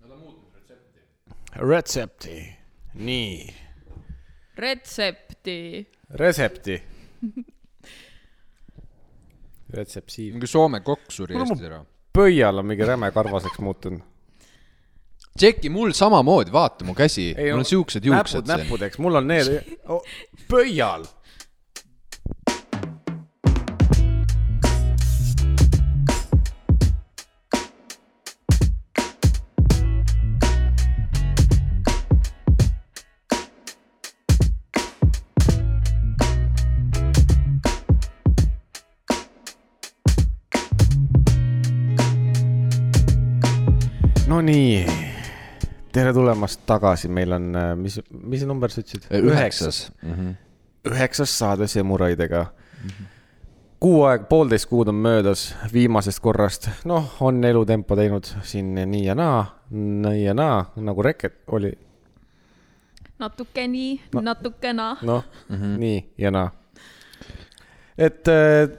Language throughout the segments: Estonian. Nad on muutnud retsepti . retsepti , nii , retsepti . retsepti . retseptiiv . mingi Soome kokk suri Kuule, mu- Eestis ära . pöial on mingi räme karvaseks muutunud . Tšeki , mul samamoodi , vaata mu käsi , mul on siuksed juuksed näpud siin . näppudeks , mul on need oh, , pöial . Nonii , tere tulemast tagasi , meil on , mis , mis number sa ütlesid ?. üheksas . Mhm. üheksas saade Semuraidega . kuu aeg , poolteist kuud on möödas viimasest korrast , noh , on elutempo teinud siin nii ja naa , nii ja naa , nagu reket oli , natuke nii No. no. , natukena . noh mm , Mhm. -hmm. nii ja naa . et äh,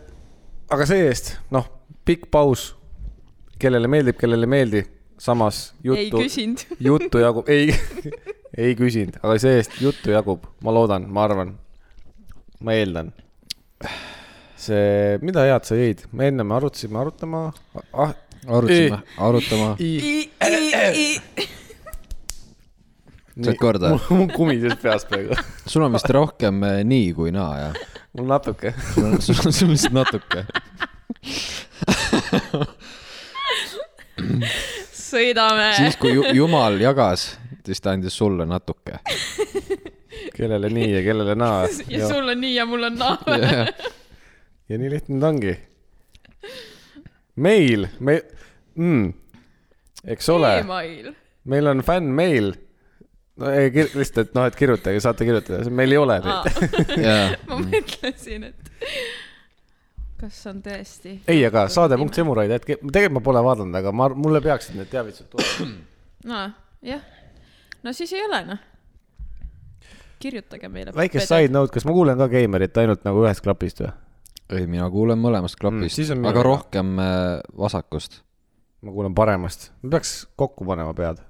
aga see-eest , noh , pikk paus , kellele meeldib , kellele ei meeldi , samas ei juttu , küsinud . juttu jagub , ei , ei küsinud , aga see-eest juttu jagub , ma loodan , ma arvan , ma eeldan . see , mida head sa jõid , me ennem arutasime arutama ah, , arutasime , arutama . Said korda? mul mul kumises peas praegu , sul on vist rohkem eh, nii kui naa , jah ? mul natuke . sul on , sul on sul vist natuke . sõidame siis , kui ju, jumal jagas , siis ta andis sulle natuke . kellele nii ja kellele naa . ja ja, sul on nii ja mul on naa . ja nii lihtne ta ongi . meil , me mm, , eks ole email . meil on fännmeil . no ei , lihtsalt , et noh , et kirjutage , saate kirjutada , meil ei ole neid . jaa , Ah, Mm. ma mõtlesin , et kas on tõesti . ei , aga saade.semuraid , et tegelikult ma pole vaadanud , aga ma , mulle peaksid need teavitused tulema . no jah , no siis ei ole noh . kirjutage meile . väike side . note , kas ma kuulen ka Geimerit ainult nagu ühest klapist või ? ei , mina kuulen mõlemast klapist siis on mm, , mina aga ka. rohkem eh, vasakust . ma kuulen paremast , ma peaks kokku panema pead .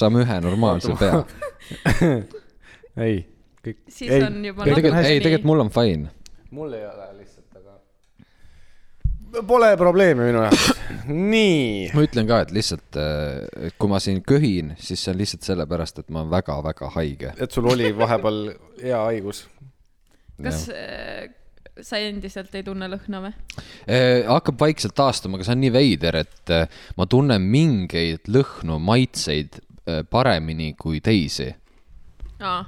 saame ühe normaalse pea . ei , kõik . siis Ei, ei, on juba ei , tegelikult , ei , natukene tegelikult mul on fine . mul ei ole lihtsalt , aga . Pole probleemi minu jaoks . nii , ma ütlen ka , et lihtsalt , et kui ma siin köhin , siis see on lihtsalt sellepärast , et ma olen väga-väga haige . et sul oli vahepeal hea haigus . kas äh, sa endiselt ei tunne lõhna või ? Eh, hakkab vaikselt taastuma , aga see on nii veider , et eh, ma tunnen mingeid lõhnu , maitseid eh, paremini kui teisi . aa ,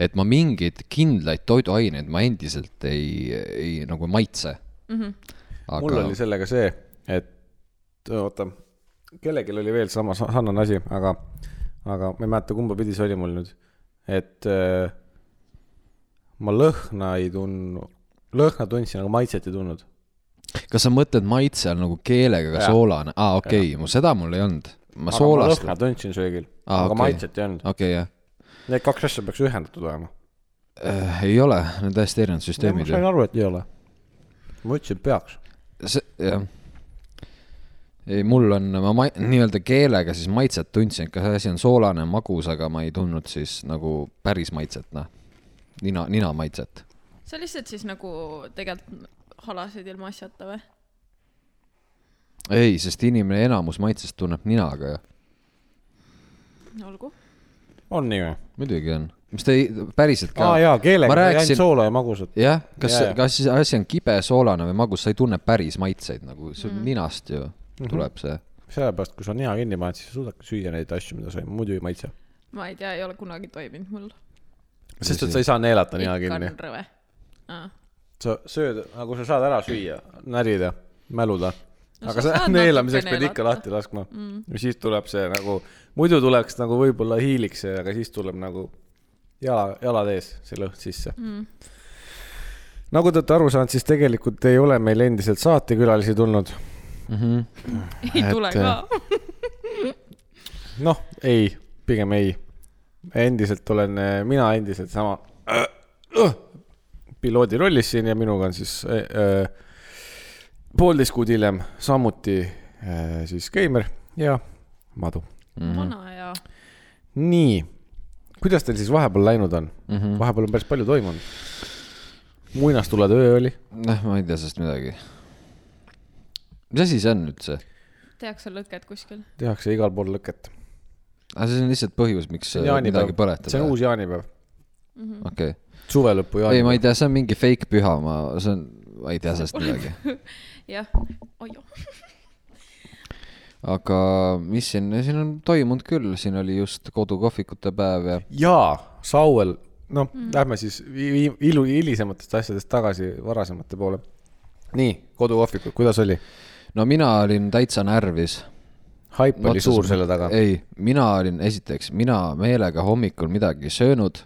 et ma mingeid kindlaid toiduaineid ma endiselt ei , ei nagu maitse mm . mhm. -hmm. aga... . mul oli sellega see , et oota , kellelgi oli veel sama sa- sarnane asi , aga , aga ma ei mäleta , kumba pidi see oli mul nüüd , et äh, ma lõhna ei tundnud , lõhna tundsin , aga maitset ei tundnud . kas sa mõtled maitse all nagu keelega ka Jaa. soolane , aa ah, okei okay, , mu seda mul ei olnud . ma soolast , lõhna tundsin söögil Aa, ah, , aga okei. okay. maitset ei olnud . okei jah , Need kaks asja peaks ühendatud olema . Äh, ei ole , need on täiesti erinevad ma süsteemid ju sain . aru , et ei ole . ma ütlesin , et peaks . see , jah . ei , mul on , ma ma- , nii-öelda keelega siis maitset tundsin , et kas asi on soolane , magus , aga ma ei tundnud siis nagu päris maitset , noh . nina , ninamaitset . sa lihtsalt siis nagu tegelikult halasid ilma asjata või ? ei , sest inimene enamus maitsest tunneb ninaga ju . olgu . on nii või ? muidugi on . mis ta ei , päriselt ka aa ah, . jaa , keelega , Ma rääkisin- ainult soola ja magusat . jah , kas Jaa, jaa. , kas siis asi on kibe , soolane või magus , sa ei tunne päris maitseid nagu , see on ninast ju Mhm. tuleb see . sellepärast , kui sa nina kinni paned , siis sa suudadki süüa neid asju , mida sa ei- muidu ei maitse . ma ei tea , ei ole kunagi toiminud mul . sest et sa ei saa neelata nina ikka kinni on . rõve . aa , sa sööd , aga kui sa saad ära süüa , närida , mäluda No no, . aga sa sa saad neelamiseks natuke pead ikka neelata. lahti laskma mm. . ja siis tuleb see nagu , muidu tuleks nagu võib-olla hiiliks , aga siis tuleb nagu jala , jalad ees , see lõhn sisse mm. . nagu te olete aru saanud , siis tegelikult ei ole meil endiselt saatekülalisi tulnud . ei Et, et, tule ka . noh , ei , pigem ei . endiselt olen , mina endiselt sama äh, piloodi eh, rollis siin ja minuga on siis äh, äh, poolteist kuud hiljem samuti siis Keimer ja Madu . Mhm. Mhm. vana ja nii , kuidas teil siis vahepeal läinud on ? Mhm. vahepeal on päris palju toimunud . muinastuletöö oli , noh , ma ei tea sellest midagi . mis asi see on üldse ? tehakse lõket kuskil . tehakse igal pool lõket . aga see on lihtsalt põhjus , miks see on midagi jaanipäev , põletada . see on uus jaanipäev , okei , suvelõpu ei , ma jaanipäev . ei tea , see on mingi fake püha , ma , see on , ma ei tea sellest midagi . jah , ojo . aga mis siin , siin on toimunud küll , siin oli just kodukohvikute päev ja jaa , Sauel , noh mm. , lähme siis vi- vi- ilu- , hilisematest asjadest tagasi varasemate poole . nii , kodukohvikud , kuidas oli ? no mina olin täitsa närvis . haip oli suur selle taga . ei , mina olin , esiteks , mina meelega hommikul midagi ei söönud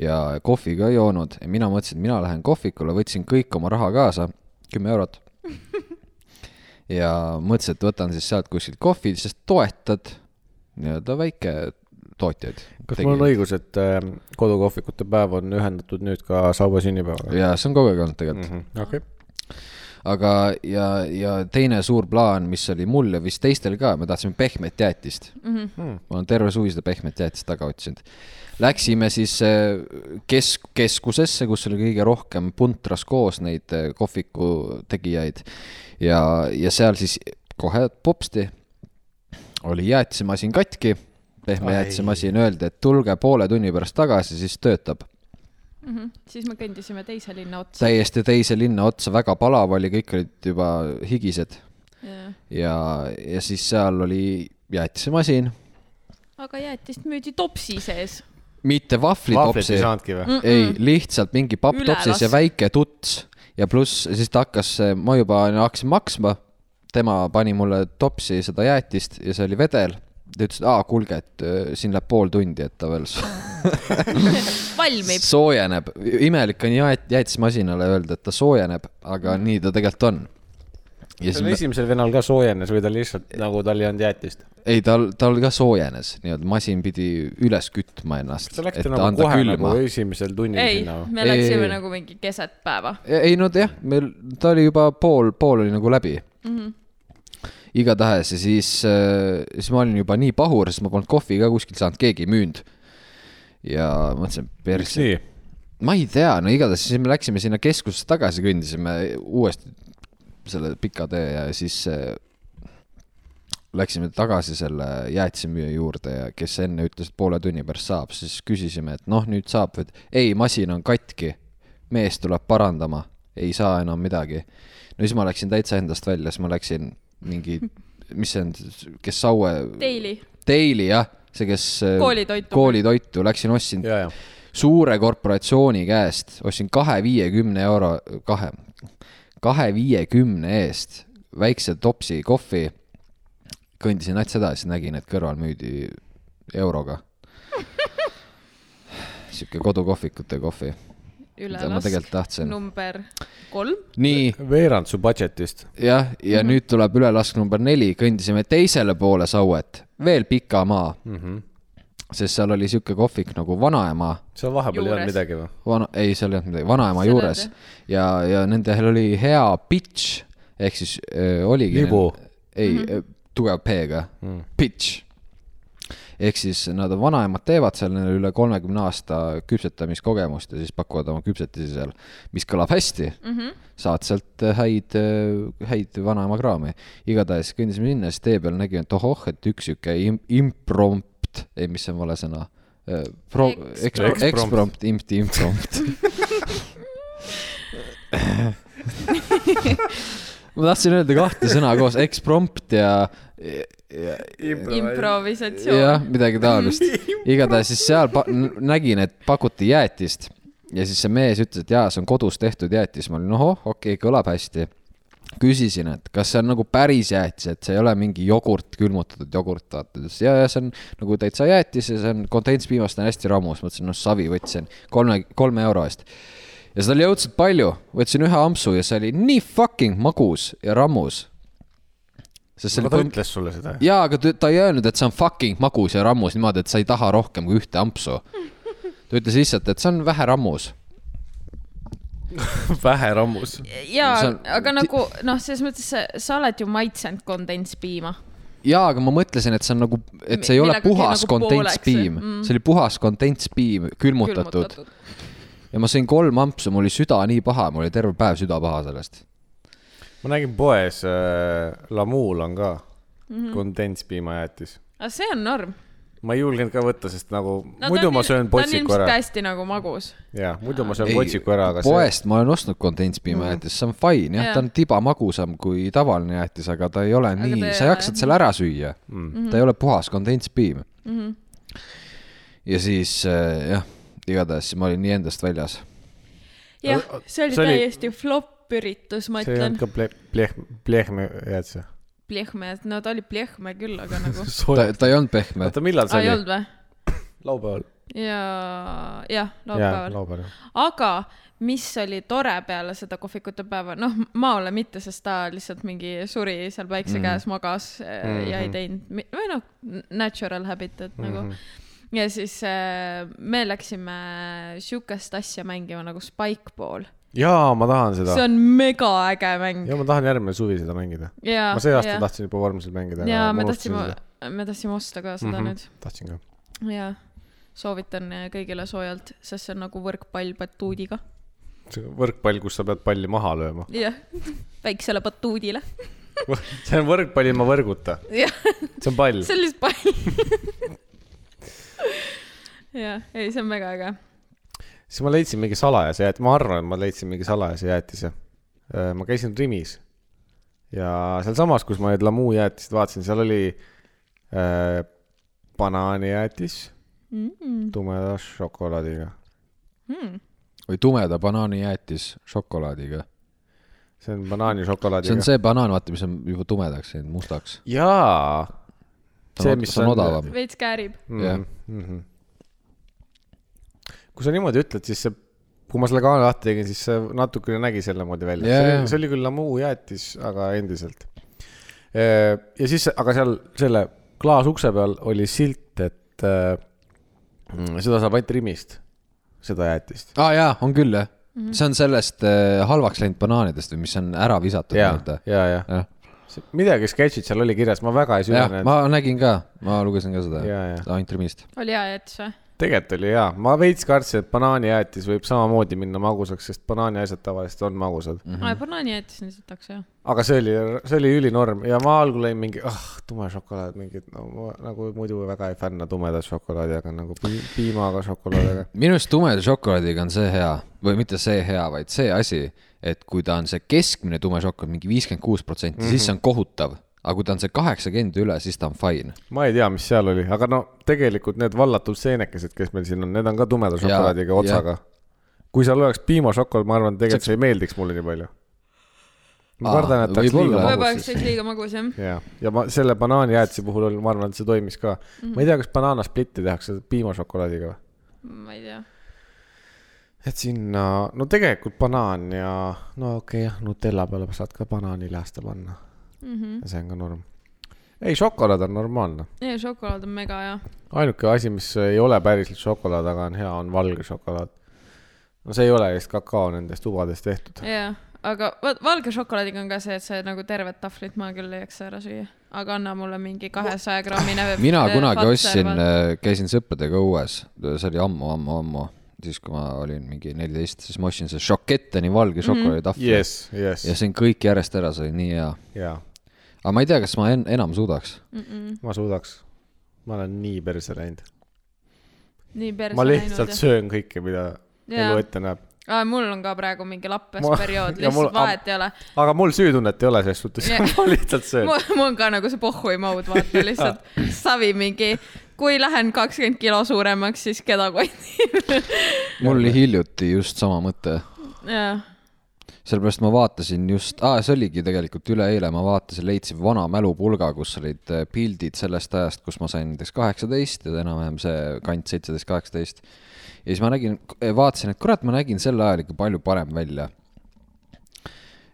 ja kohvi ka ei joonud ja mina mõtlesin , et mina lähen kohvikule , võtsin kõik oma raha kaasa , kümme eurot . ja mõtlesin , et võtan siis sealt kuskilt kohvi , sest toetad nii-öelda väiketootjaid . kas mul on õigus , et äh, kodukohvikute päev on ühendatud nüüd ka Saue sünnipäevaga ? ja see on kogu aeg olnud tegelikult . okei . aga , ja , ja teine suur plaan , mis oli mul ja vist teistel ka , me tahtsime pehmet jäätist mm . -hmm. ma olen terve suvi seda pehmet jäätist taga otsinud . Läksime siis äh, kesk , keskusesse , kus oli kõige rohkem puntras koos neid äh, kohviku tegijaid ja , ja seal siis kohe popsti oli jäätisemasin katki , pehme Ai. jäätisemasin , öeldi , et tulge poole tunni pärast tagasi , siis töötab Mhm. siis me kõndisime teise linna otsa . täiesti teise linna otsa , väga palav oli , kõik olid juba higised ja , ja siis seal oli jäätisemasin , aga jäätist müüdi topsi sees . mitte vahvlit vahvlitopsi ei , saanudki või ? ei , lihtsalt mingi papp Ülelas. topsis ja väike tuts ja pluss siis ta hakkas , ma juba hakkasin maksma , tema pani mulle topsi seda jäätist ja see oli vedel ta ütles , et aa , kuulge , et öö, siin läheb pool tundi , et ta veel so- valmib . soojeneb . imelik on jäät- , jäätismasinale öelda , et ta soojeneb , aga nii ta tegelikult on . ja siis seal me esimesel venel ka soojenes või ta lihtsalt nagu tal ei olnud jäätist ? ei , tal , tal ka soojenes , nii-öelda masin pidi üles kütma ennast . Te läksite nagu kohe nagu esimesel tunnil ei sinna , või ? Ei, me ei, läksime ei. Äh, nagu mingi keset päeva . ei no jah , meil , ta oli juba pool , pool oli nagu läbi mm . -hmm. igatahes ja siis , siis ma olin juba nii pahur , sest ma polnud kohvi ka kuskilt saanud , keegi ei müünud . ja mõtlesin , miks persse , nii ? ma ei tea , no igatahes siis me läksime sinna keskusesse tagasi , kõndisime uuesti selle pika tee ja siis äh, läksime tagasi selle jäätisemüüja juurde ja kes enne ütles , et poole tunni pärast saab , siis küsisime , et noh , nüüd saab või , et ei , masin on katki . mees tuleb parandama , ei saa enam midagi . no siis ma läksin täitsa endast välja , siis ma läksin mingi , mis see on , kes Saue . Daily , Daily jah , see , kes . Koolitoitu. koolitoitu , läksin ostsin ja , ja . suure korporatsiooni käest , ostsin kahe viiekümne euro , kahe , kahe viiekümne eest väikse topsi kohvi . kõndisin nats edasi , nägin , et kõrval müüdi euroga . sihuke kodukohvikute kohvi , mida ma ülelask , tegelikult tahtsin . number kolm . nii , veerand su budget'ist . jah , ja mm -hmm. nüüd tuleb ülelask number neli , kõndisime teisele poole Sauet , veel pika maa , sest seal oli sihuke kohvik nagu Vanaema seal vahepeal ei olnud Juures. midagi või ? vana , ei , seal ei olnud midagi , vanaema Seal juures ei olnud, ja , ja nendel oli hea pitch ehk siis öö, oligi . Libu. ei mm , Mhm. -hmm. tugev P-ga mm. , pitch . ehk siis nad , vanaemad teevad seal neil üle kolmekümne aasta küpsetamiskogemust ja siis pakuvad oma küpsetisi seal , mis kõlab hästi mm . -hmm. saad sealt häid , häid vanaema kraami . igatahes kõndisime sinna , siis tee peal nägime , et ohoh , et üks sihuke im- , imprompt , ei , mis see on vale sõna . Pro- , Eksprompt. eksprompt , eksprompt , impti , imprompt ma tahtsin öelda kahte sõna koos , eksprompt ja , ja , jah , improvisatsioon . midagi taolist . igatahes siis seal pa- n- nägin , et pakuti jäätist ja siis see mees ütles , et jaa , see on kodus tehtud jäätis . ma olin , ohoh , okei okay, , kõlab hästi . küsisin , et kas see on nagu päris jäätis , et see ei ole mingi jogurt , külmutatud jogurt , vaata . ta ütles , jaa , jaa , see on nagu täitsa jäätis ja see on kondentspiimast on hästi rammus . mõtlesin , noh , savi võtsin kolme , kolme euro eest ja seda oli õudselt palju , võtsin ühe ampsu ja see oli nii fucking magus ja rammus . sest see aga ta oli ütles sulle seda ? jaa , aga ta- ta ei öelnud , et see on fucking magus ja rammus niimoodi , et sa ei taha rohkem kui ühte ampsu . ta ütles lihtsalt , et see on vähe rammus . vähe rammus . jaa See on- , aga nagu noh , selles mõttes sa, sa oled ju maitsenud kondenspiima . jaa , aga ma mõtlesin , et see on nagu , et see ei ole Millegagi puhas nagu pooleks, kondentspiim jah. Mm. , see oli puhas kondentspiim , külmutatud . ja ma sõin kolm ampsu , mul oli süda nii paha , mul oli terve päev süda paha sellest . ma nägin poes äh, , Lamuul on ka mm Mhm. -hmm. kondentspiimajäätis . aga see on norm ma ei julgenud ka võtta , sest nagu no, no, . muidu ma söön potsiku ära . hästi nagu magus . jaa , muidu ma söön potsiku ära , aga see , poest ma olen ostnud kondentspiimajäätist , see on fine , Mhm. jah , Jaa. ta on tiba magusam kui tavaline jäätis , aga ta ei ole Aga aga ta Mhm. nii ei , sa ole- jaksad selle ära süüa mm . -hmm. ta ei ole puhas kondentspiim mm . Mhm. -hmm. ja siis äh, jah , igatahes ma olin nii endast väljas . jah , see oli see oli- täiesti flop üritus , ma see ei olnud . ütlen ka pleh- , pleh- , plehme jäätis . Plehme , no ta oli plehme küll , aga nagu . ta , ta ei olnud pehme . oota , millal aa , see ei oli ? olnud või ? laupäeval . ja , jah , jaa , laupäeval . laupäeval . aga mis oli tore peale seda kohvikute päeva , noh , Maole mitte , sest ta lihtsalt mingi suri seal päikse mm. käes , magas mm Mm-hmm. -hmm. ja ei teinud , või noh , natural habitat nagu mm . Mm-hmm. -hmm. ja siis äh, me läksime sihukest asja mängima nagu Spikeball . jaa , ma tahan seda see . on megaäge mäng . ja ma tahan järgmine suvi seda mängida . ja ma see aasta . tahtsin juba Vormsil mängida . ja Ah, me tahtsime , me tahtsime osta ka seda mm -hmm. nüüd . Mhm. tahtsin ka . jaa , soovitan eh, kõigile soojalt , sest see on nagu võrkpall batuudiga . see võrkpall , kus sa pead palli maha lööma . jah , väiksele batuudile . see on võrkpall ilma võrguta . jah , see on pall . see on lihtsalt pall . jah , ei , see on väga äge . siis ma leidsin mingi salajase jäät- , ma arvan , et ma leidsin mingi salajase jäätise . ma käisin Rimis ja sealsamas , kus ma need Lamu jäätised vaatasin , seal oli äh, banaanijäätis mm. tumeda šokolaadiga . või tumeda banaanijäätis šokolaadiga . see on banaani see on šokolaadiga . see banaan , vaata , mis on juba tumedaks läinud , mustaks . jaa . see on , see on odavam . veits käärib . Jah. -hmm. kui sa niimoodi ütled , siis see , kui ma selle kaane lahti tegin , siis see natukene nägi selle moodi välja Jaa, yeah. jaa. . see oli küll Lamu jäätis , aga endiselt . ja siis , aga seal selle klaasukse peal oli silt , et eh, mm, seda saab ainult Rimist , seda jäätist . aa ah, jaa , on küll jah Mhm. mm . -hmm. see on sellest äh, halvaks läinud banaanidest või mis on ära visatud ja , nii-öelda . ja , ja jah , midagi sketšid seal oli kirjas , ma väga ei jah , süvenenud . ma nägin ka , ma lugesin ka seda Jaa, jaa. ainult Rimist . oli hea jäts või ? tegelikult oli hea , ma veits kartsin , et banaanijäätis võib samamoodi minna magusaks , sest banaaniasjad tavaliselt on magusad . aa , banaani jätis on lihtsalt taks hea . aga see oli , see oli ülinorm ja ma algul olin mingi , ah , tume šokolaad , mingi , no ma nagu muidu väga ei fänna tumedat šokolaadi , aga nagu pi- piimaga šokolaadiga . minu arust tumeda šokolaadiga on see hea või mitte see hea , vaid see asi , et kui ta on see keskmine tume šokolaad , mingi viiskümmend kuus protsenti , Mhm. siis see on kohutav . aga kui ta on see kaheksakümmend üle , siis ta on fine . ma ei tea , mis seal oli , aga no tegelikult need vallatud seenekesed , kes meil siin on , need on ka tumeda šokolaadiga Jaa, otsaga . kui seal oleks piimašokolaad , ma arvan , tegelikult see ei meeldiks mulle nii palju . ma Aa, kardan , et ta oleks võib-olla. liiga võib-olla Magus magus oleks siis . siis liiga magus jah . ja , ja ma selle banaanijäätise puhul oli , ma arvan , et see toimis ka mm . -hmm. ma ei tea , kas banaanasplitti tehakse piimašokolaadiga või ? ma ei tea . et sinna , no tegelikult banaan ja no okei okay, jah , Nutella peale saad ka banaaniläheste panna mm . -hmm. see on ka norm . ei , šokolaad on normaalne . ei , šokolaad on mega hea . ainuke asi , mis ei ole päriselt šokolaad , aga on hea , on valge šokolaad . no see ei ole vist kakao nendest tubadest tehtud . jah , aga vot valge šokolaadiga on ka see , et sa nagu tervet tahvlit ma küll ei jaksa ära süüa , aga anna mulle mingi kahesaja grammine . mina kunagi ostsin , äh, käisin sõpradega õues , see oli ammu-ammu-ammu , siis kui ma olin mingi neliteist , siis ma ostsin selle šoketteni valge šokolaaditahvli mm -hmm. jess , jess ja yes. , sõin kõik järjest ära , see oli nii hea . jaa , aga ma ei tea , kas ma en enam suudaks . ma suudaks . ma olen nii perse läinud . nii perse ma lihtsalt läinud . söön kõike , mida Jaa. elu ette näeb . aa , mul on ka praegu mingi lappes Ma- periood , ja mul- lihtsalt vahet ei ole . aga mul süütunnet ei ole selles suhtes Jah. ma lihtsalt söön . mul on ka nagu see pohhui mode , vaata lihtsalt savi mingi , kui lähen kakskümmend kilo suuremaks , siis keda kotib . mul oli hiljuti just sama mõte , jah , sellepärast ma vaatasin just ah, , see oligi tegelikult üleeile , ma vaatasin , leidsin vana mälupulga , kus olid eh, pildid sellest ajast , kus ma sain näiteks kaheksateist ja enam-vähem see kant seitseteist , kaheksateist . ja siis ma nägin , vaatasin , et kurat , ma nägin sel ajal ikka palju parem välja .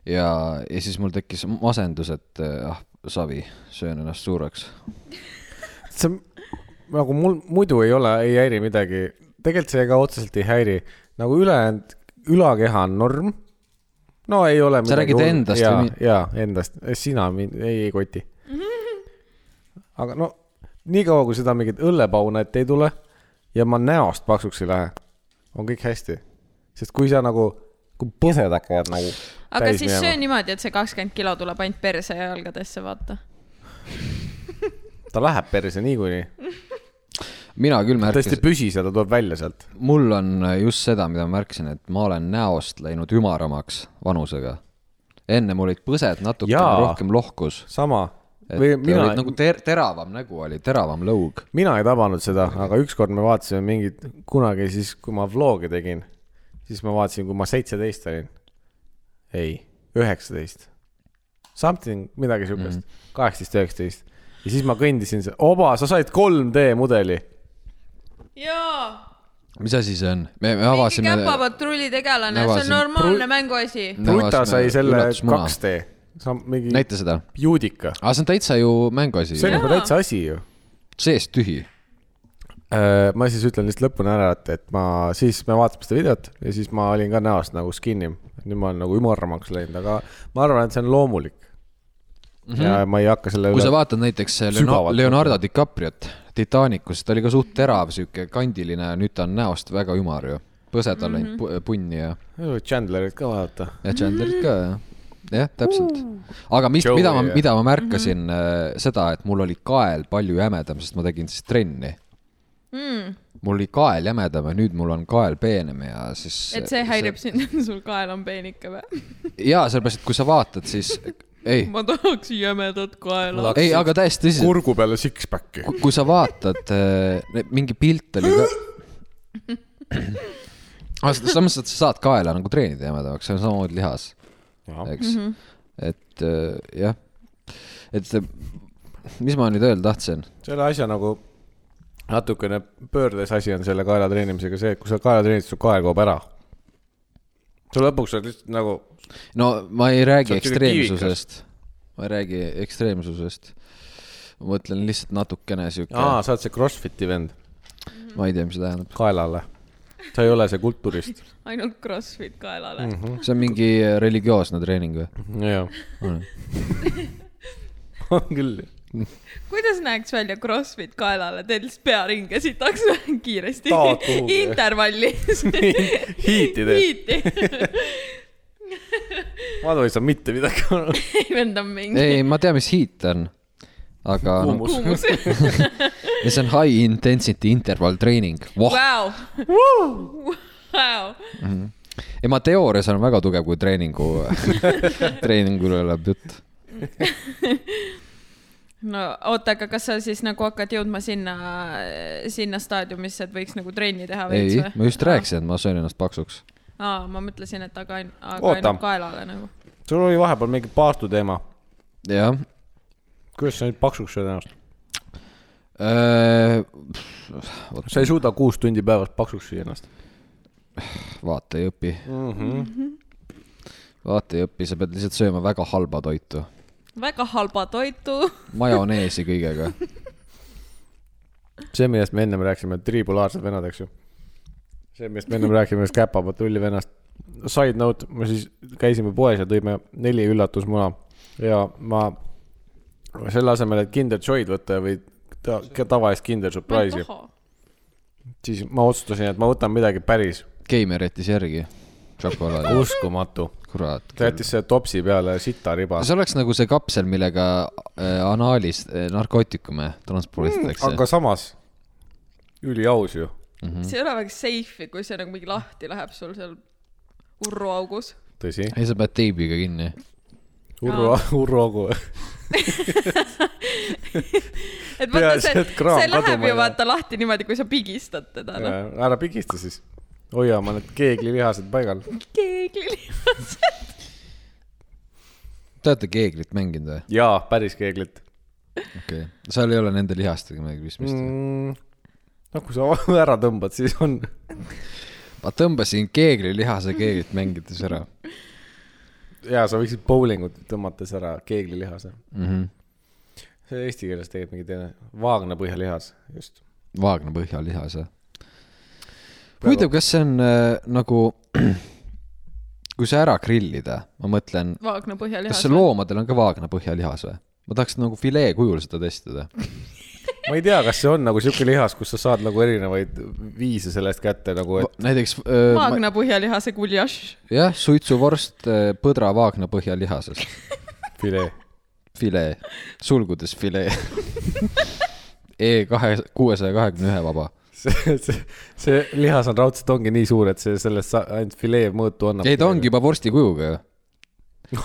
ja , ja siis mul tekkis masendus , et eh, ah , savi , söön ennast suureks . see on- nagu mul muidu ei ole , ei häiri midagi , tegelikult see ka otseselt ei häiri , nagu ülejäänud ülakeha on norm . no ei ole . Sa räägid endast ja, või või ? mi- jaa , endast , sina mind ei, ei koti . aga no niikaua , kui seda mingit õllepauna ette ei tule ja ma näost paksuks ei lähe , on kõik hästi . sest kui sa nagu , kui põsed hakkavad nagu . aga siis söö . niimoodi , et see kakskümmend kilo tuleb ainult perse ja jalgadesse , vaata . ta läheb perse niikuinii , mina küll ta tõesti märkasin , ei püsi seal , ta tuleb välja sealt . mul on äh, just seda , mida ma märkasin , et ma olen näost läinud ümaramaks vanusega . enne mul olid põsed natuke Jaa. rohkem lohkus . sama . et või mina olid nagu ter- , teravam nägu oli , teravam lõug . mina ei tabanud seda , aga ükskord me vaatasime mingit , kunagi siis , kui ma vlogi tegin , siis ma vaatasin , kui ma seitseteist olin . ei , üheksateist . Something , midagi siukest , kaheksateist , üheksateist . ja siis ma kõndisin , oba , sa said 3D mudeli . jaa , mis asi see on ? me , me mingi avasime . käpapatrulli tegelane , see on Avasime. normaalne Pru- mänguasi . Bruta sai selle 2D , sa mingi Näit... näita seda . juudika , aga see on täitsa ju mänguasi see on ju. juba täitsa asi ju seest tühi . Äh, ma siis ütlen lihtsalt lõpuni ära , et , et ma siis me vaatasime seda videot ja siis ma olin ka näost nagu skinnim . nüüd ma olen nagu ümaramaks läinud , aga ma arvan , et see on loomulik mm . -hmm. ja ma ei hakka selle Mhm. kui sa üle , vaatad näiteks Leonardo, Sügavalt. Leonardo DiCapriot Titanicus , ta oli ka suht terav , sihuke kandiline , nüüd ta on näost väga ümar ju . põsed on läinud pu- punni ja , Chandlerit ka vaadata . ja Chandlerit ka ja , jah , täpselt . aga mis , Joey, mida ma jah. , mida ma märkasin mm , -hmm. seda , et mul oli kael palju jämedam , sest ma tegin siis trenni . Mm, mul oli kael jämedam ja nüüd mul on kael peenem ja siis . et see häirib sind , sul kael on peen ikka või ? jaa , sellepärast , et kui sa vaatad , siis ei , ma tahaks jämedat kaela . ei , aga täiesti tõsiselt . kurgu peale six-pack'i . kui, kui sa vaatad , mingi pilt oli ka . aga seda- selles mõttes , et sa saad kaela nagu treenida jämedamaks , see on samamoodi lihas , Mhm. eks . et eh, jah , et eh, mis ma nüüd öelda tahtsin , selle asja nagu natukene pöördes asi on selle kaela treenimisega see , et kui sa kaela treenid , su kael kaob ära . sa lõpuks oled lihtsalt nagu , no ma ei Sa räägi oled sihuke kivikas. ekstreemsusest , ma ei räägi ekstreemsusest . ma mõtlen lihtsalt natukene sihuke , aa , sa oled see Crossfiti vend ma ei tea , mis see tähendab , kaelale . sa ei ole see kulturist . ainult Crossfit kaelale mm. . see on mingi äh, religioosne treening või ? jah . on küll . kuidas näeks välja Crossfit kaelale , teed lihtsalt pearinge sitaks kiiresti Taod kuhugi. intervalli . hiiti teed . hiiti . Madu ei saa mitte midagi aru . ei , vend on mingi ei , ma tean , mis heat on , aga . Kuumus. kuumus . ja see on high intensity interval treening wow. . Vau . Vau . Mhm. ei , ma teoorias olen väga tugev , kui treeningu , treeningule läheb jutt . no oota , aga kas sa siis nagu hakkad jõudma sinna , sinna staadiumisse , et võiks nagu trenni teha veits ei või ?, ma just . rääkisin , et ma söön ennast paksuks . aa , ma mõtlesin , et aga ain- , aga Oota. ainult kaelale nagu . sul oli vahepeal mingi paastu teema . jah . kuidas sa nüüd paksuks sööd ennast ? sa sa ei suuda kuus tundi päevas paksuks süüa ennast vaata ei õpi , mm . -hmm. vaata ei õpi , sa pead lihtsalt sööma väga halba toitu , väga halba toitu . majoneesi kõigega . see , millest me ennem rääkisime , tribulaarsed venad , eks ju . see , millest me ennem rääkisime , see käpapatrulli venast . Side note , me siis käisime poes ja tõime neli üllatusmuna ja ma selle asemel , et Kinder Joy'd võtta või ta- tavalist Kinder Surprise'i , siis ma otsustasin , et ma võtan midagi päris Keimer jättis järgi šokolaadi , uskumatu . kurat . ta jättis selle topsi peale sitariba . see oleks nagu see kapsel , millega äh, anaalis äh, narkootikume transporditakse aga samas üliaus ju . see ei ole väga seifi , kui see nagu mingi lahti läheb sul seal urruaugus . tõsi . ei , sa pead teibiga kinni . Urro , Urro Augu . et vaata Peaasi, see , et kraam see läheb kaduma ei ju lähe. vaata lahti niimoodi , kui sa pigistad teda noh . ära pigista siis . hoia oma need keeglilihased paigal . keeglilihased . Te olete keeglit mänginud või ? jaa , päris keeglit okei okay. , seal ei ole nende lihastega midagi pistmist mm. . mm, . no kui sa ära tõmbad , siis on . ma tõmbasin keegrilihase keeglit mängides ära jaa , sa võiksid bowlingut tõmmates ära keeglilihase . mm . -hmm. see eesti keeles tegelikult mingi teine , vaagna põhjalihas , just . Vaagna põhjalihase . huvitav , kas see on äh, nagu , kui see ära grillida , ma mõtlen , vaagna põhjalihas kas see ? loomadel on ka vaagna põhjalihas või ? ma tahaks nagu filee kujul seda testida . ma ei tea , kas see on nagu sihuke lihas , kus sa saad nagu erinevaid viise sellest kätte nagu , et näiteks öö, ma- vaagna põhjalihase guljaš . jah , suitsuvorst öö, põdra vaagna põhjalihasest , filee . filee , sulgudes filee . E kahe , kuuesaja kahekümne ühe vaba . see , see , see lihas on raudselt ongi nii suur , et see sellest sa- ainult filee mõõtu annab . ei , ta ongi . juba vorsti kujuga ju ,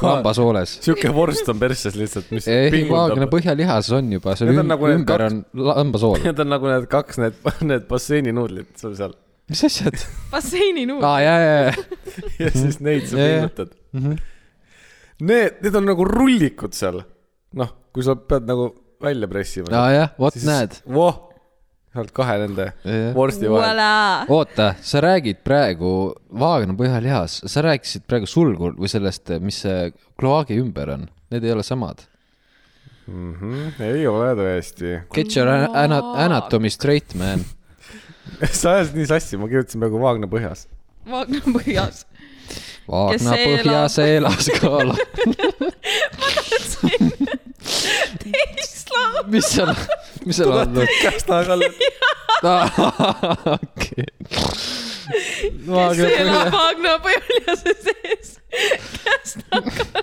lambasooles . sihuke vorst on persses lihtsalt , mis ei , E vaagna pingutab . põhjalihas on juba , seal Need on üm- nagu need ümber kaks- on lambasool . Need on nagu need kaks , need , need basseininuudlid sul seal mis asjad ? basseininuud . aa , jaa , jaa , jaa . ja Mhm. siis neid sa Jajah. pingutad . Mhm. Need , need on nagu rullikud seal . noh , kui sa pead nagu välja pressima . aa , jah , vot näed .. voh , sealt kahe nende Jajah. vorsti vahel . Voilà . oota , sa räägid praegu vaagna põhjalihas , sa rääkisid praegu sulgul või sellest , mis see kloaagi ümber on , need ei ole samad . ei ole tõesti . Get your ana- ana- anatomy straight , man . sa ajasid nii sassi , ma kirjutasin praegu Vaagna põhjas . vaagna põhjas . vaagna elab- põhjas elas kaala . Tesla . mis seal , mis seal on ? kas ta ka okei . vaagna see elab põhjas , vaagna põhjalihase sees . kes ta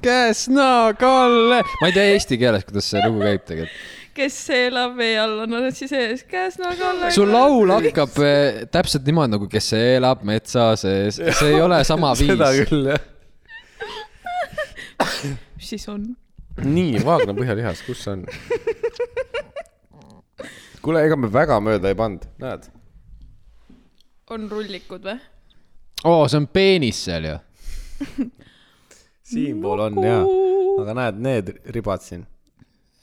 Käsna Kalle . nagu ma ei tea eesti keeles , kuidas see lugu käib tegelikult . kes elab vee all , on alati sees , käes nagu alla . su laul hakkab eh, täpselt niimoodi nagu , kes elab metsa sees , see ei ole sama seda viis . küll jah . siis on . nii , Vaagna põhjalihas , kus see on ? kuule , ega me väga mööda ei pannud , näed . on rullikud või ? oo , see on peenis seal ju . siinpool on ja , aga näed need ribad siin .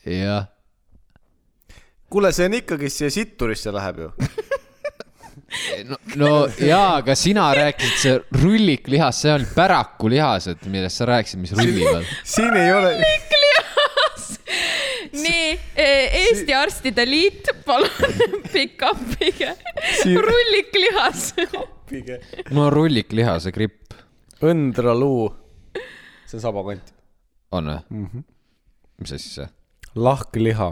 jah . kuule , see on ikkagi , see sitturisse läheb ju . no, no jaa , aga sina rääkisid , see rullik lihas , see on päraku lihased , millest sa rääkisid , mis rullivad . siin ei ole , nii , Eesti Arstide Liit , palun pikk appige . Siin- rullik lihas . mul on rullik lihase gripp . õndraluu . see on sabakant . on või ? Mhm. mis asi see ? lahkliha .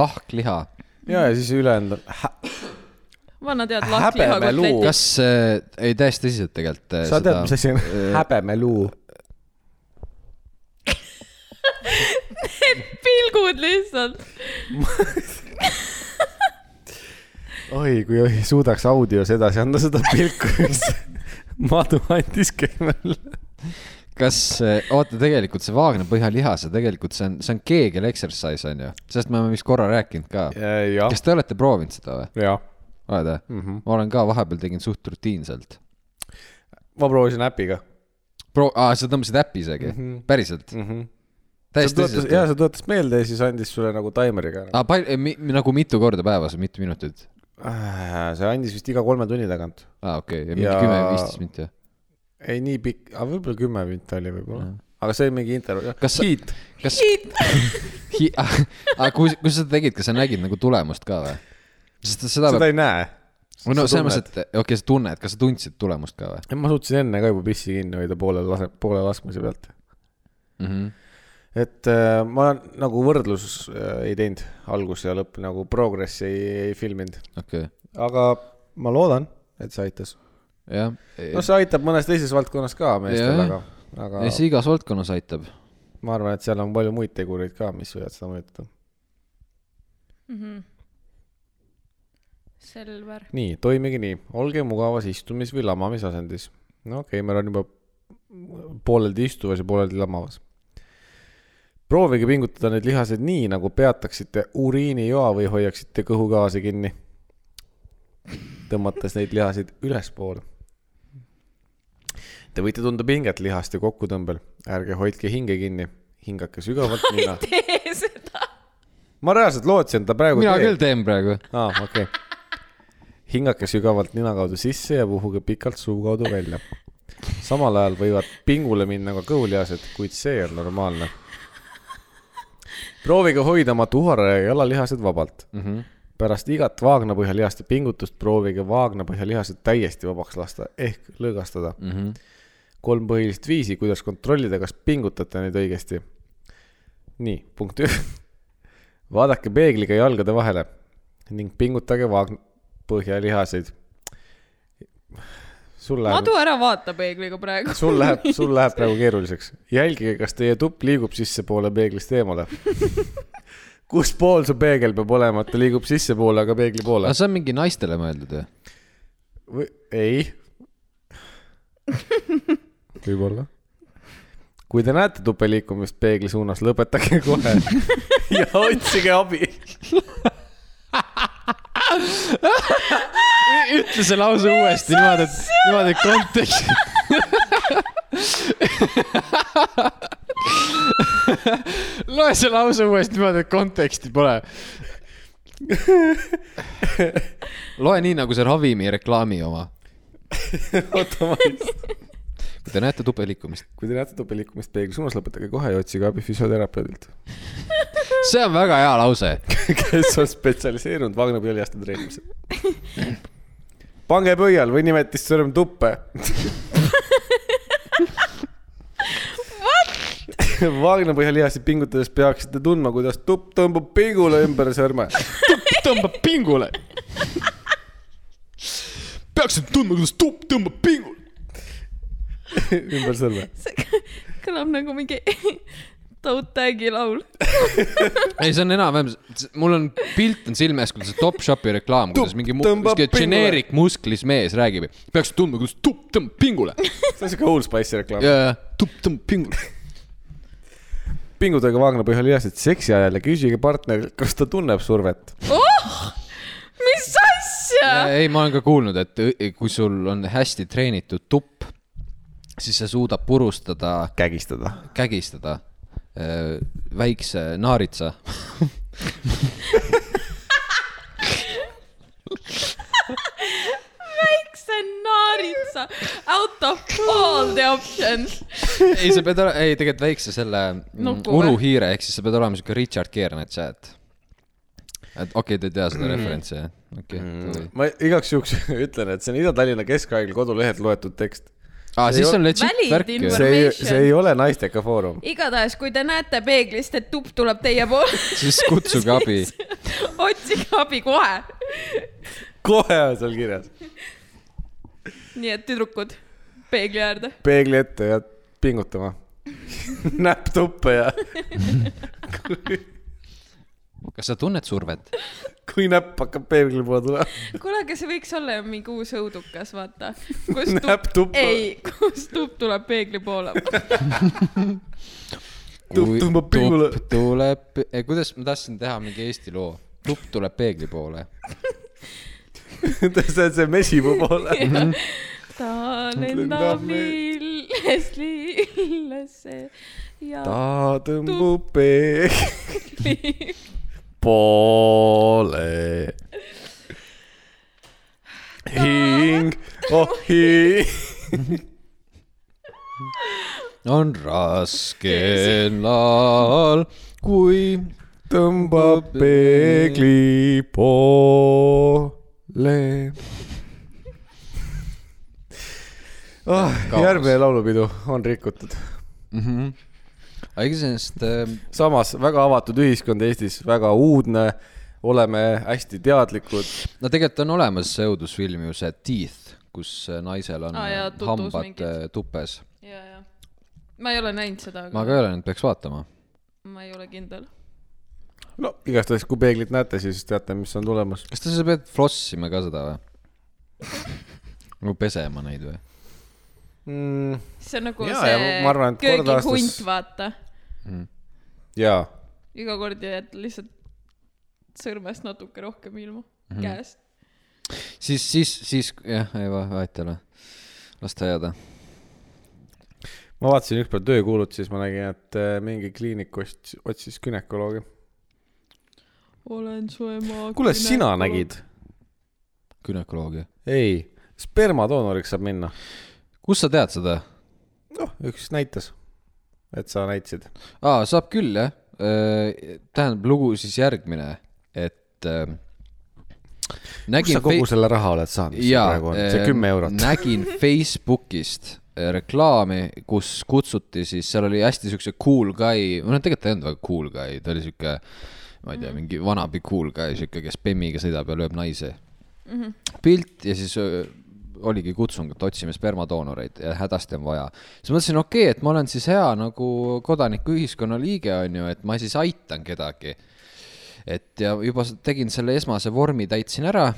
lahkliha . ja , ja siis ülejäänud on hä- vana tead , lahkliha Häbemeluu. kotletid . kas äh, , ei täiesti tõsiselt tegelikult äh, sa tead , mis asi on häbemeluu ? pilgud lihtsalt . oi , kui oi, suudaks audios edasi anda seda pilku , mis Madu andis keemale . kas , oota , tegelikult see vaagna põhjalihas , tegelikult see on , see on keegel exercise on ju , sellest me oleme vist korra rääkinud ka . Äh, jah , kas te olete proovinud seda või ? jah . oled või mm ? Mhm. -hmm. ma olen ka vahepeal tegin suht rutiinselt . ma proovisin äpiga Pro- , aa , sa tõmbasid äppi isegi mm , -hmm. päriselt mm ? Mhm. -hmm. täiesti tuletas , ja tõsiselt ? see tuletas meelde ja siis andis sulle nagu taimeriga . aa , pal- , mi- , nagu mitu korda päevas , mitu minutit ? Äh, see andis vist iga kolme tunni tagant . aa , okei okay. , mingi Ja- kümme , viisteist minutit , jah . ei nii pikk , aga võib-olla kümme minti oli võib-olla . aga see oli mingi intervjuu , jah . Kas sa- Hiit , kas , aga kui , kui sa seda tegid , kas sa nägid nagu tulemust ka või ? sest seda seda peab , ei näe . või no selles mõttes , et okei okay, , sa tunned , kas sa tundsid tulemust ka või ? ma suutsin enne ka juba pissi kinni hoida poole lase , poole laskmise pealt . mm . -hmm. et äh, ma nagu võrdlus äh, ei teinud algus ja lõpp nagu progressi ei, ei filminud , okei okay. , aga ma loodan , et see aitas . jah . no see aitab mõnes teises valdkonnas ka meestel , Jah. aga , aga ja see igas valdkonnas aitab . ma arvan , et seal on palju muid tegureid ka , mis võivad seda mõjutada . Selver . nii , toimige nii , olge mugavas istumis või lamamisasendis . no okei okay, , meil on juba pooleldi istuvas ja pooleldi lamavas . proovige pingutada need lihased nii , nagu peataksite uriinijoa või hoiaksite kõhugaasi kinni . tõmmates neid lihaseid ülespoole . Te võite tunda pinget lihaste kokkutõmbel , ärge hoidke hinge kinni , hingake sügavalt nina . tee seda . ma reaalselt lootsin , et ta praegu mina teeb. küll teen praegu . aa , okei okay. . hingake sügavalt nina kaudu sisse ja puhuge pikalt suu kaudu välja . samal ajal võivad pingule minna ka kõhulihased , kuid see on Mhm, normaalne . proovige hoida oma tuhare ja jalalihased vabalt mm . -hmm. pärast igat vaagnapõhjalihaste pingutust proovige vaagnapõhjalihased täiesti vabaks lasta ehk lõõgastada mm . -hmm. kolm põhilist viisi , kuidas kontrollida , kas pingutate neid õigesti . nii , punkt üks . vaadake peegliga jalgade vahele ning pingutage vaag- , põhjalihaseid . sul läheb , madu ära vaata peegliga praegu . sul läheb , sul läheb praegu keeruliseks . jälgige , kas teie tupp liigub sissepoole peeglist eemale . kus pool su peegel peab olema , et ta liigub sissepoole , aga peegli poole aga ? see on mingi naistele mõeldud ju . või ei võib-olla kui te näete tupe liikumist peegli suunas , lõpetage kohe ja otsige abi . ütle see lause uuesti niimoodi , et , niimoodi , et kontekst . loe see lause uuesti niimoodi , et konteksti pole . loe nii nagu see ravimireklaami oma . oota , ma ei , kui te näete tupe liikumist , kui te näete tupe liikumist peegli suunas , lõpetage kohe ja otsige abi füsioterapeudilt , see on väga hea lause . kes on spetsialiseerunud Vagna põlviaste treenimisel . pange pöial või nimetissõrm tuppe . Vagna põhjalihasid pingutades peaksite tundma , kuidas tupp tõmbab pingule ümber sõrme tõmbab pingule . peaksid tundma , kuidas tupp tõmbab pingule . ümber sõrme . see kõlab nagu mingi Toad Tag'i laul . ei , see on enam-vähem , mul on pilt on silme ees , kuidas see Topshopi reklaam , kuidas Tupp mingi mu- tõmbab sihuke pingule. geneerik musklis mees räägib . peaks tundma , kuidas tupp tõmbab pingule . see on siuke Old Spice'i reklaam . ja , ja tupp tõmbab pingule . pingutage Vagna põhjalihasid seksi ajal ja küsige partnerilt , kas ta tunneb survet . oh , mis asja ? ei , ma olen ka kuulnud , et õ- kui sul on hästi treenitud tupp , siis see suudab purustada , kägistada . kägistada äh, väikse naaritsa . see on naaritsa , out of all the options . ei , sa pead , ei tegelikult väikse selle mm, Nuku või? uruhiire , ehk siis sa pead olema siuke Richard Kearnet chat . et okei okay, , te ei tea seda referentsi jah ? okei okay, . ma igaks juhuks ütlen , et see on Ida-Tallinna Keskhaigla kodulehelt loetud tekst . aa , Ah, siis on Valid legit värk ju . info- see ei , see ei ole Naisteka Foorum . igatahes , kui te näete peeglist , et tupp tuleb teie poole , siis kutsuge abi . otsige abi kohe . kohe on seal kirjas . nii et tüdrukud , peegli äärde . peegli ette ja pingutama . näpp tuppe ja kas sa tunned survet ? kui näpp hakkab peegli poole tulema , kuule , aga see võiks olla ju mingi uus õudukas , vaata . kus näpp tupp , tuppe , ei , kus tupp tuleb peegli poole . Tupp tõmbab pingule. tupp tuleb , kuidas ma tahtsin teha mingi Eesti loo , tupp tuleb peegli poole . see on see mesipuu poole . ta lendab lilles , lillesse ja ta tõmbub peegli poole . hing , oh hing . on raskel laal , kui tõmbab peegli poole oh, . Kaos. järgmine laulupidu on rikutud . mm . -hmm. aga ega sellest äh, samas väga avatud ühiskond Eestis , väga uudne , oleme hästi teadlikud . no tegelikult on olemas see õudusfilm ju see Teeth , kus naisel on Aa, ah, jaa, jaa, tutvus hambad mingid. mingid. tupes . ja , ja . ma ei ole näinud seda , ma aga ka ei ole nüüd , peaks vaatama . ma ei ole kindel . no igastahes , kui peeglit näete , siis teate , mis on tulemas . kas te sa pead flossima ka seda või ? nagu pesema neid või mm, . see on nagu Jaa, ja, ja ma arvan, see et kord aastas- köögihunt aastas... , vaata . mm. ? jaa , iga kord jääd lihtsalt sõrmest natuke rohkem ilma mm , Mhm. -hmm. käest . siis , siis , siis jah , ei va- vahet ei ole . las ta jääda . ma vaatasin ükspäev töökuulutusi , siis ma nägin , et äh, mingi kliinik ost- otsis günekoloogi . olen su ema . kuule , sina nägid ? günekoloogi . ei , spermadoonoriks saab minna . kust sa tead seda ? noh , üks näitas , et sa näitasid . aa , saab küll jah . tähendab , lugu siis järgmine , et äh, kus sa kogu selle raha oled saanud , mis sul jaa äh, eh, praegu on , see kümme eurot . nägin Facebookist eh, reklaami , kus kutsuti siis , seal oli hästi siukse cool guy , või noh , tegelikult ta ei olnud väga cool guy , ta oli siuke , ma ei tea , mingi vanabi cool guy , siuke , kes bemmiga sõidab ja lööb naisi mm . Mhm. -hmm. pilt ja siis öö, oligi kutsung , et otsime spermadoonoreid ja hädasti on vaja . siis ma mõtlesin , okei okay, , et ma olen siis hea nagu kodanikuühiskonna liige , on ju , et ma siis aitan kedagi et ja juba s- tegin selle esmase vormi , täitsin ära .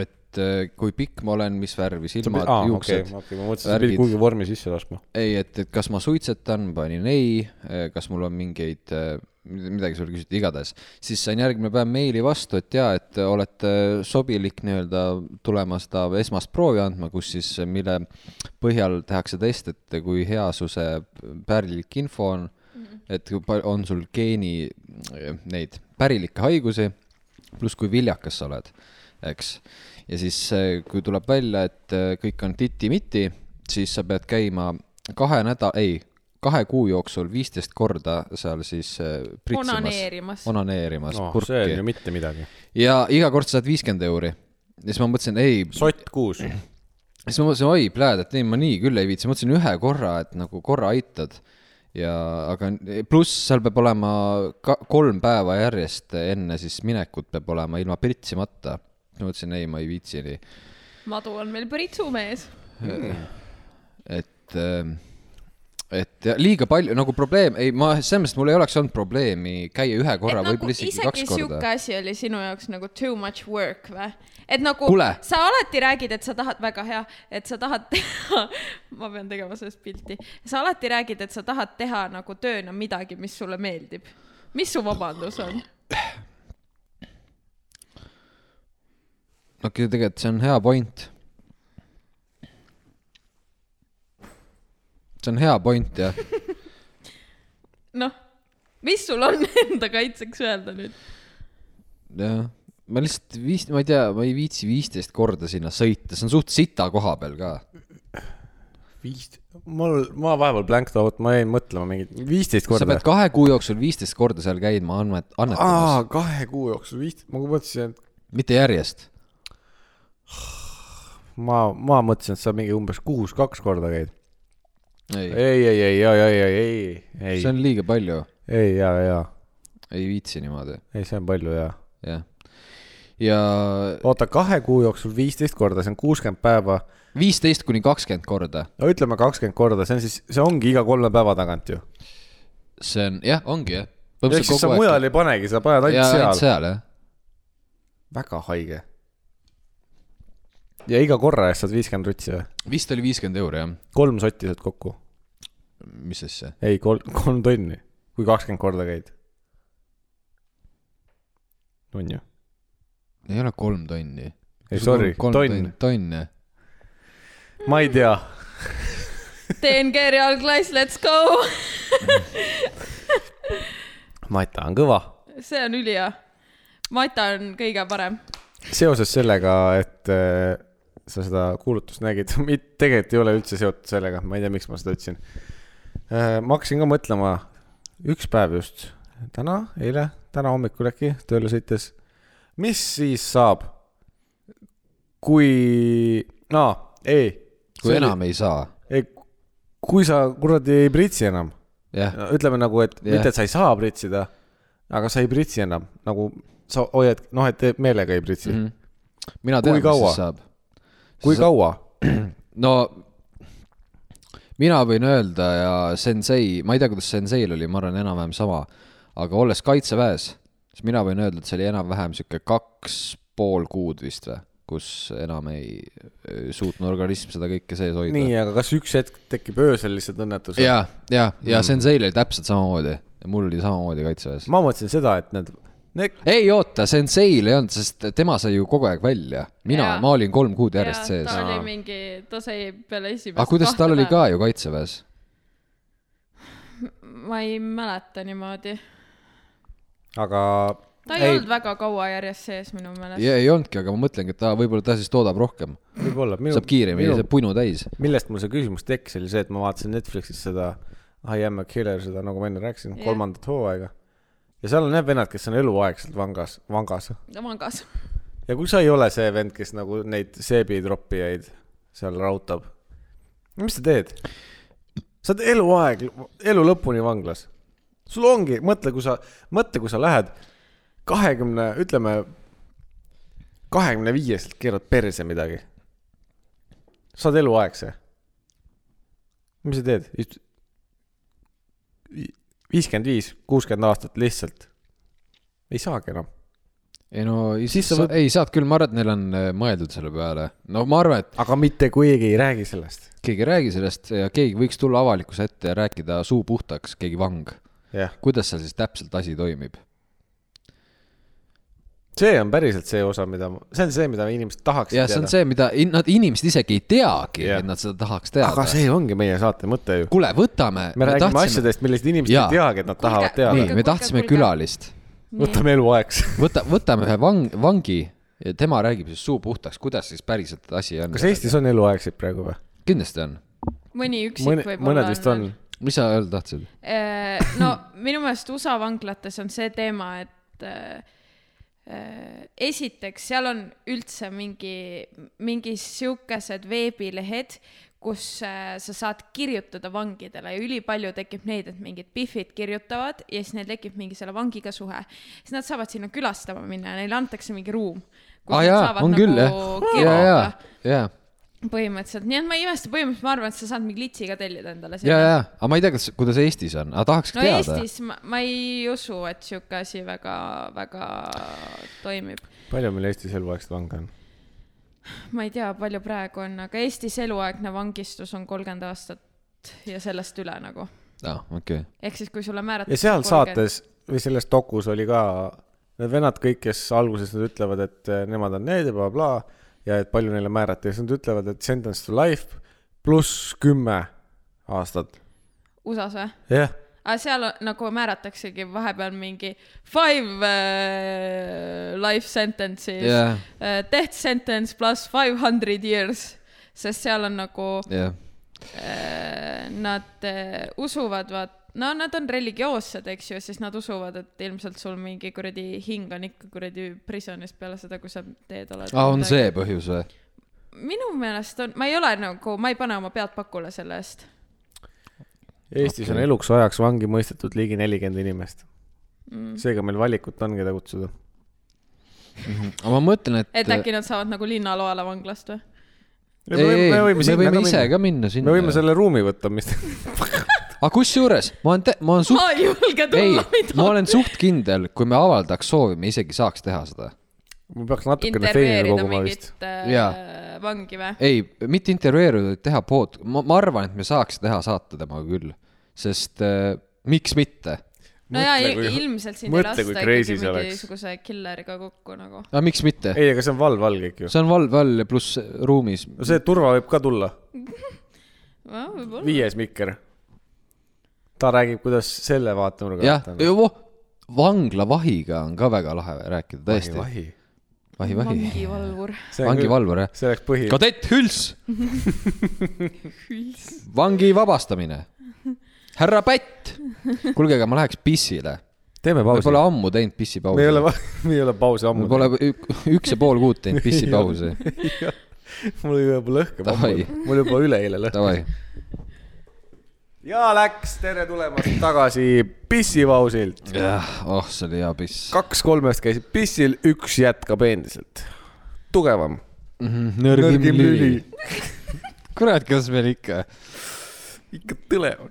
et eh, kui pikk ma olen , mis värvi silmad , okei , juuksed okay. . okei , ma mõtlesin , et sa värgid. pidid kuhugi vormi sisse laskma . ei , et , et kas ma suitsetan , panin ei , kas mul on mingeid , midagi sul küsiti , igatahes . siis sain järgmine päev meili vastu , et jaa , et olete sobilik nii-öelda tulema seda esmast proovi andma , kus siis , mille põhjal tehakse test , et kui hea su see pärilik info on , et kui pal- on sul geeni eh, neid pärilikke haigusi , pluss kui viljakas sa oled , eks . ja siis , kui tuleb välja , et eh, kõik on titi-miti , siis sa pead käima kahe nädala , ei , kahe kuu jooksul viisteist korda seal siis eh, pritsimas , onaneerimas . onaneerimas noh , purki see on ju mitte midagi . ja iga kord saad viiskümmend euri . ja siis ma mõtlesin , ei , sott kuus . siis ma mõtlesin , oi , pläd , et ei , ma nii küll ei viitsi , mõtlesin ühe korra , et nagu korra aitad . ja , aga pluss seal peab olema ka kolm päeva järjest enne siis minekut peab olema ilma pritsimata . ma mõtlesin , ei , ma ei viitsi nii , madu on meil pritsumees . et ähm, et ja liiga palju nagu probleem , ei ma selles mõttes mul ei oleks olnud probleemi käia ühe korra , võib-olla isegi kaks nagu sihuke korda . asi oli sinu jaoks nagu too much work või ? et nagu Kuule! sa alati räägid , et sa tahad , väga hea , et sa tahad teha , ma pean tegema sellest pilti , sa alati räägid , et sa tahad teha nagu tööna midagi , mis sulle meeldib . mis su vabandus on ? okei , tegelikult see on hea point . see on hea point jah noh , mis sul on enda kaitseks öelda nüüd ? jah , ma lihtsalt viis , ma ei tea , ma ei viitsi viisteist korda sinna sõita , see on suht sita koha peal ka . viis , mul , ma vahepeal blanked out , ma jäin mõtlema mingit viisteist sa korda pead . kahe kuu jooksul viisteist korda seal käima annet- , annetamas , kahe kuu jooksul viis , ma mõtlesin , et mitte järjest . ma , ma mõtlesin , et sa mingi umbes kuus-kaks korda käid . ei , ei , ei , ei , ei , ei , ei , ei , ei see , on liiga palju , ei , ja , ja , ei viitsi niimoodi , ei , see on palju ja . jah . ja oota , kahe kuu jooksul viisteist korda , see on kuuskümmend päeva . viisteist kuni kakskümmend korda , no ütleme kakskümmend korda , see on siis , see ongi iga kolme päeva tagant ju . see on jah , ongi jah . ehk siis sa mujal ei panegi , sa paned ja ainult seal . ainult seal jah , väga haige . ja iga korra eest saad viiskümmend rutsi või ? vist oli viiskümmend euri jah , kolm sotti saad kokku mis asja , ei , kolm , kolm tonni , kui kakskümmend korda käid . on ju ? ei ole kolm tonni . ei , sorry , tonn ., tonn jah , ma ei tea . TNG reaalklass , let's go . Mata on kõva . see on ülihea . Mata on kõige parem . seoses sellega , et äh, sa seda kuulutust nägid , tegelikult ei ole üldse seotud sellega , ma ei tea , miks ma seda ütlesin . ma hakkasin ka mõtlema , üks päev just , täna , eile , täna hommikul äkki tööle sõites . mis siis saab , kui , aa , ei . kui enam ei saa , ei , kui sa kuradi ei pritsi enam , jah , ütleme nagu , et Jah. yeah. mitte , et sa ei saa pritsida , aga sa ei pritsi enam , nagu sa hoiad , noh , et meelega ei pritsi mm . Mhm. mina Kui tean , mis kaua? siis saab . -hmm. kui Sa- kaua ? no mina võin öelda ja sensei , ma ei tea , kuidas senseil oli , ma arvan , enam-vähem sama , aga olles kaitseväes , siis mina võin öelda , et see oli enam-vähem sihuke kaks pool kuud vist või , kus enam ei ei suutnud organism seda kõike sees hoida . nii , aga kas üks hetk tekib öösel lihtsalt õnnetus ? ja , ja , ja senseil oli täpselt samamoodi , mul oli samamoodi kaitseväes . Mm. ma mõtlesin seda , et need, need... , ei oota , senseil ei olnud , sest tema sai ju kogu aeg välja , mina , Jaa. ma olin kolm kuud Ja järjest sees ta . oli mingi , ta sai peale esimest . aga kuidas tal oli ? ka ju kaitseväes ? ma ei mäleta niimoodi . aga ta ei, ei olnud väga kaua järjest sees minu meelest . ja ei olnudki , aga ma mõtlengi , et aa , võib-olla ta siis toodab rohkem , võib-olla minu, saab kiiremini , minu saab punu täis . millest mul see küsimus tekkis , oli see , et ma vaatasin Netflixis seda I am a killer , seda nagu ma enne rääkisin Jah. yeah. , kolmandat hooaega . ja seal on need vennad , kes on eluaegselt vangas , vangas . ta mangas . ja kui sa ei ole see vend , kes nagu neid seebitroppijaid seal rautab , mis sa teed ? sa oled eluaeg , elu lõpuni vanglas . sul ongi , mõtle , kui sa , mõtle , kui sa lähed kahekümne , ütleme , kahekümne viieselt keerad perse midagi . sa oled eluaegse . mis sa teed ? viiskümmend viis , kuuskümmend aastat lihtsalt . ei saagi enam . ei no Siis siis sa sa võid- , ei saad küll , ma arvan , et neil on äh, mõeldud selle peale . no ma arvan , et aga mitte keegi ei räägi sellest . keegi ei räägi sellest ja keegi võiks tulla avalikkuse ette ja rääkida suu puhtaks , keegi vang . jah , kuidas seal siis täpselt asi toimib ? see on päriselt see osa , mida , see on see , mida inimesed tahaksid ja see on see , mida in, nad , inimesed isegi ei Jah. teagi yeah. , et nad seda tahaks teada aga . see ongi meie saate mõte ju . kuule , võtame . me räägime tahtsime... . asjadest , millest inimesed Jaa. ei teagi , et nad tahavad Kuulge- nii teada ., me tahtsime Kuulge, kuulge. külalist . võtame eluaegs . võta , võtame ühe vang , vangi ja tema räägib siis suu puhtaks , kuidas siis päriselt asi on . kas Eestis on eluaegseid praegu või ? kindlasti on . mõni üksik mõne , võib-olla mõned vist on veel. . mis sa öelda tahtsid ? Eh, no minu meelest USA vanglates on see teema , et eh, eh, esiteks seal on üldse mingi , mingi siukesed veebilehed , kus eh, sa saad kirjutada vangidele ja ülipalju tekib neid , et mingid pihvid kirjutavad ja siis neil tekib mingi selle vangiga suhe . siis nad saavad sinna külastama minna ja neile antakse mingi ruum . aa Ah, jaa , on nagu küll jah . ja , ja , ja , põhimõtteliselt , nii et ma ei imesta , põhimõtteliselt ma arvan , et sa saad mingi litsi ka tellida endale . ja , ja , aga ma ei tea , kas , kuidas Eestis on , aga tahaks no teada . Eestis ma, ma ei usu , et sihuke asi väga-väga toimib . palju meil Eestis eluaegseid vange on ? ma ei tea , palju praegu on , aga Eestis eluaegne vangistus on kolmkümmend aastat ja sellest üle nagu . aa , Ah, okei . ehk siis , kui sulle määratakse . ja seal saates või selles dokus oli ka need vennad kõik , kes alguses nad ütlevad , et eh, nemad on need ja blablabla ja et palju neile määrati ja siis nad ütlevad , et sentence to life pluss kümme aastat . USA-s või ? jah , aga seal on, nagu määrataksegi vahepeal mingi five uh, life sentences yeah. , jah , uh, death sentence pluss five hundred years , sest seal on nagu jah . Eh, nad eh, usuvad , vaat , no nad on religioossed , eks ju , siis nad usuvad , et ilmselt sul mingi kuradi hing on ikka kuradi prisonis peale seda , kui sa teed oled . aa , Ah, on see ? põhjus või ? minu meelest on , ma ei ole nagu , ma ei pane oma pead pakule selle eest Eestis okay. on Okei. eluks ajaks vangi mõistetud ligi nelikümmend inimest mm. . seega meil valikut on , keda kutsuda . aga ma mõtlen , et . et äkki nad saavad nagu linnaloale vanglast või ? ei , ei , me võime, me võime ise ka minna sinna . me võime . selle ruumi võtta , mis . aga kusjuures ma olen , ma olen ma suht , ei julge ei tulla , ma midagi . olen suht kindel , kui me avaldaks soovi , me isegi saaks teha seda . ma peaks natukene feini intervjueerida koguma vist . mingit äh, Jaa. vangi või ? ei , mitte intervjueerida , vaid teha pood , ma , ma arvan , et me saaks teha saate temaga küll , sest äh, miks mitte . no jaa , Mõtle, kui- ilmselt sind ei mõtle, lasta kui ikkagi crazy see oleks. mingisuguse killeriga kokku nagu . aga Ah, miks mitte ? ei , aga see on valv-valg ikka ju . see on valve all pluss ruumis . no see turva võib ka tulla . võib-olla . viies mikker . ta räägib , kuidas selle vaatenurga jah , vanglavahiga on ka väga lahe rääkida , tõesti . vahi . vahi , vahi . vangivalvur . vangivalvur , jah . see oleks põhi . kadett Hüls . vangi vabastamine . härra Pätt . kuulge , aga ma läheks pissile . teeme me pausi pole . ammu teinud pissipausi . me ei ole , me ei ole pausi me ammu . pole ük- üks ja pool kuud teinud pissipausi . mul juba lõhkab Davai. ammu . mul juba üleeile lõhkab . Davai , ja läks , tere tulemast tagasi pissivausilt . oh , see oli hea piss . kaks kolmest käisid pissil , üks jätkab endiselt . tugevam . Mhm. nõrgim lüli . kurat , kas meil ikka . ikka tõle on .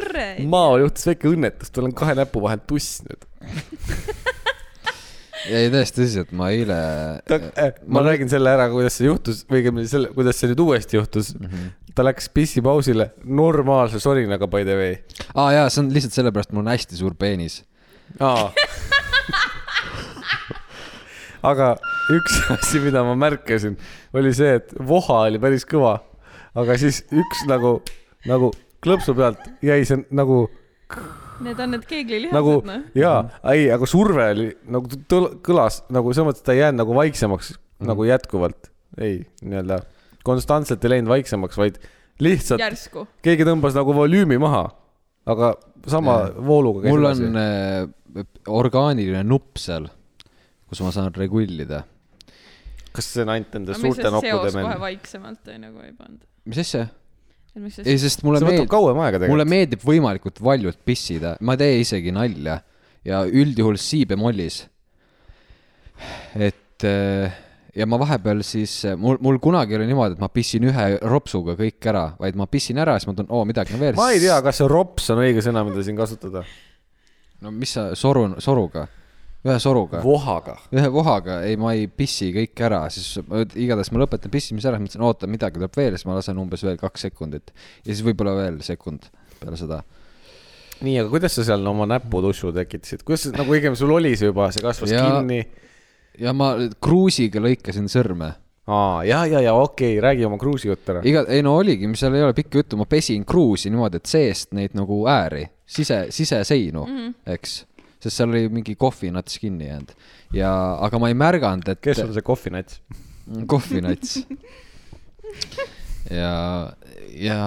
kuradi . Mao juhtus väike õnnetus , tal on kahe näpu vahel tuss nüüd . ei , täiesti tõsiselt , ma eile . äh, ma räägin selle ära , kuidas see juhtus või õigemini selle , kuidas see nüüd uuesti juhtus . ta läks pissipausile normaalse sorinaga by the way . aa jaa , see on lihtsalt sellepärast , mul on hästi suur peenis . aa . aga üks asi , mida ma märkasin , oli see , et voha oli päris kõva , aga siis üks nagu , nagu klõpsu pealt jäi see nagu , Need on need keeglilihased nagu nagu... , noh . jaa , ei , aga surve oli nagu t- tõl- kõlas nagu selles mõttes , et ta ei jäänud nagu vaiksemaks nagu jätkuvalt , ei nii-öelda konstantselt ei läinud vaiksemaks , vaid lihtsalt järsku . keegi tõmbas nagu volüümi maha , aga sama Jaa. vooluga käis mul on äh, orgaaniline nupp seal , kus ma saan regullida kas see on ainult nende aga miks suurte see noppude seos kohe mäng ? vaiksemalt on nagu ei pannud ? mis asja ? et miks see ei , sest mulle see võtab meeldib , kauem aega mulle tegelikult . meeldib võimalikult valjult pissida , ma ei tee isegi nalja ja üldjuhul si bemollis . et eh, ja ma vahepeal siis , mul , mul kunagi oli niimoodi , et ma pissin ühe ropsuga kõik ära , vaid ma pissin ära ja siis ma tunnen , oo , midagi on veel . ma ei tea , kas see rops on õige sõna , mida siin kasutada . no mis sa , soru , soruga , ühe soruga , vohaga . ühe vohaga , ei , ma ei pissi kõik ära , siis ma- igatahes ma lõpetan pissimise ära , mõtlesin , oota , midagi tuleb veel , siis ma lasen umbes veel kaks sekundit ja siis võib-olla veel sekund peale seda . nii , aga kuidas sa seal oma näputussu tekitasid , kuidas see- nagu õigem sul oli see juba , see kasvas ja... Jaa. kinni ? ja ma kruusiga lõikasin sõrme , aa , ja , ja , ja okei okay, , räägi oma kruusi jutt ära . iga , ei no oligi , seal ei ole pikka juttu , ma pesin kruusi niimoodi , et seest neid nagu ääri , sise , siseseinu mm , -hmm. eks sest seal oli mingi kohvinats kinni jäänud ja , aga ma ei märganud , et . kes on see kohvinats ? Mm, kohvinats . ja , ja ,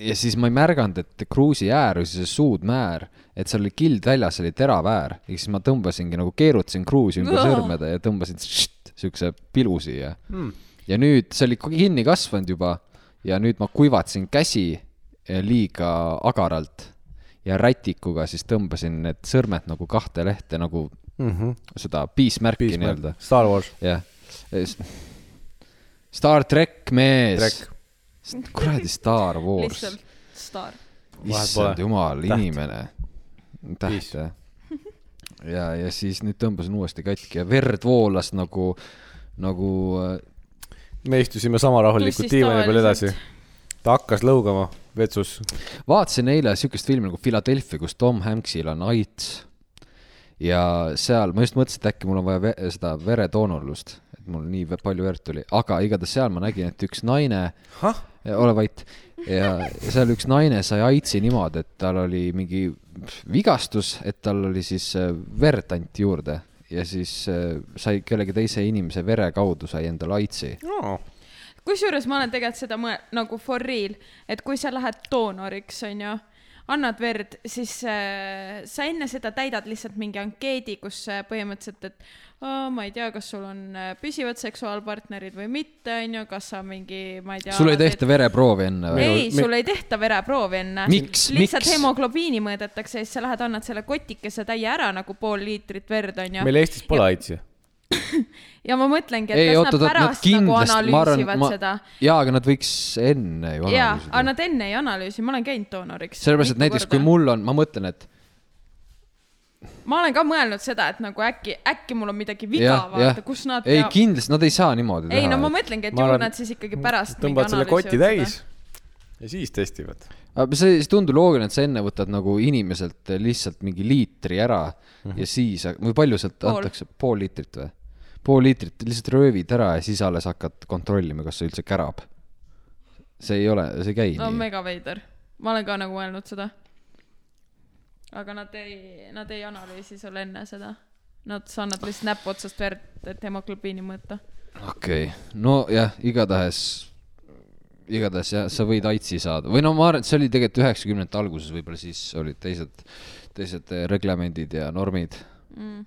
ja siis ma ei märganud , et kruusi äär oli see suudmäär , et seal oli kild väljas , oli terav äär ja siis ma tõmbasingi nagu keerutasin kruusi ümber Aa. sõrmede ja tõmbasin ššt, siukse pilu siia hmm. . ja nüüd see oli kinni kasvanud juba ja nüüd ma kuivatasin käsi liiga agaralt ja rätikuga siis tõmbasin need sõrmed nagu kahte lehte nagu seda piismärki nii-öelda . Star Wars . jah . Star track mees Trek .. kuradi Star Wars . lihtsalt staar . Vahet issand pole. jumal , Täht. inimene . Piis. täht jah . ja , ja siis nüüd tõmbasin uuesti katki ja verd voolas nagu , nagu äh, me istusime sama rahulikult Tussis diivani peal edasi tavaliselt. . ta hakkas lõugama vetsus . vaatasin eile siukest filmi nagu Philadelphia , kus Tom Hanksil on AIDS . ja seal ma just mõtlesin , et äkki mul on vaja ve seda veretoonorlust , et mul nii ve- palju verd tuli , aga igatahes seal ma nägin , et üks naine ahah , Ja ole vait . ja seal üks naine sai AIDSi niimoodi , et tal oli mingi vigastus , et tal oli siis äh, verd anti juurde ja siis äh, sai kellegi teise inimese vere kaudu sai endale AIDSi . kusjuures ma olen tegelikult seda mõel- , nagu for real , et kui sa lähed doonoriks , onju , annad verd , siis äh, sa enne seda täidad lihtsalt mingi ankeedi , kus äh, põhimõtteliselt , et aa, ma ei tea , kas sul on äh, püsivad seksuaalpartnerid või mitte , onju , kas sa mingi , ma ei tea . sul ei tehta vereproovi enne või ? ei , Minu- mi- sul ei tehta vereproovi enne . Miks? lihtsalt Miks? hemoglobiini mõõdetakse ja siis sa lähed , annad selle kotikese täie ära nagu pool liitrit verd onju . meil Eestis pole AIDSi . ja ma mõtlengi , et ei ei, kas oota , oota, nad nad pärast nad nagu kindlasti , ma arvan analüüsivad , ma... ma seda ., jaa , aga nad võiks enne ju jaa , aga analüüsida . nad enne ei analüüsi , ma olen käinud doonoriks . sellepärast , et näiteks kui . mul on , ma mõtlen , et ma olen ka mõelnud seda , et nagu äkki , äkki mul on midagi viga , jah , jah vaata , kus nad , ei . kindlasti , nad ei saa niimoodi ei no ma teha . mõtlengi , et Ma ju arvan- nad siis ikkagi pärast . tõmbad selle koti täis . ja siis testivad . aga see , see tundub loogiline , et sa enne võtad nagu inimeselt lihtsalt mingi liitri ära mm -hmm. ja siis , või palju sealt Pool. antakse , pool liitrit või ? pool liitrit lihtsalt röövid ära ja siis alles hakkad kontrollima , kas see üldse kärab . see ei ole , see ei käi no no, nii . mega veider , ma olen ka nagu mõelnud seda . aga nad ei , nad ei analüüsi sul enne seda . Nad sa annad lihtsalt näpu otsast verd , et hemoglobiini mõõta . okei okay. , nojah , igatahes , igatahes jah , sa võid AIDSi saada või no ma arvan , et see oli tegelikult üheksakümnendate alguses , võib-olla siis olid teised , teised eh, reglemendid ja normid Mm.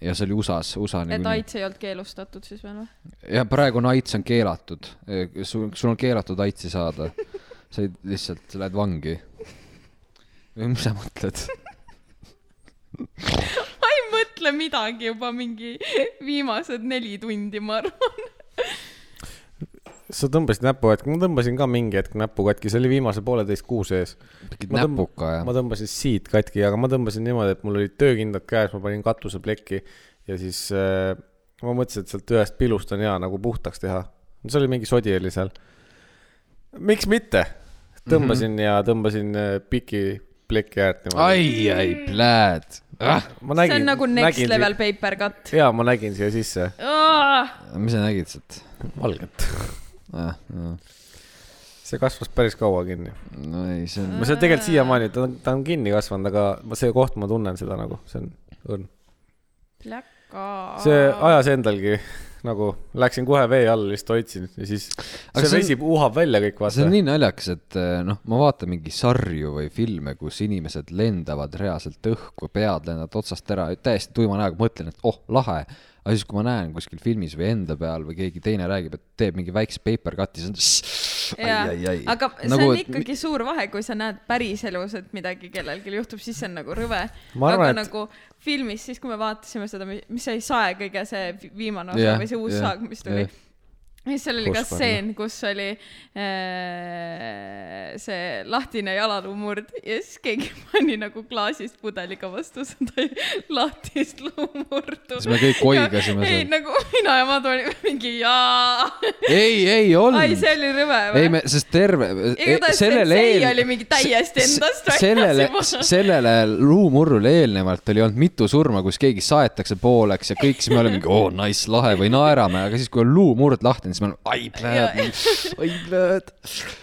ja see oli USA-s , USA Nagu et niikuinii . AIDS ei olnud keelustatud siis veel või ? ja praegune aits on keelatud , sul , sul on keelatud aitsi saada . sa ei- lihtsalt lähed vangi . või mis sa mõtled ? ma ei mõtle midagi juba mingi viimased neli tundi , ma arvan . sa tõmbasid näpu hetk , ma tõmbasin ka mingi hetk näpu katki , see oli viimase pooleteist kuu sees . tegid Ma tõmb- näpuga ja ma ? tõmbasin siit katki , aga ma tõmbasin niimoodi , et mul olid töökindad käes , ma panin katuseplekki ja siis äh, ma mõtlesin , et sealt ühest pilust on hea nagu puhtaks teha . see oli mingi sodi oli seal . miks mitte ? tõmbasin mm -hmm. ja tõmbasin äh, piki pleki äärt niimoodi . Mhm. ai , ai , pläät ah, . ma see on nagu next nägin level paper cut . Si ja ma nägin siia sisse . mis sa nägid sealt valget . ah, ? No. see kasvas päris kaua kinni . no ei , see on ma , seda tegelikult siiamaani , ta on , ta on kinni kasvanud , aga ma- see koht , ma tunnen seda nagu , see on õrn . Läka . see ajas endalgi nagu läksin kohe vee alla , lihtsalt hoidsin ja siis see, Aga see see on- vesi uhab välja kõik see vaata on nii... . nii naljakas , et eh, noh , ma vaatan mingi sarju või filme , kus inimesed lendavad reaalselt õhku , pead lendavad otsast ära , täiesti tuima näoga , mõtlen , et oh , lahe . aga siis , kui ma näen kuskil filmis või enda peal või keegi teine räägib , et teeb mingi väikse paper cut'i , siis on jaa ai, ai, ai. , aga nagu, see Nagu, on et ikkagi suur vahe , kui sa näed päriselus , et midagi kellelgi juhtub , siis see on nagu rõve . Ma aga arvan, et... et- nagu filmis , siis kui me vaatasime seda , mis see sae kõige see vi- viimane osa Jah, yeah, või see uus jah, yeah, saag , mis tuli jah. yeah. siis seal oli ka Pushpan, stseen , kus oli äh, see lahtine jalaluu murd ja siis keegi pani nagu klaasist pudeliga vastu seda lahtist luumurdu . Siis me kõik oigasime seal . ei seal. , nagu mina ja Madu olime mingi jaa . ei , ei ai , olnud see . oli rõve ei , me , sest terve , igatahes sellele sensei eel- oli mingi täiesti endast se- väljas sellele juba. , sellele luumurrule eelnevalt oli olnud mitu surma , kus keegi saetakse pooleks ja kõik , siis me oleme mingi oo oh, , nice , lahe või naerame , aga siis , kui on luumurd lahti , siis me oleme ai plööd , ai plööd .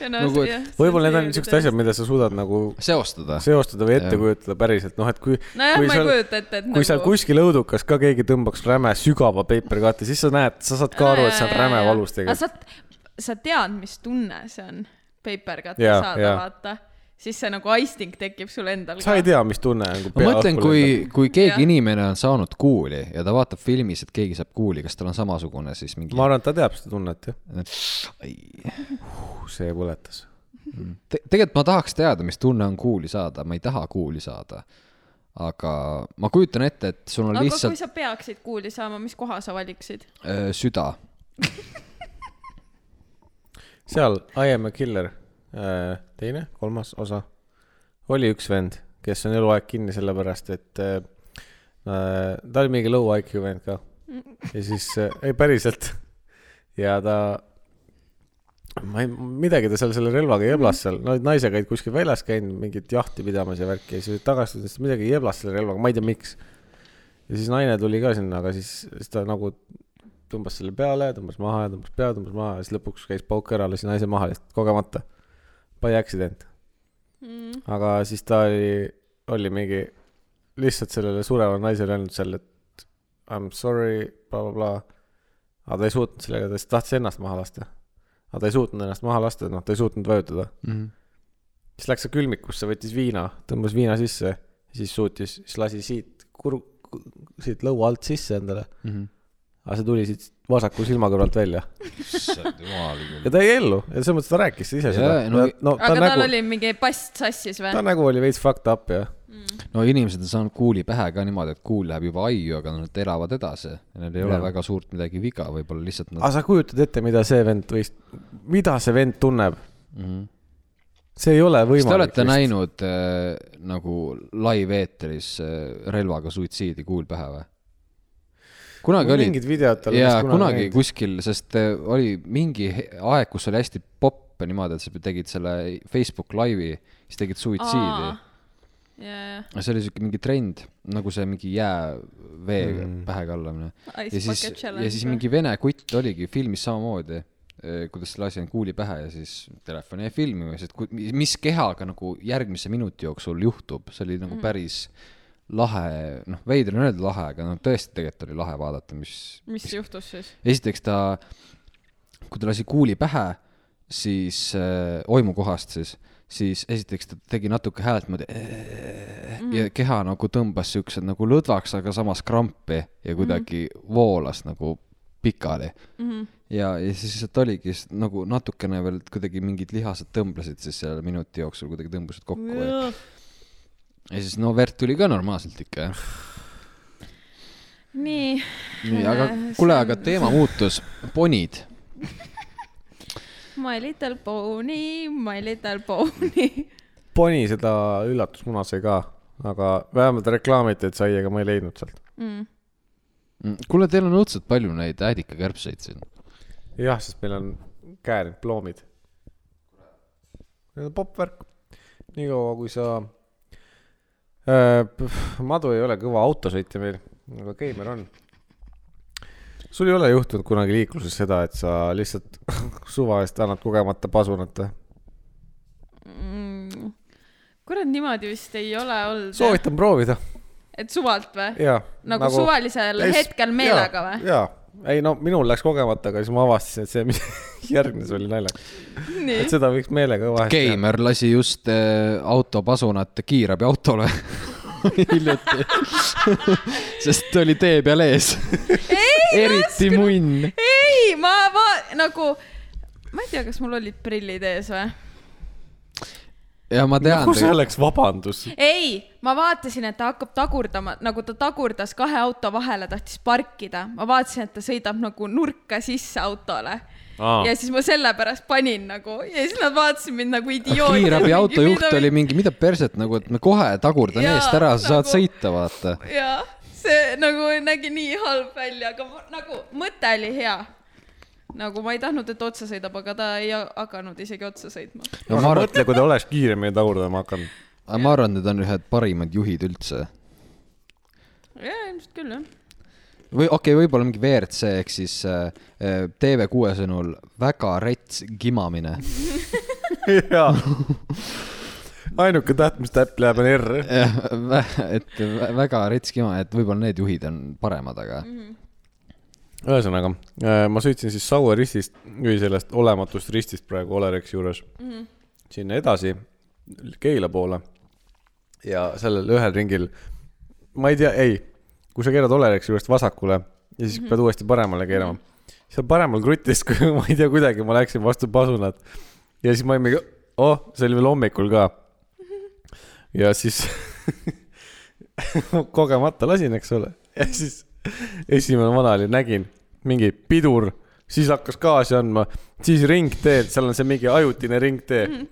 Ja no, nagu , jah, et võib-olla see need on oli niisugused tõesti- asjad , mida sa suudad nagu seostada . seostada või ette Jah. kujutada päriselt , noh , et kui . nojah , ma ei kujuta ette , nagu- et kui seal kuskil õudukas ka keegi tõmbaks räme sügava paper cut'i , siis sa näed , sa saad ka aru , et see on räme valus tegelikult . tegelikult . sa tead , mis tunne see on paper cut'i Jaa, saada jaa. , vaata . siis see nagu aisting tekib sul endal sa ei tea , mis tunne on , kui ma mõtlen , kui lendab. , kui Jah. keegi inimene on saanud kuuli ja ta vaatab filmis , et keegi saab kuuli , kas tal on samasugune siis mingi ma ? arvan , et ta teab seda tunnet jah . Te, see põletas . tegelikult ma tahaks teada , mis tunne on kuuli saada , ma ei taha kuuli saada . aga ma kujutan ette , et sul on aga lihtsalt... lihtsalt kui sa peaksid kuuli saama , mis koha sa valiksid ? öö, süda . seal I am a killer , teine , kolmas osa , oli üks vend , kes on eluaeg kinni sellepärast , et äh, äh, ta oli mingi low IQ vend ka . ja siis äh, , ei päriselt . ja ta , ma ei , midagi ta seal selle relvaga jeblas seal , no naisega olid kuskil väljas käinud mingit jahti pidamas ja värki ja siis tagasi tulles midagi jeblas selle relvaga , ma ei tea , miks . ja siis naine tuli ka sinna , aga siis , siis ta nagu tõmbas selle peale , tõmbas maha ja tõmbas peale , tõmbas maha ja siis lõpuks käis pauk ära , lasi naise maha lihtsalt kogemata . By accident . aga siis ta oli , oli mingi lihtsalt sellele surevale naisele öelnud seal , et I m sorry bla, , blablabla . aga ta ei suutnud sellega , ta siis tahtis ennast maha lasta . aga ta ei suutnud ennast maha lasta , noh , ta ei suutnud vajutada . Mhm, siis läks ta külmikusse , võttis viina , tõmbas viina sisse , siis suutis , siis lasi siit kur- , siit lõua alt sisse endale . mhm. aga see tuli siit vasaku silma kõrvalt välja . issand jumal ja . ta jäi ellu ja selles mõttes ta rääkis ise seda Jaa, . no- no ta aga tal nägu nagu... , oli mingi past sassis või ta ? nagu nägu oli veits fucked up ja . no inimesed on saanud kuuli pähe ka niimoodi , et kuul läheb juba aiu , aga nad elavad edasi . Neil ei ole Jah. väga suurt midagi viga , võib-olla lihtsalt nad aga sa kujutad ette , mida see vend võis , mida see vend tunneb ? Mhm. see ei ole kas te võimalik . olete vist. näinud äh, nagu live-eetris äh, relvaga suitsiidi kuul pähe või ? kunagi oli , mingid videod tal jaa , kunagi näinud. . kuskil , sest äh, oli mingi he- aeg , kus oli hästi popp ja niimoodi , et sa tegid selle Facebook laivi , siis tegid suitsiidi . jajah . see oli siuke mingi trend , nagu see mingi jää , vee mm. pähe kallamine . ja Ice siis , bucket challenge . ja siis mingi vene kutt oligi filmis samamoodi , kuidas selle asja kuuli pähe ja siis telefon jäi filmima , sest ku- mi- mis kehaga nagu järgmise minuti jooksul juhtub , see oli Mm. nagu päris lahe , noh , veider on öelda lahe , aga no tõesti tegelikult oli lahe vaadata , mis mis juhtus siis ? esiteks ta , kui ta lasi kuuli pähe , siis äh, oimukohast siis , siis esiteks ta tegi natuke häält moodi mm. Mhm. ja keha nagu tõmbas siuksed nagu lõdvaks , aga samas krampi ja kuidagi Mhm. mm. voolas nagu pikali mm . -hmm. ja , ja siis lihtsalt oligi s- nagu natukene veel kuidagi mingid lihased tõmblesid siis selle minuti jooksul kuidagi tõmbusid kokku ja, ja siis no verd tuli ka normaalselt ikka jah . nii , nii , aga Äh, kuule , see on- aga teema muutus , ponid My little pony , my little pony . Poni seda üllatusmuna sai ka , aga vähemalt reklaamiti , et sai , aga ma ei leidnud sealt . Mm, kuule , teil on õudselt palju neid äädikakärbseid siin . jah , sest meil on käärid , ploomid . Need on popp värk . niikaua kui sa äh, , Madu ei ole kõva autosõitja meil , aga Keimer on . sul ei ole juhtunud kunagi liikluses seda , et sa lihtsalt suva eest annad kogemata pasunat või ? Mm. kurat , niimoodi vist ei ole olnud . soovitan proovida . et suvalt või ? jaa . nagu, nagu suvalisel Ei, s- hetkel meelega või ? jaa , ei no minul läks kogemata , aga siis ma avastasin , et see , mis järgnes , oli naljakas . nii et , seda võiks meelega vahest teha . Keimer lasi just äh, autopasunat kiirabiautole hiljuti . sest ta oli tee peal ees . eriti munn . ei , ma va- , nagu , ma ei tea , kas mul olid prillid ees või ? ja ma tean nagu . see oleks vabandus . ei , ma vaatasin , et ta hakkab tagurdama , nagu ta tagurdas kahe auto vahele , tahtis parkida . ma vaatasin , et ta sõidab nagu nurka sisse autole . ja siis ma sellepärast panin nagu ja siis nad vaatasid mind nagu idiooti . kiirabiauto juht oli . mingi , mida perset nagu , et me kohe tagurdan Jaa, eest ära , sa saad nagu- sõita , vaata . jaa , see nagu nägi nii halb välja , aga ma, nagu mõte oli hea nagu ma ei tahtnud , et otsa sõidab , aga ta ei ha- hakanud isegi otsa sõitma . no ma arvan , mõtle , kui ta oleks kiiremini tagurdama hakanud . ma arvan , need on ühed parimad juhid üldse . jaa , ilmselt küll jah . või okei okay, , võib-olla mingi WRC ehk siis äh, äh, TV6 sõnul väga rets gimamine . jaa . ainuke täht , mis täpp läheb , on R . et vä- väga rets gima , et võib-olla need juhid on paremad , aga ühesõnaga , ma sõitsin siis Saue ristist või sellest olematust ristist praegu Olerex juures mm Mhm. -hmm. sinna edasi Keila poole . ja sellel ühel ringil , ma ei tea , ei , kui sa keerad Olerexi juurest vasakule ja siis mm -hmm. pead uuesti paremale keerama , seal paremal krutis , kui ma ei tea , kuidagi ma läksin vastu pasunat ja siis ma olin mingi , oh , see oli veel hommikul ka . ja siis kogemata lasin , eks ole , ja siis esimene vana oli , nägin mingi pidur , siis hakkas gaasi andma , siis ringteed , seal on see mingi ajutine ringtee mm.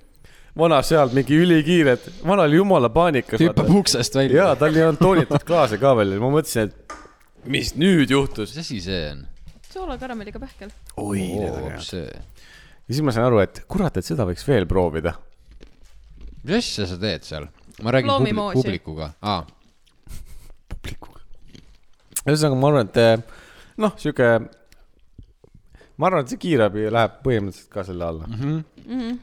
vana seal mingi ülikiired , vana oli jumala paanikas . hüppab uksest välja ja . tal ei olnud toonitud klaase ka veel , ma mõtlesin , et mis nüüd juhtus . mis asi see on ? soolakaramelliga pähkel . oi see , ja siis ma sain aru , et kurat , et seda võiks veel proovida . mis asja sa teed seal ? ma räägin Loomi publi- moosi. publikuga ah, . ühesõnaga , ma arvan , et eh, noh , sihuke , ma arvan , et see kiirabi läheb põhimõtteliselt ka selle alla mm . -hmm.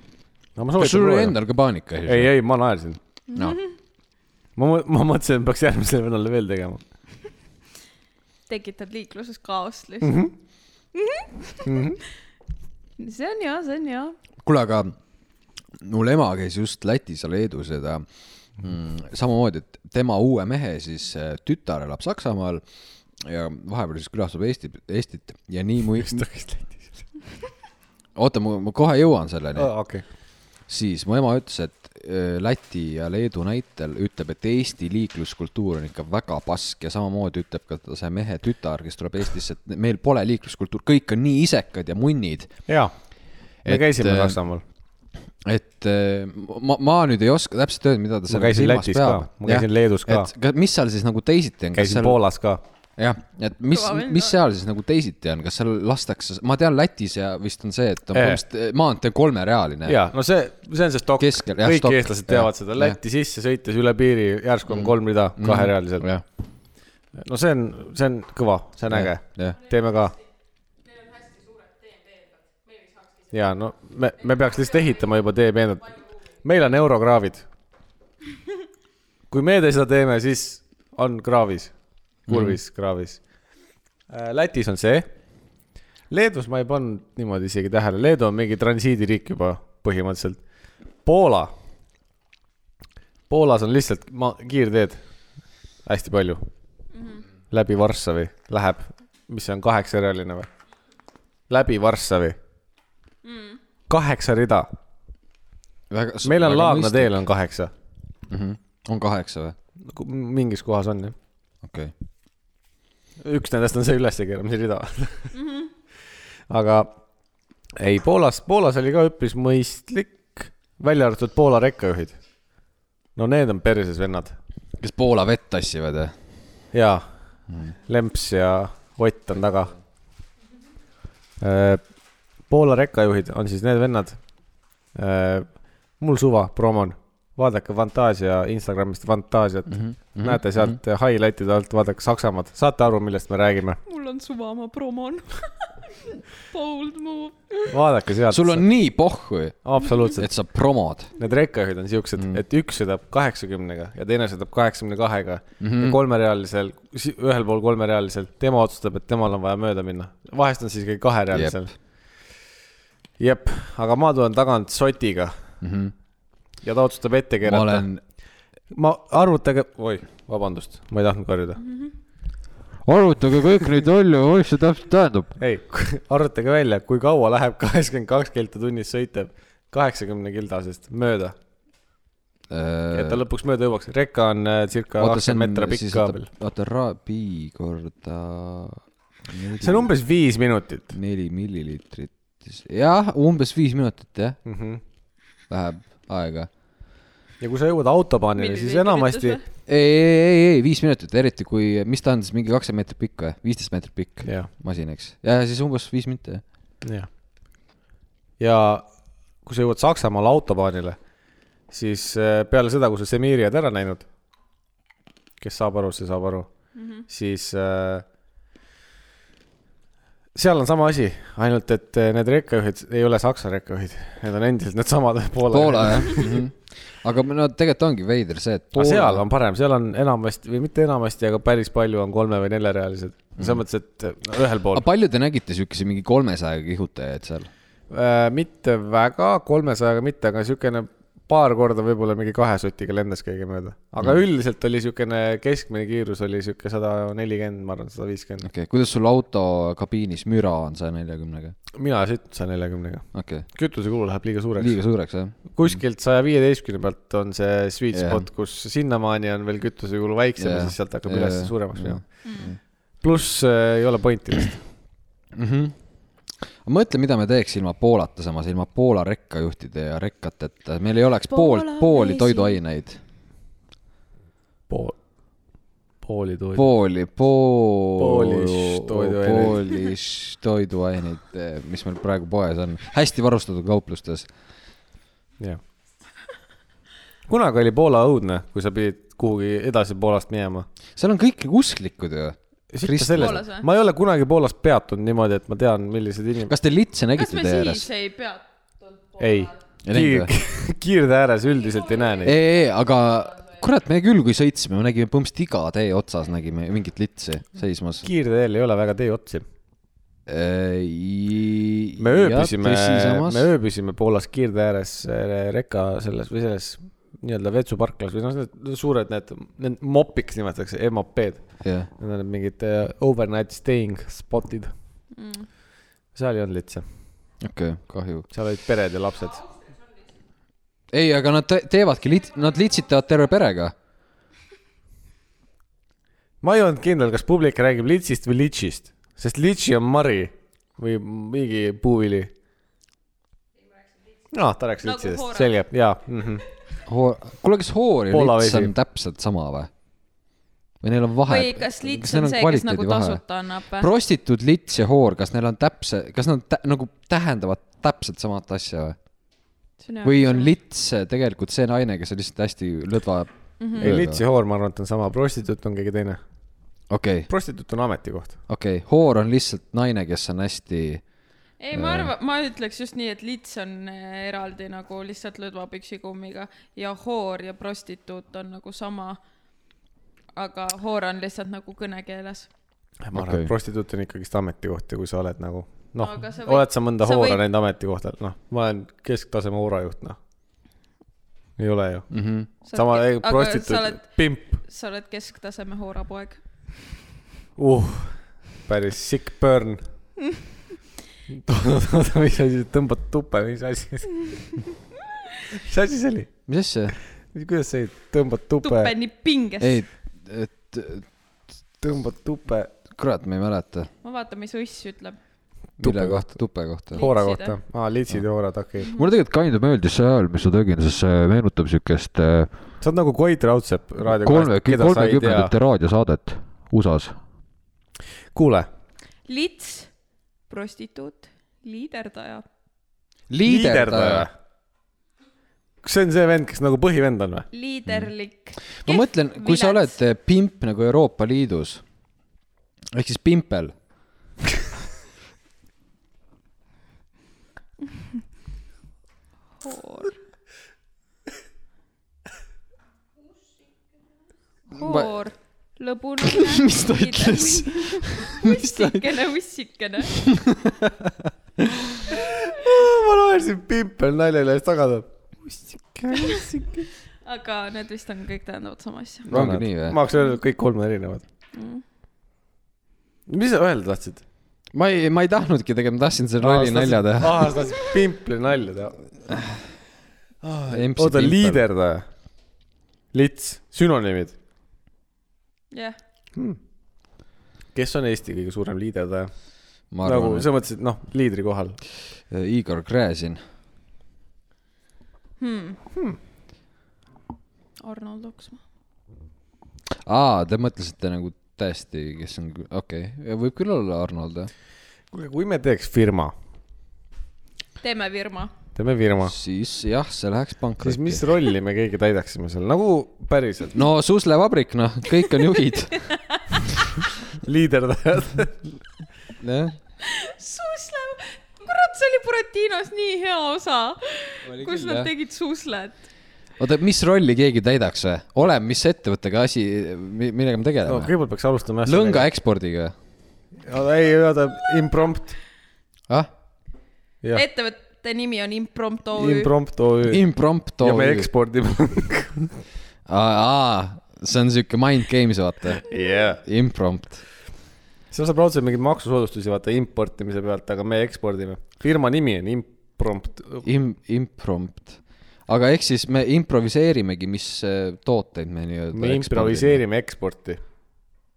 no ma Mhm. kas sul oli soovitan . endal ka paanika siis ? ei , ei , ma naersin . noh , ma , ma mõtlesin , et peaks järgmisele vennale veel tegema . tekitad liikluses kaost lihtsalt mm . Mhm. -hmm. Mm -hmm. see on hea , see on hea . kuule , aga mul ema käis just Lätis ja Leedus ja ta mm, samamoodi , et tema uue mehe siis äh, tütar elab Saksamaal ja vahepeal siis külastab Eestit , Eestit ja nii mu , oota , ma , ma kohe jõuan selleni , okei . siis mu ema ütles , et äh, Läti ja Leedu näitel ütleb , et Eesti liikluskultuur on ikka väga pask ja samamoodi ütleb ka ta- see mehe tütar , kes tuleb Eestisse , et meil pole liikluskultuur , kõik on nii isekad ja munnid jaa , me Et, käisime eh, Saksamaal . et eh, ma , ma nüüd ei oska täpselt öelda , mida ta seal käisin Lätis ka, ma käisin Leedus ka. et mis seal siis nagu teisiti on , kas käisin seal , Poolas ka . jah , et mis Kõva vend, , mis jah. seal siis nagu teisiti on , kas seal lastakse , ma tean Lätis ja vist on see , et on Eh. põhimõtteliselt äh, maantee kolmerealine . jaa , no see , see on see stokk . Keskel, jah, kõik stokk. eestlased teavad Jah, seda , jah. Lätti sisse sõites üle piiri järsku on kolm rida kaherealiselt . Mhm. Mm. jah , no see on , see on kõva , see on äge . jah , teeme ka . ja no me , me peaks lihtsalt ehitama juba tee peenelt . meil on eurokraavid . kui meie seda teeme , siis on kraavis , kurvis Mhm. mm. , kraavis . Lätis on see . Leedus ma ei pannud niimoodi isegi tähele , Leedu on mingi transiidiriik juba põhimõtteliselt . Poola . Poolas on lihtsalt ma- , kiirteed hästi palju läbi Varssavi läheb , mis see on kaheksarealine või ? läbi Varssavi mm. . kaheksa rida , väga . meil on Laadna . teel on kaheksa , on kaheksa või ? mingis kohas on jah . okei okay. , üks nendest on see üleskeeramise rida mm . -hmm. aga ei , Poolas , Poolas oli ka üpris mõistlik , välja arvatud Poola rekkajuhid . no need on perses vennad kes Poola vett tassivad või ? jaa , Mm. Lemps ja Ott on taga . Poola rekkajuhid on siis need vennad . mul suva , promon , vaadake Fantaasia Instagramist Fantaasiat mm , Mhm, -hmm. näete sealt mm -hmm. highlight'ide alt , vaadake Saksamaad , saate aru , millest me räägime , mul on suva oma promon . Bold move . vaadake sealt . sul on nii pohhu , absoluutselt , et sa promod . need rekkajuhid on siuksed mm , -hmm. et üks sõidab kaheksakümnega ja teine sõidab kaheksakümne kahega mm Mhm. -hmm. ja kolmerealisel , ühel pool kolmerealisel , tema otsustab , et temal on vaja mööda minna . vahest on siis ikkagi kaherealisel . jep , aga ma tulen tagant sotiga mm . -hmm. ja ta otsustab ette Mhm. ma keerata olen ma arvutage , oi , vabandust , ma ei tahtnud karjuda . arvutage kõik neid välja , mis see täpselt tähendab . ei , arvutage välja , kui kaua läheb kaheksakümmend kaks kilti tunnis sõitev kaheksakümne kildasest mööda , et ta oota , lõpuks mööda jõuaks . reka on äh, circa Äh, see kakskümmend on meetrit pikk siis ka oota veel ., oota , raabi korda . see on umbes viis minutit neli milliliitrit . jah , umbes viis minutit jah , mm . -hmm. läheb aega . ja kui sa jõuad autobaanile , siis enamasti , ei , ei , ei , ei viis minutit , eriti kui , mis ta on siis mingi kakskümmend meetrit pikk või , viisteist meetrit pikk jah , masin , eks . ja , ja siis umbes viis minutit jah . jah . ja kui sa jõuad Saksamaal autobaanile , siis äh, peale seda , kui sa Semiri oled ära näinud , kes saab aru , see saab aru mm , -hmm. siis äh, seal on sama asi , ainult et äh, need rekkajuhid ei ole Saksa rekkajuhid , need on endiselt needsamad Poola . Poola jah mhm. . aga no tegelikult ongi veider see , et aga seal Poola , on parem , seal on enamasti või mitte enamasti , aga päris palju on kolme või neljarealised , Mhm. selles mõttes , et no, ühel pool aga . palju te nägite siukese mingi kolmesajaga kihutajaid seal ? Äh, mitte väga , kolmesajaga mitte , aga niisugune paar korda võib-olla mingi kahe sotiga lendas keegi mööda . aga Mhm. mm. üldiselt oli niisugune keskmine kiirus oli niisugune sada nelikümmend , ma arvan , sada viiskümmend . okei okay. , kuidas sul auto kabiinis müra on saja neljakümnega ? mina sõitnud saja neljakümnega . okei kütusekulu läheb liiga okay. , suureks liiga suureks jah ? kuskilt saja viieteistkümne pealt on see sweet Jah. yeah. spot , kus sinnamaani on veel kütusekulu väiksem yeah. ja Jah. siis sealt hakkab Jah, yeah. üles jah, suuremaks jah. minema . Mhm. pluss äh, ei ole pointi vist . Mhm. mõtle , mida me teeks ilma Poolata samas , ilma Poola rekkajuhtide ja rekkateta , meil ei oleks poolt Poola pooli vesi. toiduaineid , pool , pooli tundi pool. . pooli , pool , Poolish toiduaineid. Poolish toiduaineid , mis meil praegu poes on , hästi varustatud kauplustes . jah . kunagi oli Poola õudne , kui sa pidid kuhugi edasi Poolast minema seal on kõik usklikud ju . Sitta Krist- Poolas sellest või? , ma ei ole kunagi Poolas peatunud niimoodi , et ma tean , millised inimesed . kas te litse kas nägite me tee siis ääres ? ei peatunud ? ei , Ei näinud kiirtee ääres üldiselt ei näe neid . ei , ei , aga kurat , me küll , kui sõitsime , me nägime põhimõtteliselt iga tee otsas nägime mingit litsi seismas . kiirteel ei ole väga teeotsi . me me ööbisime , me ööbisime Poolas kiirtee ääres äh, reka selles või selles nii-öelda vetsuparklas või noh , need suured need , need mopiks nimetatakse , MOP-d . jah , Need on need mingid äh, overnight staying spot'id . Mm. seal ei olnud lihtsa , okei , kahju . seal olid pered ja lapsed . ei , aga nad te- teevadki lit- , nad litsitavad terve perega . ma ei olnud kindel , kas publik räägib litsist või litšist , sest litši on mari või mingi puuvili . aa , ta rääkis Nagu litsidest hoora. , selge , jaa mm . -hmm. Hoor- , kuule , kas hoor ja Poola lits vesi. on täpselt sama või ? või neil on vahe ? või kas lits on see , kes nagu ? tasuta annab või ? prostituut , lits ja hoor , kas neil on täpse , kas nad tä- nagu tähendavad täpselt samat asja või ? või on ? lits tegelikult see naine , kes on lihtsalt hästi lõdva mm . Mhm. -hmm. ei , litš ja hoor , ma arvan , et on sama , prostituut on keegi teine . okei , prostituut on ametikoht . okei , hoor on lihtsalt naine , kes on hästi , ei , Äh. ma arvan , ma ütleks just nii , et lits on äh, eraldi nagu lihtsalt lõdva püksikummiga ja hoor ja prostituut on nagu sama . aga hoor on lihtsalt nagu kõnekeeles . ma arvan Okei. okay. , et prostituut on ikkagist ametikoht ja kui sa oled nagu noh Aga sa , võid- oled sa mõnda sa hoora võid- näinud ametikohtal , noh , ma olen kesktaseme hoorajuht , noh . ei ole ju mm . -hmm. sama Sa oled- ei, aga sa prostituut oled- , pimp , sa oled kesktaseme hoorapoeg . uh , päris sick burn . oota , oota , mis asi , tõmbad tuppe , mis asi see , mis asi see oli ? mis asja ? kuidas see , tõmbad tuppe , tuppe nii pinges . ei , et tõmbad tuppe kurat , ma ei mäleta . ma vaatan , mis uss ütleb . mille Tuppe kohta , tuppe kohta . hoora Litsid, kohta , aa , litsid ja hoorad , okei okay. . mulle tegelikult kind of meeldis see hääl , mis ma tegin , sest see meenutab siukest äh, sa oled nagu Koit Raudsepp raadio kolme , kohast , keda sa ei tea . kolmekümnendate raadiosaadet USA-s . kuule , lits , prostituut , liiderdaja . liiderdaja . kas see on see vend , kes nagu põhivend on või ? liiderlik . ma mõtlen , kui sa oled pimp nagu Euroopa Liidus ehk siis pimpel , hoor . hoor , lõbune . mis ta ütles ? ussikene , ussikene . ma loen siin pimpel nalja üles tagada . ussike , ussike . aga need vist on kõik tähendavad sama asja No ongi nii, või? ma oleks öelnud , et kõik kolm on erinevad . mm. . mis sa öelda tahtsid ? ma ei , ma ei tahtnudki tegelikult , ma tahtsin selle ralli nalja teha . aa , sa tahtsid pimpli nalja teha . MC oota , Pimpel. liiderdaja . lits , sünonüümid . jah , kes on Eesti kõige suurem liiderdaja ? ma nagu arvan , sa mõtlesid , noh , liidri kohal . et Igor Gräzin , Arnold Oksmaa . aa , te mõtlesite nagu tõesti , kes on , okei okay. , võib küll olla Arnold , jah . kuule , kui me teeks firma , teeme firma . teeme firma , siis jah , see läheks siis mis pankrotti . rolli me keegi täidaksime seal nagu päriselt ? no suslevabrik , noh , kõik on juhid , liiderdajad . jah . suslev , kurat , see oli Buratinos nii hea osa , kus nad tegid suslet . oota , mis rolli keegi täidaks või ? oleme , mis ettevõttega asi , millega me no tegeleme no, ? kõigepealt peaks alustama . lõnga . ekspordiga ei , oota , imprompt . ah? ? jah , ettevõtte nimi on Impromptu OÜ . imprompt OÜ . impromptu ja me . ekspordime . see on siuke mind games , vaata . jah . imprompt . seal saab raudselt mingeid maksusoodustusi vaata importimise pealt , aga me ekspordime . firma nimi on imprompt . Im- , imprompt . aga ehk siis me improviseerimegi , mis eh, tooteid me nii-öelda . me . improviseerime eksporti .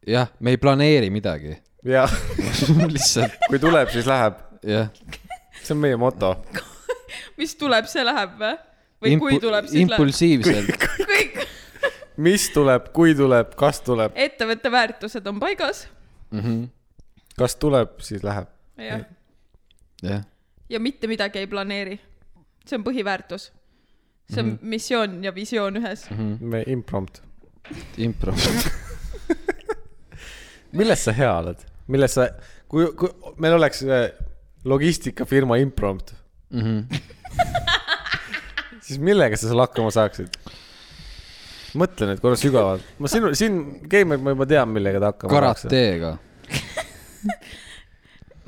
jah , me ei planeeri midagi . jah , lihtsalt , kui tuleb , siis läheb . jah . see on meie moto . mis tuleb , see läheb või ? või kui tuleb , siis läheb . impulsiivselt . kõik mis tuleb , kui tuleb , kas tuleb , ettevõtte väärtused on paigas . kas tuleb , siis läheb . jah , jah , ja mitte midagi ei planeeri . see on põhiväärtus . see Mhm. on missioon ja visioon ühes . me imprompt . imprompt . milles sa hea oled ? milles sa , kui , kui meil oleks äh, logistikafirma imprompt , Mhm. siis millega sa seal hakkama saaksid ? mõtle nüüd korra sügavalt . ma sinu , siin gamer , ma juba tean , millega ta hakkama saaks . karateega .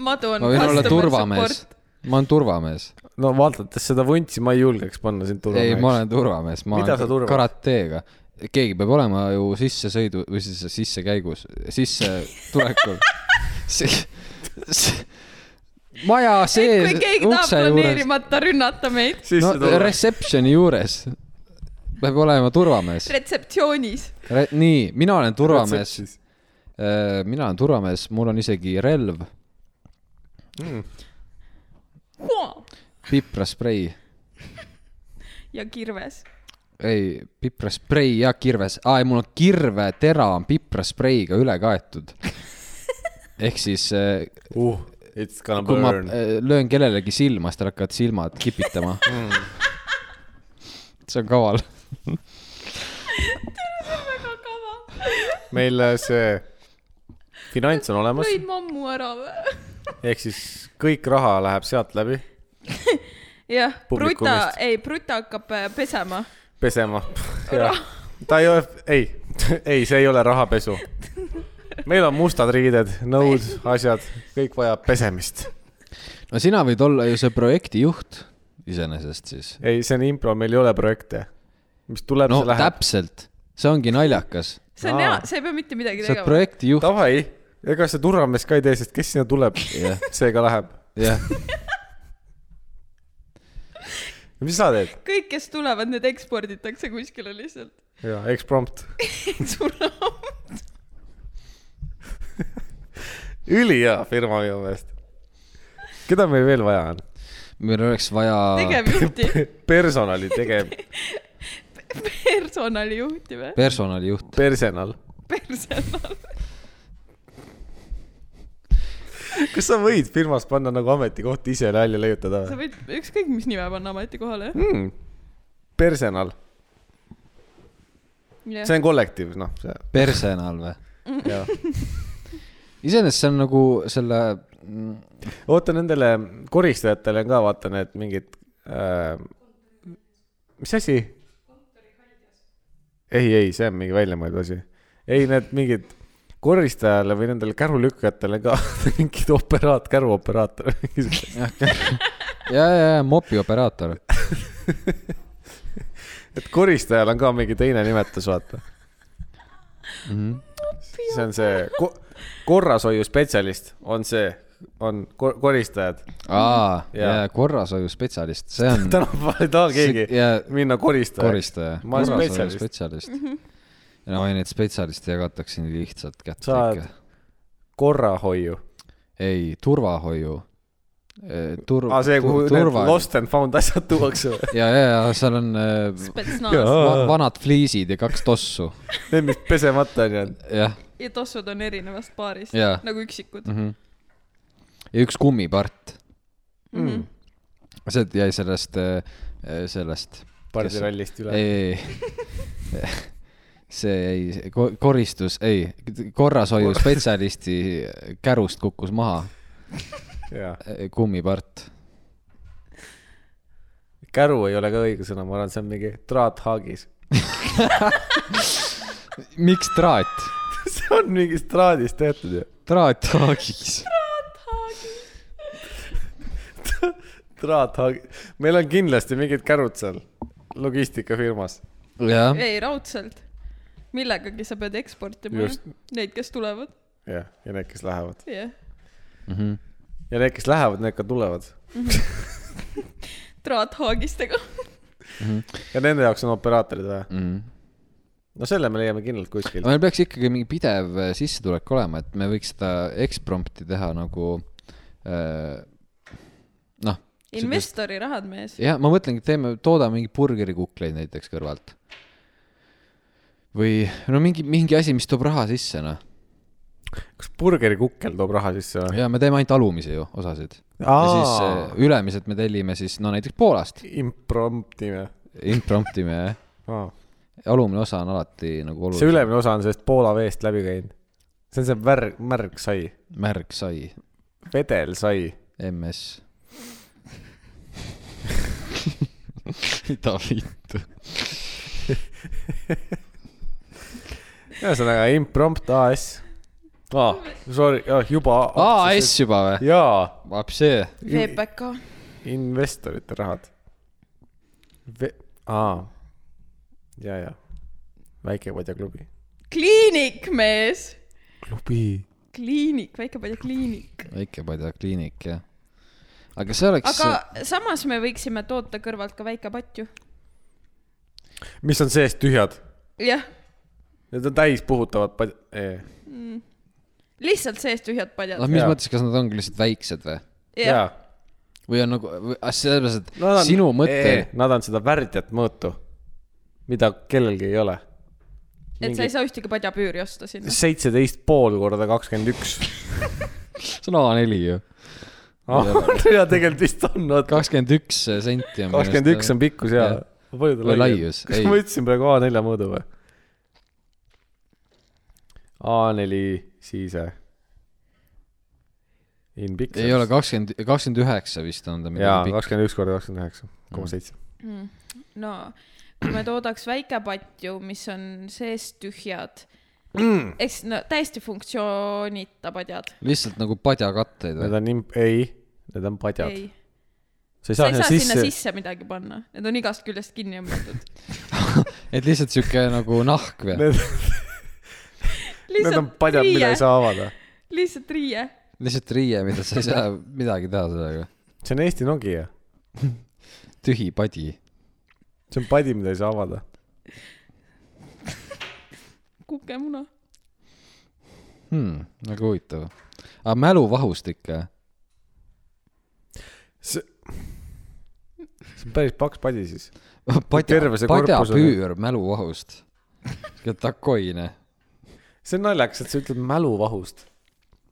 madu on ma võin olla customer turvamees support. . ma olen turvamees . no vaadates seda vuntsi , ma ei julgeks panna sind ei , ma turvameheks . olen turvamees , ma Mida sa olen turvad? karateega . keegi peab olema ju sissesõidu või siis sissekäigus , sissetulekul si, . Si, maja sees kui , keegi tahab ukse juures , planeerimata rünnata meid no reception'i juures peab olema turvamees retseptsioonis . Re . nii , mina olen turvamees ,. mina olen turvamees , mul on isegi relv , piprasprei , ja kirves . ei , piprasprei ja kirves , aa , ei mul on kirvetera on piprasspreiga üle kaetud . ehk siis eh, uh , it's gonna kui ma burn . äh, löön kellelegi silma , siis tal hakkavad silmad kipitama mm. . see on kaval . väga kava . meil äh, see finants on olemas , lõid mammu ära või ? ehk siis kõik raha läheb sealt läbi jah , Publikumist. Bruta , ei , Bruta hakkab äh, pesema . pesema . ta ei ole , ei , ei , see ei ole rahapesu . meil on mustad riided , nõud , asjad , kõik vajab pesemist . no sina võid olla ju see projektijuht iseenesest siis . ei , see on impro , meil ei ole projekte . mis tuleb no, , no see läheb . täpselt , see ongi naljakas . see on Aa. hea , sa ei pea mitte midagi sa oled tegema . projektijuht , Davai , ega see turvamees ka ei tee , sest kes sinna tuleb Jah. , see ka läheb . jah . mis sa teed ? kõik , kes tulevad , need eksporditakse kuskile lihtsalt . jaa , eksprompt . ülihea firma minu meelest . keda meil veel vaja on ? meil oleks vaja tegevjuhti , personali tegev , personalijuhti või ? personalijuht , personal . personal . kas sa võid firmas panna nagu ametikohti ise välja leiutada sa või ? võid ükskõik mis nime panna ametikohale . Mm. personal , see on kollektiiv , noh , see personal või ? jah . iseenesest see on nagu selle , mm, oota nendele koristajatele on ka vaata need mingid äh, , mis asi ? ei , ei , see on mingi väljamõeldud asi . ei , need mingid koristajale või nendele kärulükkajatele ka mingid operaat- , käruoperaator , mingi siuke . ja , ja , ja mopioperaator . et koristajal on ka mingi teine nimetus , vaata . mm . see on see ko korrashoiuspetsialist on see , on ko koristajad . -hmm. aa , Jaa. ja korrashoiuspetsialist , see on . tänapäeval ei taha keegi ja minna koristajaks . koristaja , Ma olen spetsialist. korrashoiuspetsialist . no ei , neid spetsialiste jagatakse nii lihtsalt kätte Sa oled- ikka . korrahoiu . ei , turvahoiu . Tur- . aa , Ah, see , kuhu need . lost and found asjad tuuakse või ? ja , ja , ja seal on äh, spetsnaas Jaa. va- vanad fliisid ja kaks tossu . Need , mis pesemata on jäänud . jah , ja tossud on erinevast paarist Jaa. nagu üksikud . ja üks kummipart , Mm. see jäi sellest , sellest , pardirallist üle . ei , ei , see jäi , koristus , ei , korrashoiuspetsialisti kärust kukkus maha jaa . eh, kummipart . käru ei ole ka õige sõna , ma arvan , see on mingi traathaagis . miks traat ? see on mingist traadist tehtud ju . traat haagis . traathaag , meil on kindlasti mingid kärud seal logistikafirmas . jah , ei , raudselt . millegagi sa pead eksportima just , neid , kes tulevad . jah , ja need , kes lähevad . jah . ja need , kes lähevad , need ka tulevad . traathaagistega . ja nende jaoks on operaatorid või ? Mm. no selle me leiame kindlalt kuskilt . meil peaks ikkagi mingi pidev eh, sissetulek olema , et me võiks seda eksprompti teha nagu eh, noh , investori rahad mees . jah , ma mõtlengi , et teeme , toodame mingi burgerikukleid näiteks kõrvalt . või no mingi , mingi asi , mis toob raha sisse , noh . kas burgerikukkel toob raha sisse või ? ja me teeme ainult alumisi ju , osasid . ja siis eh, ülemised me tellime siis , no näiteks Poolast , imprompti või ? impromptime , jah . alumine osa on alati nagu see oluline . ülemine osa on sellest Poola veest läbi käinud . see on see värg , märgsai , märg sai , vedelsai . MS . mida vittu . ühesõnaga imprompt AS . aa , sorry , juba . AS . juba või ? jaa , Vapsee . VPK . investorite rahad . aa , ja , ja , väikepadjaklubi . kliinik mees . klubi . kliinik , väikepadja kliinik . väikepadja kliinik , jah . aga see oleks aga samas me võiksime toota kõrvalt ka väikepatju . mis on sees tühjad ? jah Need on täis puhutavad pad- , lihtsalt sees tühjad padjad noh , mis Jaa. mõttes , kas nad ongi lihtsalt väiksed või ? jah , Ah, jaa . või on nagu , selles mõttes , et no, sinu mõte , Nad on seda värdjat mõõtu , mida kellelgi ei ole . et sa ei saa ühtegi padjapüüri osta sinna . seitseteist pool korda kakskümmend üks . see on A4 ju . Ah. ja tegelikult vist on , oot , kakskümmend üks senti on . kakskümmend üks on . pikkus ja Jah. palju ta Või lai on ? laius, kas ei. ma ütlesin praegu A4 mõõdu või ? A4 siise . äh, In pikk . ei ole kakskümmend , kakskümmend üheksa vist on ta jaa , midagi pikk . kakskümmend üks korda kakskümmend üheksa koma seitse . no kui me toodaks väikepatju , mis on sees tühjad mm. , eks no täiesti funktsioonita padjad . lihtsalt nagu padjakatteid Need või ? on imp- , ei , need on padjad . ei , sa ei sa saa ei sinna saa sinna sisse , sisse midagi panna , need on igast küljest kinni õmmeldud . et lihtsalt sihuke nagu nahk või ? need , need on lihtsalt padjad , mida riie ei , saa avada . lihtsalt riie . lihtsalt riie , mida sa ei saa midagi teha sellega . see on Eesti Nokia , tühi padi . see on padi , mida ei saa avada . kukemuna . Hmm, nagu huvitav . aga mäluvahustik või ? see , see on päris paks padi siis . padja Terve see , korpus on- padjapüür mäluvahust . takoine . see on naljakas , et sa ütled mäluvahust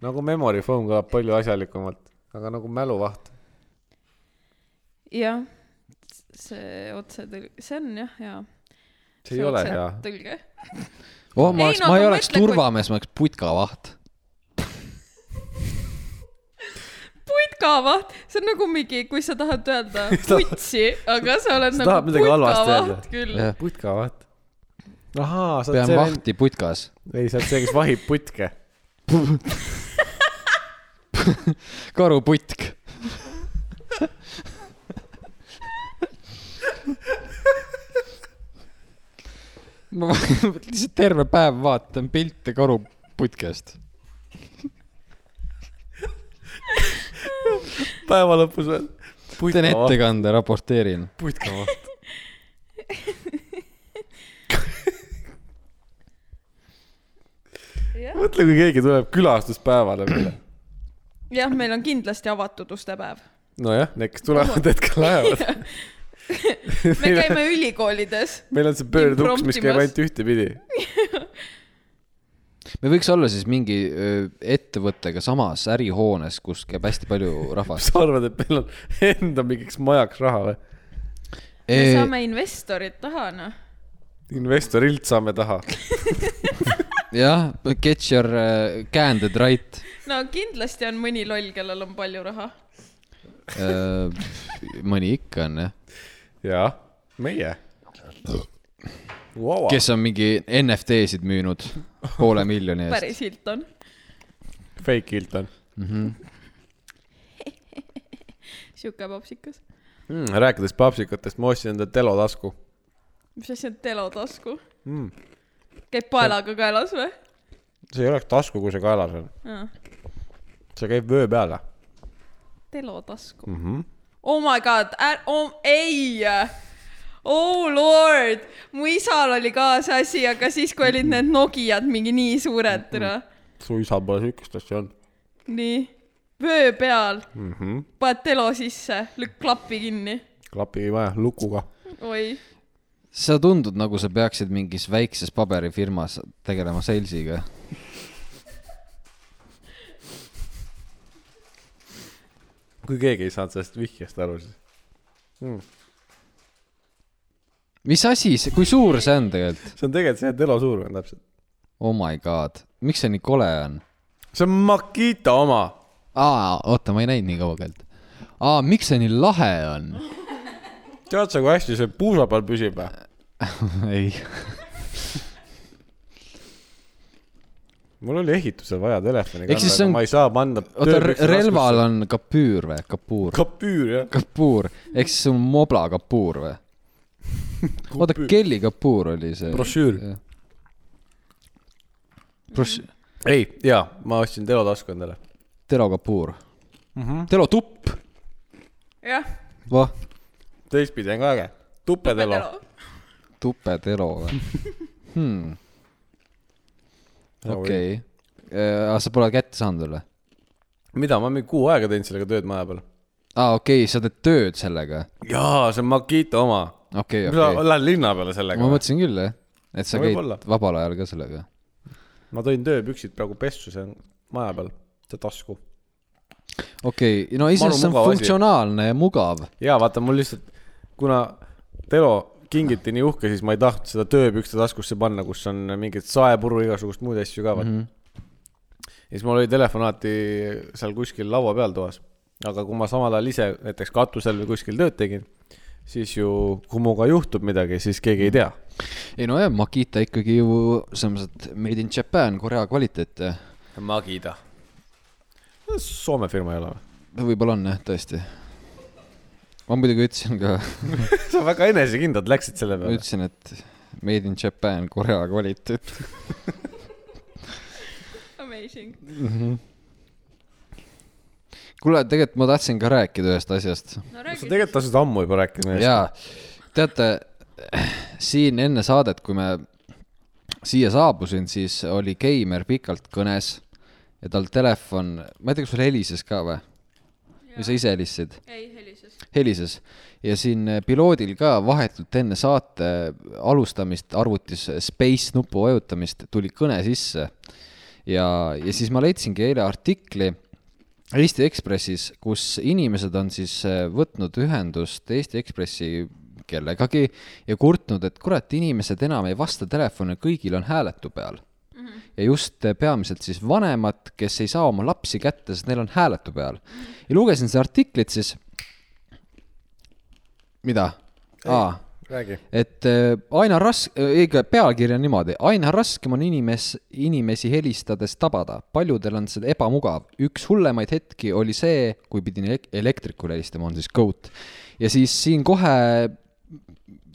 nagu memory foam ka palju asjalikumalt , aga nagu mäluvaht . jah , see otsetõlge , see on jah hea . see ei ole hea . tõlge . oh , ma Ei, oleks , no ma ei aga oleks mõtle, kui- turvamees , ma oleks putkavaht . putkavaht , see on nagu mingi , kui sa tahad öelda putsi , aga sa oled sa nagu tahad midagi halvasti öelda. putkavaht küll . pean putkavaht . ahaa , sa oled see... see , vahti putkas . ei sa oled see , kes vahib putke . karuputk . ma lihtsalt terve päev vaatan pilte karuputkest . päeva lõpus veel . teen ettekande , raporteerin . putkavaht . mõtle , kui keegi tuleb külastuspäevale meile . jah , meil on kindlasti avatud ustepäev . nojah , need , kes tulevad hetkel ajavad . me käime ülikoolides . meil on see pöörduks , mis käib ainult ühtepidi . me võiks olla siis mingi öö, ettevõttega samas ärihoones , kus käib hästi palju rahvast . sa arvad , et meil on enda mingiks majaks raha või ? me saame investorid taha , noh . investorilt saame taha . jah , get your uh, candid right no kindlasti on mõni loll , kellel on palju raha . uh, . mõni ikka on jah , jaa , meie wow. . kes on mingi NFT-sid müünud poole miljoni eest . päris Hilton . fake Hilton sihuke popsikas . mm, . rääkides papsikatest , ma ostsin endale Telo tasku mis asi on telotasku ? mm. . käib paelaga kaelas või ? see ei oleks tasku , kui see kaelas on . see käib vöö peale telotasku . mm . -hmm. Oh my god , oh, ei . Oh lord , mu isal oli ka see asi , aga siis , kui olid need Nokiad mingi nii suured , noh. tere . su isa pole siukest asja olnud nii , vöö peal , mm -hmm. . paned telo sisse , lükk klapi kinni . klapi vaja , lukuga . oi , sa tundud nagu sa peaksid mingis väikses paberifirmas tegelema sales'iga . kui keegi ei saanud sellest vihjest aru , siis mm. . mis asi see , kui suur see on tegelikult ? see on tegelikult see Telo suurune täpselt . Oh my god , miks see nii kole on ? see on Makita oma . aa , oota , ma ei näinud nii kaugelt . aa , miks see nii lahe on ? tead sa , kui hästi see puusa peal püsib või ? ei , mul oli ehitusel vaja telefoni Ehk siis see on- ma ei saa panna . oota , relval on kapüür või ? kapuur . kapüür jah . kapuur , ehk siis see on mobla kapuur või ? oota , Kelly kapuur oli see . brošüür . Broš- , ei , jaa , ma ostsin Telo tasku endale . Telo kapuur mm . Mhm. -hmm. Telo tupp . jah , vah , teistpidi on ka äge . tuppe Telo . telo . tupe Telo või hmm. ? okei okay. . aga sa pole kätte saanud veel või ? mida , ma mingi kuu aega teinud sellega tööd maja peal . aa , okei okay, , sa teed tööd sellega . jaa , see on Makita oma . okei , sa okei . lähed linna peale ma sellega või ? mõtlesin küll jah , et sa No käid võib-olla. vabal ajal ka sellega . ma tõin tööpüksid praegu pessu , see on maja peal , see tasku . okei okay. , no iseenesest see on mugav asi. funktsionaalne ja mugav . jaa , vaata mul lihtsalt , kuna Telo kingiti nii uhke , siis ma ei tahtnud seda tööpükste taskusse panna , kus on mingid saepuru , igasugust muid asju ka vaata mm . -hmm. Mhm. ja siis mul oli telefon alati seal kuskil laua peal toas . aga kui ma samal ajal ise näiteks katusel või kuskil tööd tegin , siis ju , kui minuga juhtub midagi , siis keegi ei tea ei no jah , Makita ikkagi ju selles mõttes , et made in Japan , Korea kvaliteet . Magida . Soome firma ei ole või ? võib-olla on jah , tõesti . ma muidugi ütlesin ka , sa väga enesekindlalt läksid selle ma peale . ütlesin , et made in Japan , Korea kvaliteet . Amazing . kuule , tegelikult ma tahtsin ka rääkida ühest asjast . no sa räägi , tegelikult tahtsid ammu juba rääkima . jaa , teate , siin enne saadet , kui me siia saabusin , siis oli Keimer pikalt kõnes ja tal telefon , ma ei tea , kas sul helises ka või ? või sa ise helistasid ? ei helises . helises ja siin eh, piloodil ka vahetult enne saate alustamist arvutis eh, space nupu vajutamist tuli kõne sisse . ja , ja siis ma leidsingi eile artikli Eesti Ekspressis , kus inimesed on siis eh, võtnud ühendust Eesti Ekspressi kellegagi ja kurtnud , et kurat , inimesed enam ei vasta telefoni , kõigil on hääletu peal ja just eh, peamiselt siis vanemad , kes ei saa oma lapsi kätte , sest neil on hääletu peal . ja lugesin seda artiklit siis . mida ? aa , räägi . et äh, aina ras- , õige pealkiri on niimoodi , aina raskem on inimes- , inimesi helistades tabada , paljudel on see ebamugav . üks hullemaid hetki oli see , kui pidin elek- elektrikule helistama , on siis Goat . ja siis siin kohe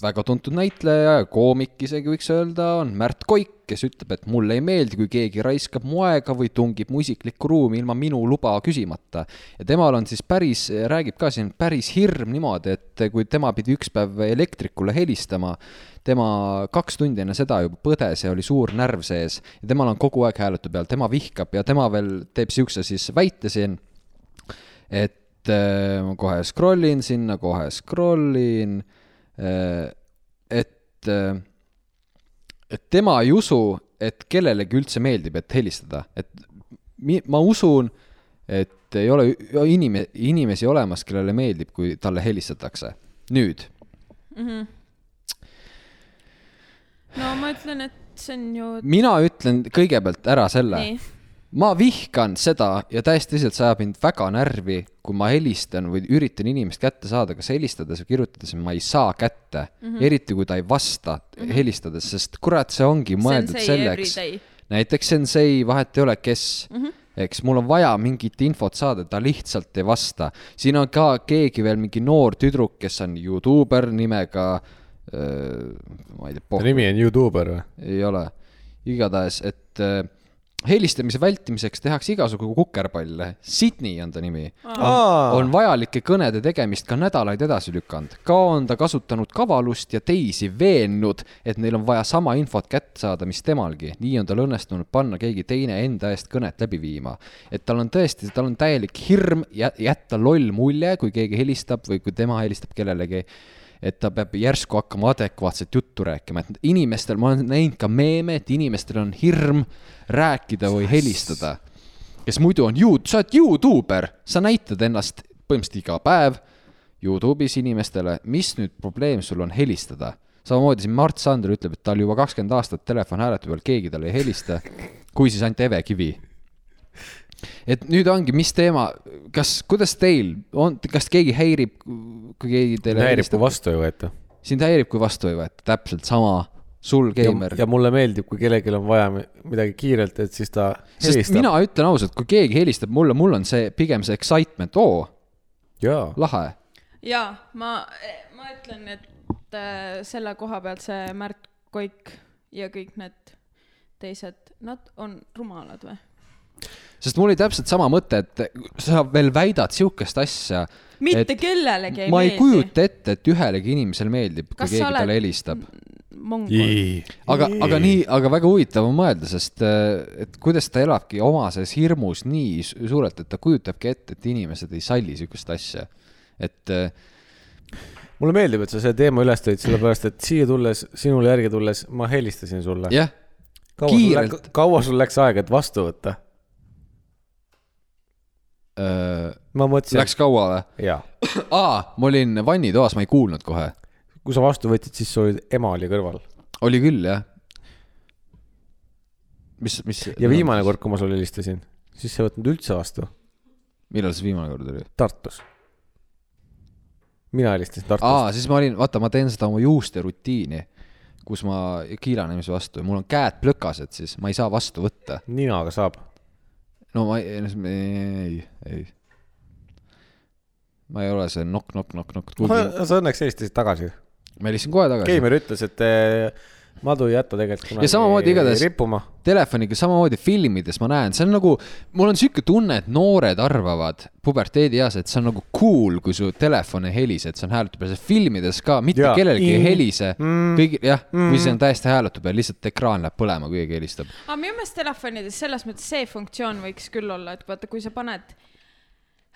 väga tuntud näitleja ja koomik isegi võiks öelda on Märt Koik , kes ütleb , et mulle ei meeldi , kui keegi raiskab mu aega või tungib mu isiklikku ruumi ilma minu luba küsimata . ja temal on siis päris , räägib ka siin päris hirm niimoodi , et kui tema pidi üks päev elektrikule helistama , tema kaks tundi enne seda juba põdes ja oli suur närv sees ja temal on kogu aeg hääletu peal , tema vihkab ja tema veel teeb siukse siis väite siin , et äh, ma kohe scroll in sinna , kohe scroll in , et äh, et tema ei usu , et kellelegi üldse meeldib , et helistada , et mi- ma usun , et ei ole ü- inime- , inimesi olemas , kellele meeldib , kui talle helistatakse . nüüd , no ma ütlen , et see on ju mina ütlen kõigepealt ära selle , nii . ma vihkan seda ja täiesti tõsiselt , see ajab mind väga närvi , kui ma helistan või üritan inimest kätte saada , kas helistades või kirjutades , ma ei saa kätte mm . -hmm. eriti kui ta ei vasta mm -hmm. helistades , sest kurat , see ongi mõeldud Sensei selleks everyday. . näiteks Sensei , vahet ei ole , kes mm , -hmm. eks mul on vaja mingit infot saada , ta lihtsalt ei vasta . siin on ka keegi veel mingi noor tüdruk , kes on Youtuber nimega öö, ma ei tea , ta nimi on Youtuber või ? ei ole . igatahes , et äh, helistamise vältimiseks tehakse igasugu kukerpalle . Sydney on ta nimi . on vajalike kõnede tegemist ka nädalaid edasi lükanud . ka on ta kasutanud kavalust ja teisi veennud , et neil on vaja sama infot kätte saada , mis temalgi . nii on tal õnnestunud panna keegi teine enda eest kõnet läbi viima . et tal on tõesti , tal on täielik hirm jä- jätta loll mulje , kui keegi helistab või kui tema helistab kellelegi et ta peab järsku hakkama adekvaatset juttu rääkima , et inimestel , ma olen näinud ka meeme , et inimestel on hirm rääkida või helistada . kes muidu on ju , sa oled Youtuber , sa näitad ennast põhimõtteliselt iga päev Youtube'is inimestele , mis nüüd probleem sul on helistada ? samamoodi siin Mart Sander ütleb , et ta oli juba kakskümmend aastat telefon hääletu peal , keegi talle ei helista , kui siis ainult Eve Kivi et nüüd ongi , mis teema , kas , kuidas teil on , kas keegi häirib , kui keegi teile häirib , kui vastu ei võeta . sind häirib , kui vastu ei võeta , täpselt sama , sul , geimer . ja mulle meeldib , kui kellelgi on vaja mi- midagi kiirelt , et siis ta sest mina helistab . ütlen ausalt , kui keegi helistab mulle , mul on see pigem see excitement , oo , jaa . lahe . jaa , ma , ma ütlen , et äh, selle koha pealt see Märt Koik ja kõik need teised , nad on rumalad või ? sest mul oli täpselt sama mõte , et sa veel väidad sihukest asja . mitte et kellelegi ei ma ei meeldi . kujuta ette , et ühelegi inimesele meeldib , kui Kas keegi sa oled- talle helistab . mongol . aga , aga nii , aga väga huvitav on mõelda , sest äh, et kuidas ta elabki oma selles hirmus nii su- suurelt , et ta kujutabki ette , et inimesed ei salli sihukest asja . et äh, mulle meeldib , et sa selle teema üles tõid , sellepärast et siia tulles , sinule järgi tulles , ma helistasin sulle . jah , kiirelt. kaua sul läks aega , et vastu võtta ? ma mõtlesin , äh, läks kaua või ? jaa . aa , ma olin vannitoas , ma ei kuulnud kohe . kui sa vastu võtsid , siis sul oli- ema oli kõrval . oli küll , jah . mis , mis ? ja viimane . kord , kui ma sulle helistasin , siis sa ei võtnud üldse vastu , millal see viimane kord oli ? Tartus . mina helistasin Tartust . aa , siis ma olin , vaata , ma teen seda oma juuste rutiini , kus ma kiilan inimese vastu ja mul on käed plökased , siis ma ei saa vastu võtta . ninaga saab . no ma ei , ei , ei . ma ei ole see nokk-nokk-nokk-nokk , kuigi sa õnneks helistasid tagasi . ma helistasin kohe tagasi . Keimer ütles , et eh, madu ei jäta tegelikult kunagi samamoodi igatahes- rippuma . telefoniga samamoodi filmides ma näen , see on nagu , mul on sihuke tunne , et noored arvavad puberteedieas , et see on nagu cool , kui su telefon ei helise , et see on hääletu peal , sest filmides ka mitte Jaa. kellelgi ei Mm. helise mm. . kõigil jah mm. , või see on täiesti hääletu peal , lihtsalt ekraan läheb põlema , kui keegi helistab . aga minu meelest telefonides selles mõttes see funktsioon võiks küll olla , et vaata , kui sa paned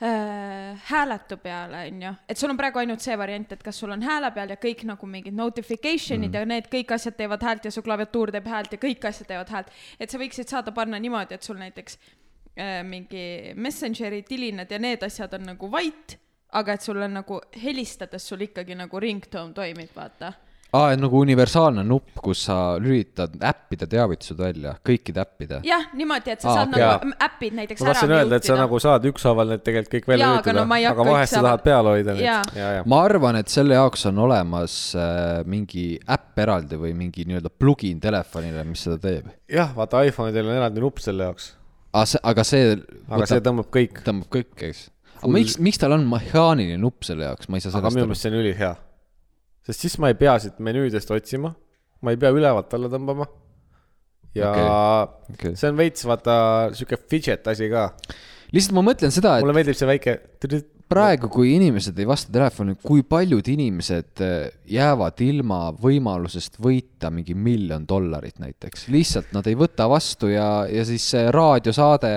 äh, hääletu peale , onju , et sul on praegu ainult see variant , et kas sul on hääle peal ja kõik nagu mingid notification'id mm. ja need kõik asjad teevad häält ja su klaviatuur teeb häält ja kõik asjad teevad häält . et sa võiksid saada panna niimoodi , et sul näiteks äh, mingi Messengeri tilinad ja need asjad on nagu vait , aga et sul on nagu helistades sul ikkagi nagu ringtone toimib , vaata . aa , et nagu universaalne nupp , kus sa lülitad äppide teavitused välja , kõikide äppide . jah , niimoodi , et sa Aa, ah, saad okei. okay. nagu äpid näiteks ma tahtsin ära öelda , et sa mute'ida. nagu saad ükshaaval need tegelikult kõik välja Jaa, aga lülitada no ma ei , aga hakka vahest sa ükshaaval- tahad peal hoida neid . Jaa. ja , ja . ma arvan , et selle jaoks on olemas äh, mingi äpp eraldi või mingi nii-öelda plugin telefonile , mis seda teeb . jah , vaata iPhone'idel on eraldi nupp selle jaoks , aga see , aga see . aga see tõmbab kõik . tõmbab kõik , eks . aga miks , miks tal on mehaaniline nupp selle jaoks , ma ei saa aga sellest minu aru . meelest see on ülihea . sest siis ma ei pea siit menüüdest otsima , ma ei pea ülevalt alla tõmbama . ja okay. okay. . see on veits vaata sihuke fidget asi ka , lihtsalt ma mõtlen seda , et mulle meeldib see väike . praegu , kui inimesed ei vasta telefoni , kui paljud inimesed eh, jäävad ilma võimalusest võita mingi miljon dollarit näiteks , lihtsalt nad ei võta vastu ja , ja siis see raadiosaade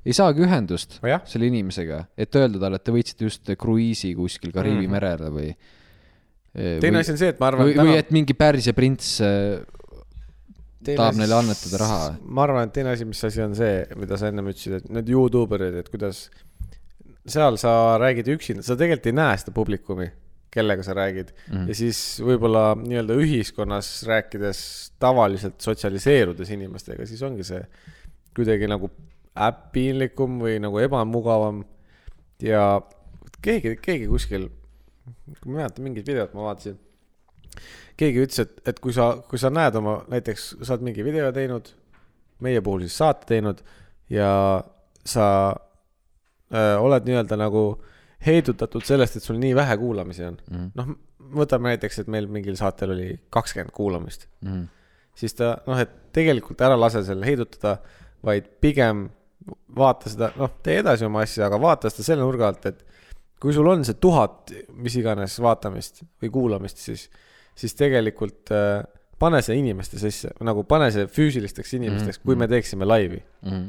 ei saagi ühendust Nojah. selle inimesega , et öelda talle , et te võitsite just kruiisi kuskil Kariibi mm -hmm. merele või . Mhm. teine asi on see , et ma arvan , või , või et mingi Pärsia prints eh, tahab neile annetada raha. ma arvan , et teine asi , mis asi on see , mida sa ennem ütlesid , et need Youtube erid , et kuidas seal sa räägid üksinda , sa tegelikult ei näe seda publikumi , kellega sa räägid mm. ja siis võib-olla nii-öelda ühiskonnas rääkides tavaliselt sotsialiseerudes inimestega , siis ongi see kuidagi nagu äpp piinlikum või nagu ebamugavam . ja keegi , keegi kuskil , ma ei mäleta mingit videot ma vaatasin , keegi ütles , et , et kui sa , kui sa näed oma , näiteks sa oled mingi video teinud , meie puhul siis saate teinud ja sa öö, oled nii-öelda nagu heidutatud sellest , et sul nii vähe kuulamisi on mm. . noh , võtame näiteks , et meil mingil saatel oli kakskümmend kuulamist mm, siis ta noh , et tegelikult ära lase selle heidutada , vaid pigem vaata seda , noh , tee edasi oma asja , aga vaata seda selle nurga alt , et kui sul on see tuhat , mis iganes vaatamist või kuulamist , siis , siis tegelikult äh, pane see inimeste sisse , nagu pane see füüsilisteks inimesteks , kui me Mhm. teeksime laivi . mm.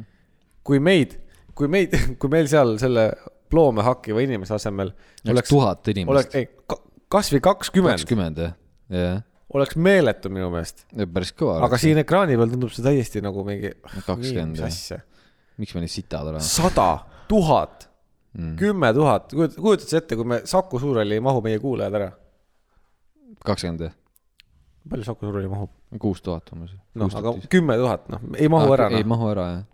kui meid , kui meid , kui meil seal selle loome hakkiva inimese asemel oleks oleks , tuhat inimest oleks ,, ei , kasvõi kakskümmend , kakskümmend jah , jah , oleks meeletu minu meelest . päris kõva . aga siin ekraani peal tundub see täiesti nagu mingi . kakskümmend jah , asja . miks me nii sitad oleme ? sada , tuhat , Mm. kümme tuhat , kujutad sa ette , kui me Saku Suurhalli ei mahu meie kuulajad ära ? kakskümmend jah , palju Saku Suurhalli mahub ? kuus tuhat umbes . noh , aga kümme tuhat , noh , ei mahu ära , Ah, ei noh . mahu ära jah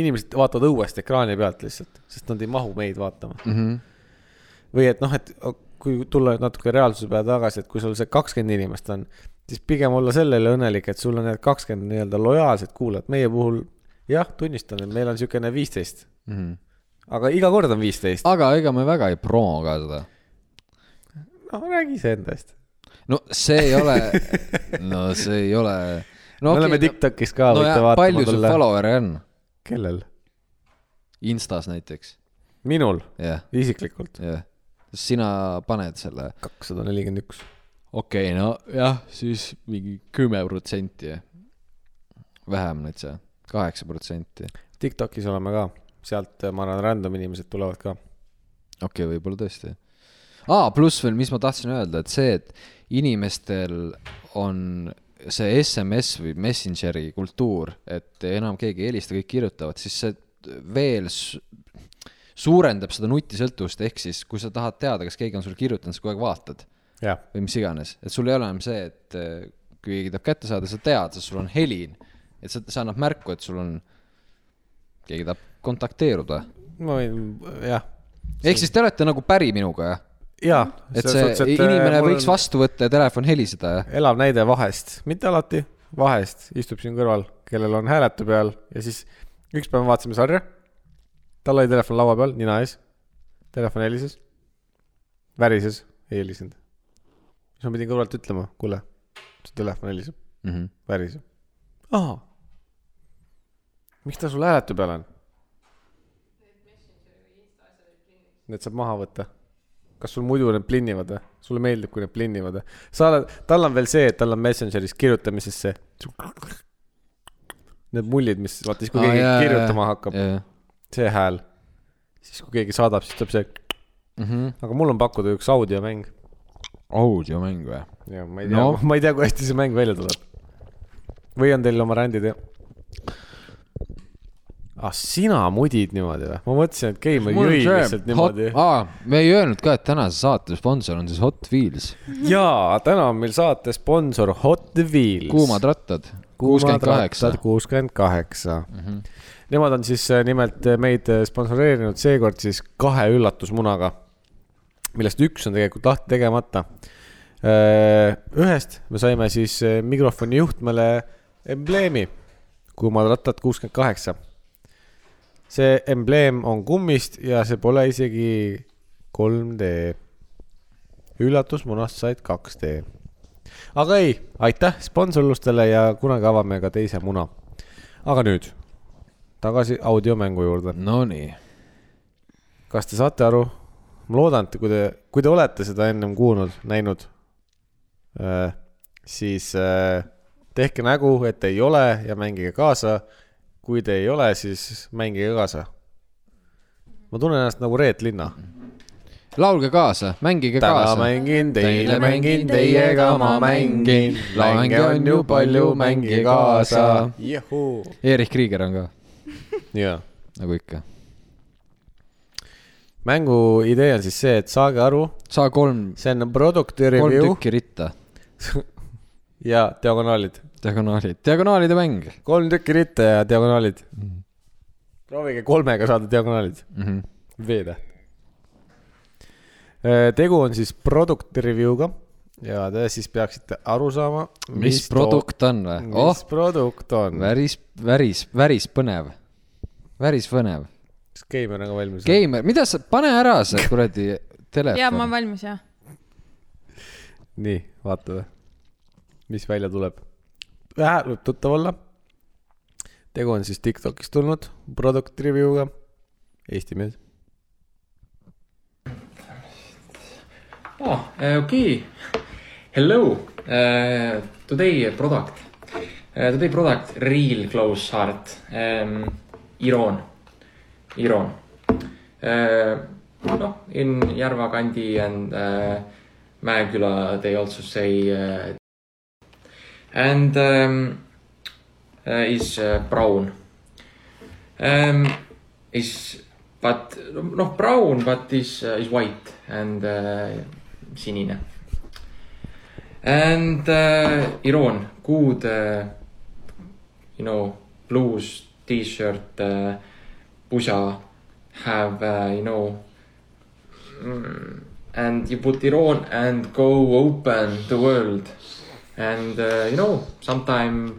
inimesed vaatavad õuest ekraani pealt lihtsalt , sest nad ei mahu meid vaatama . mm . -hmm. või et noh , et kui tulla nüüd natuke reaalsuse peale tagasi , et kui sul see kakskümmend inimest on , siis pigem olla selle üle õnnelik , et sul on need kakskümmend nii-öelda lojaalset kuulajat , meie puhul jah , tunnistan , et meil on niisugune viisteist , Mm -hmm. aga iga kord on viisteist . aga ega me väga ei promo ka seda . no Noh, räägi iseendast no see ei ole , no see ei ole . no, . me oleme TikTokis ka no, , võite jah, vaatama palju sul follower'e on ? kellel ? Instas näiteks , minul jah , isiklikult . jah . sina paned selle , kakssada nelikümmend üks . okei okay, , no jah , siis mingi kümme protsenti . vähem nüüd see , kaheksa protsenti . Tiktokis oleme ka , sealt ma arvan , random inimesed tulevad ka . okei okay, , võib-olla tõesti . aa , pluss veel , mis ma tahtsin öelda , et see , et inimestel on see SMS või Messengeri kultuur , et enam keegi ei helista , kõik kirjutavad , siis see veel s- suurendab seda nutisõltuvust , ehk siis kui sa tahad teada , kas keegi on sulle kirjutanud , sa kogu aeg vaatad jah , või mis iganes , et sul ei ole enam see , et eh, kui keegi tahab kätte saada , sa tead , sest sul on helin , et see , see annab märku , et sul on , keegi tahab kontakteeruda . ma võin , jah , ehk siis te olete nagu päri minuga , jah ? jaa . et see äh, inimene võiks vastu . vastu võtta ja telefon heliseda ja elav näide vahest , mitte alati , vahest istub siin kõrval , kellel on hääletu peal ja siis üks päev vaatasime sarja . tal oli telefon laua peal , nina ees . Telefon helises . värises , ei helisenud . siis ma pidin kõrvalt ütlema , kuule , su telefon heliseb . mm . Mhm. -hmm. väriseb . aa . miks ta sul hääletu peal on ? Need saab maha võtta . kas sul muidu need plinnivad või ? sulle meeldib , kui need plinnivad või ? sa oled , tal on veel see , et tal on Messengeris kirjutamises see . Need mullid , mis vaata siis , kui Ah, keegi jää, kirjutama hakkab , see hääl . siis , kui keegi saadab , siis tuleb see , aga mul on pakkuda üks audiomäng . audiomäng või ? ja ma ei tea No. no. , ma ei tea , kui hästi see mäng välja tuleb . või on teil oma rändid jah ? ah , sina mudid niimoodi või ? ma mõtlesin , et Keimar jõi lihtsalt niimoodi . aa , me ei öelnud ka , et tänase saate sponsor on siis Hot Wheels , Ah, jaa , täna on meil saate sponsor Hot Wheels . kuumad rattad , kuuskümmend kaheksa . kuuskümmend kaheksa . Mhm. Nemad on siis äh, nimelt äh, meid äh, sponsoreerinud seekord siis kahe üllatusmunaga , millest üks on tegelikult lahti tegemata . ühest me saime siis äh, mikrofoni juhtmele embleemi , kuumad rattad kuuskümmend kaheksa . see embleem on kummist ja see pole isegi 3D . üllatus , munast said 2D . aga ei , aitäh sponsorlustele ja kunagi avame ka teise muna . aga nüüd tagasi audiomängu juurde . Nonii , kas te saate aru ? ma loodan , et kui te , kui te olete seda ennem kuulnud , näinud , siis äh, tehke nägu , et ei ole ja mängige kaasa . kui te ei ole , siis mängige kaasa . ma tunnen ennast nagu Reet Linna . laulge kaasa , mängige täna kaasa . mängin , teile mängin , teiega ma mängin . mänge on ju palju , mängige kaasa . jahuu . Erich Krieger on ka , jaa nagu ikka . mängu idee on siis see , et saage aru , saa kolm , see on produkti kolm review tükki ritta , ja diagonaalid . diagonaalid , diagonaalide mäng kolm tükki ritta ja diagonaalid . proovige kolmega saada diagonaalid , mm . -hmm. V-täht . Äh, tegu on siis produkti review'ga ja te siis peaksite aru saama , mis produkt on to- või ? mis oh , oh. produkt on . väris , väris , väris põnev , väris põnev . kas Keimer on ka valmis ? Geimer , mida sa , pane ära see kuradi ja ma telefon olen . valmis ja . nii , vaatame , mis välja tuleb . vähe võib tuttav olla . tegu on siis Tiktokist tulnud product review'ga , Eesti mees . Oh, uh, okay. Hello. Uh, today product. Uh, today product real close heart. Um, Iroon. Iroon. Uh, no, in Järva kandi and uh, Mäeküla they also say uh, and um, uh, is uh, brown. Um, is but no brown but is uh, is white and uh, sinine. And uh, Iroon good uh, you know blues t-shirt uh, pusa have uh, you know mm, and you put it on and go open the world and uh, you know sometime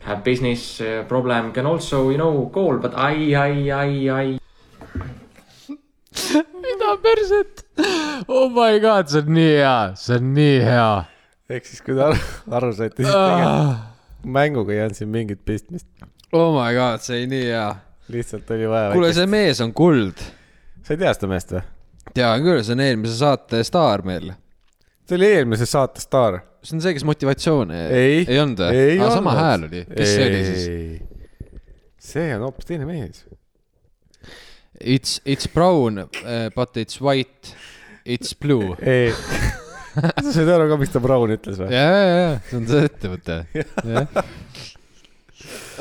have business uh, problem can also you know call but I I I I mida perset ? oh my god , see on nii hea , see on nii hea . ehk siis , kui te aru, aru saite , siis tegelikult mänguga ei olnud siin mingit pistmist , oh my god , see oli nii hea . lihtsalt oli vaja . kuule , see mees on kuld . sa ei tea seda meest või ? tean küll , see on eelmise saate staar meil . see oli eelmise saate staar . see on see , kes motivatsiooni ei . ei olnud või ? aga sama hääl oli , kes see oli siis ?? see on hoopis teine mees . It's , it's brown uh, but it's white , it's blue . ei . sa said aru ka , miks ta Brown ütles või ? ja , ja , ja , see on see ettevõte .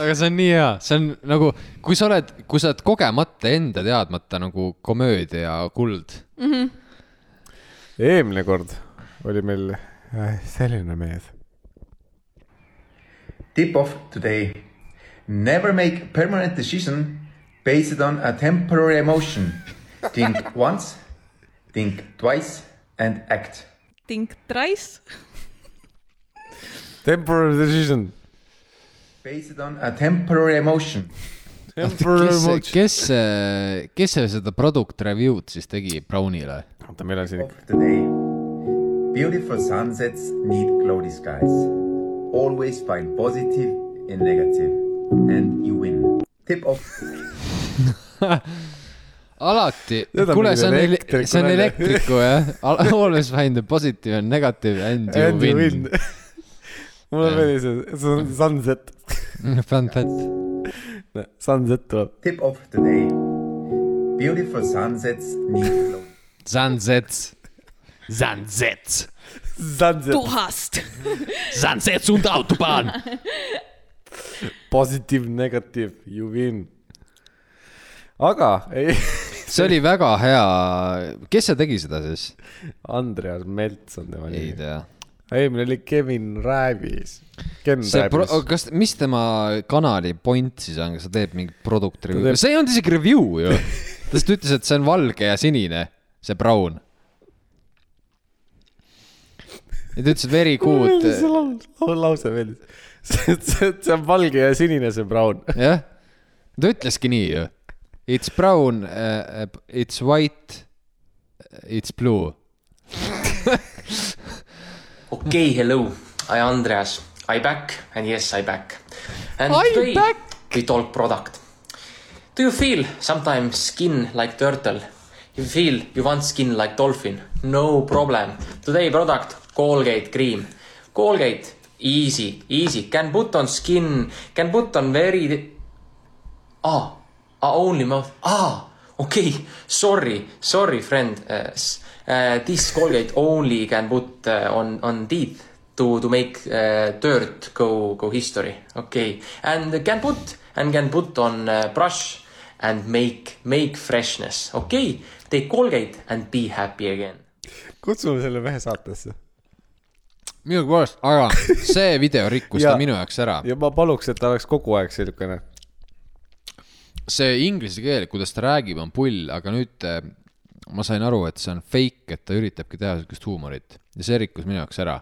aga see on nii hea . see on nagu , kui sa oled , kui sa oled kogemata enda teadmata nagu komöödia kuld . eelmine kord oli meil äh, selline mees . Tip off today. Never make permanent decision based on a temporary emotion. Think once, think twice, and act. Think twice . Temporary decision . Based on a temporary emotion. kes , kes , kes see seda product review'd siis tegi Brownile ? oota , meil on siin Of today. Beautiful sunsets need cloudy skies. Always find positive in negative, and you win. Tip off. alati , Seda kuule , mingi see on , elektriku see on nalja. elektriku jah , always find the positive and negative and you And you win win. . mulle meeldis , et see on sunset , Fantastic . sunset tuleb . Tip off today. Beautiful sunsets need cloudy. Sunsets . Sunsets . Sunset , tuhast . Sunsets und Autobahn . positive , negative , you win . aga ei , see oli väga hea , kes see tegi seda siis ? Andreas Melts on tema ei nimi . tea . eelmine oli Kevin Räbis . Ken see pro- Räbis ,. kas , mis tema kanali point siis on , kas ta teeb mingit product review'i teeb- teeb... ? see ei olnud isegi review ju . ta lihtsalt ütles , et see on valge ja sinine , see brown . ja ta ütles , et very good , see lause , lause meeldis . see , see , see on valge ja sinine , see brown . jah . ta ütleski nii ju . It's eh, brown uh, , it's white , it's blue . okay, hello. I Andreas. I back and yes, I back. And I today back. we talk product. Do you feel sometimes skin like turtle? You feel you want skin like dolphin? No problem. Today product Colgate cream. Colgate easy, easy. Can put on skin. Can put on very ah, ah, only mouth, ah, okay, sorry, sorry, friend uh, s- uh, this Colgate only can put uh, on, on teeth to, to make uh, dirt go, go history, okay, and can put, and can put on uh, brush and make, make freshness, okay, take Colgate and be happy again. kutsume selle mehe saatesse . minugi poolest , aga see video rikkus ta Jaa. minu jaoks ära . ja ma paluks , et ta oleks kogu aeg niisugune . see inglise keel , kuidas ta räägib , on pull , aga nüüd eh, ma sain aru , et see on fake , et ta üritabki teha siukest huumorit ja see rikkus minu jaoks ära .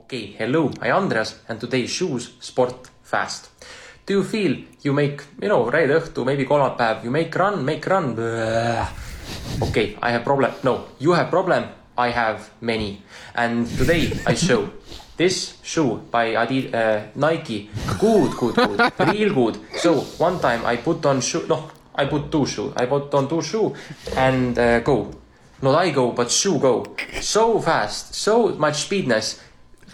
Okay, hello, I Andreas and today shoes sport fast. Do you feel you make, you know, reede õhtu, maybe kolmapäev, you make run, make run. Okay, I have problem. No, you have problem, I have many. And today I show this shoe by Adi- uh, Nike. Good, good, good, real good. So one time I put on shoe, no, I put two shoe, I put on two shoe and uh, go. Not I go, but shoe go. So fast, so much speedness.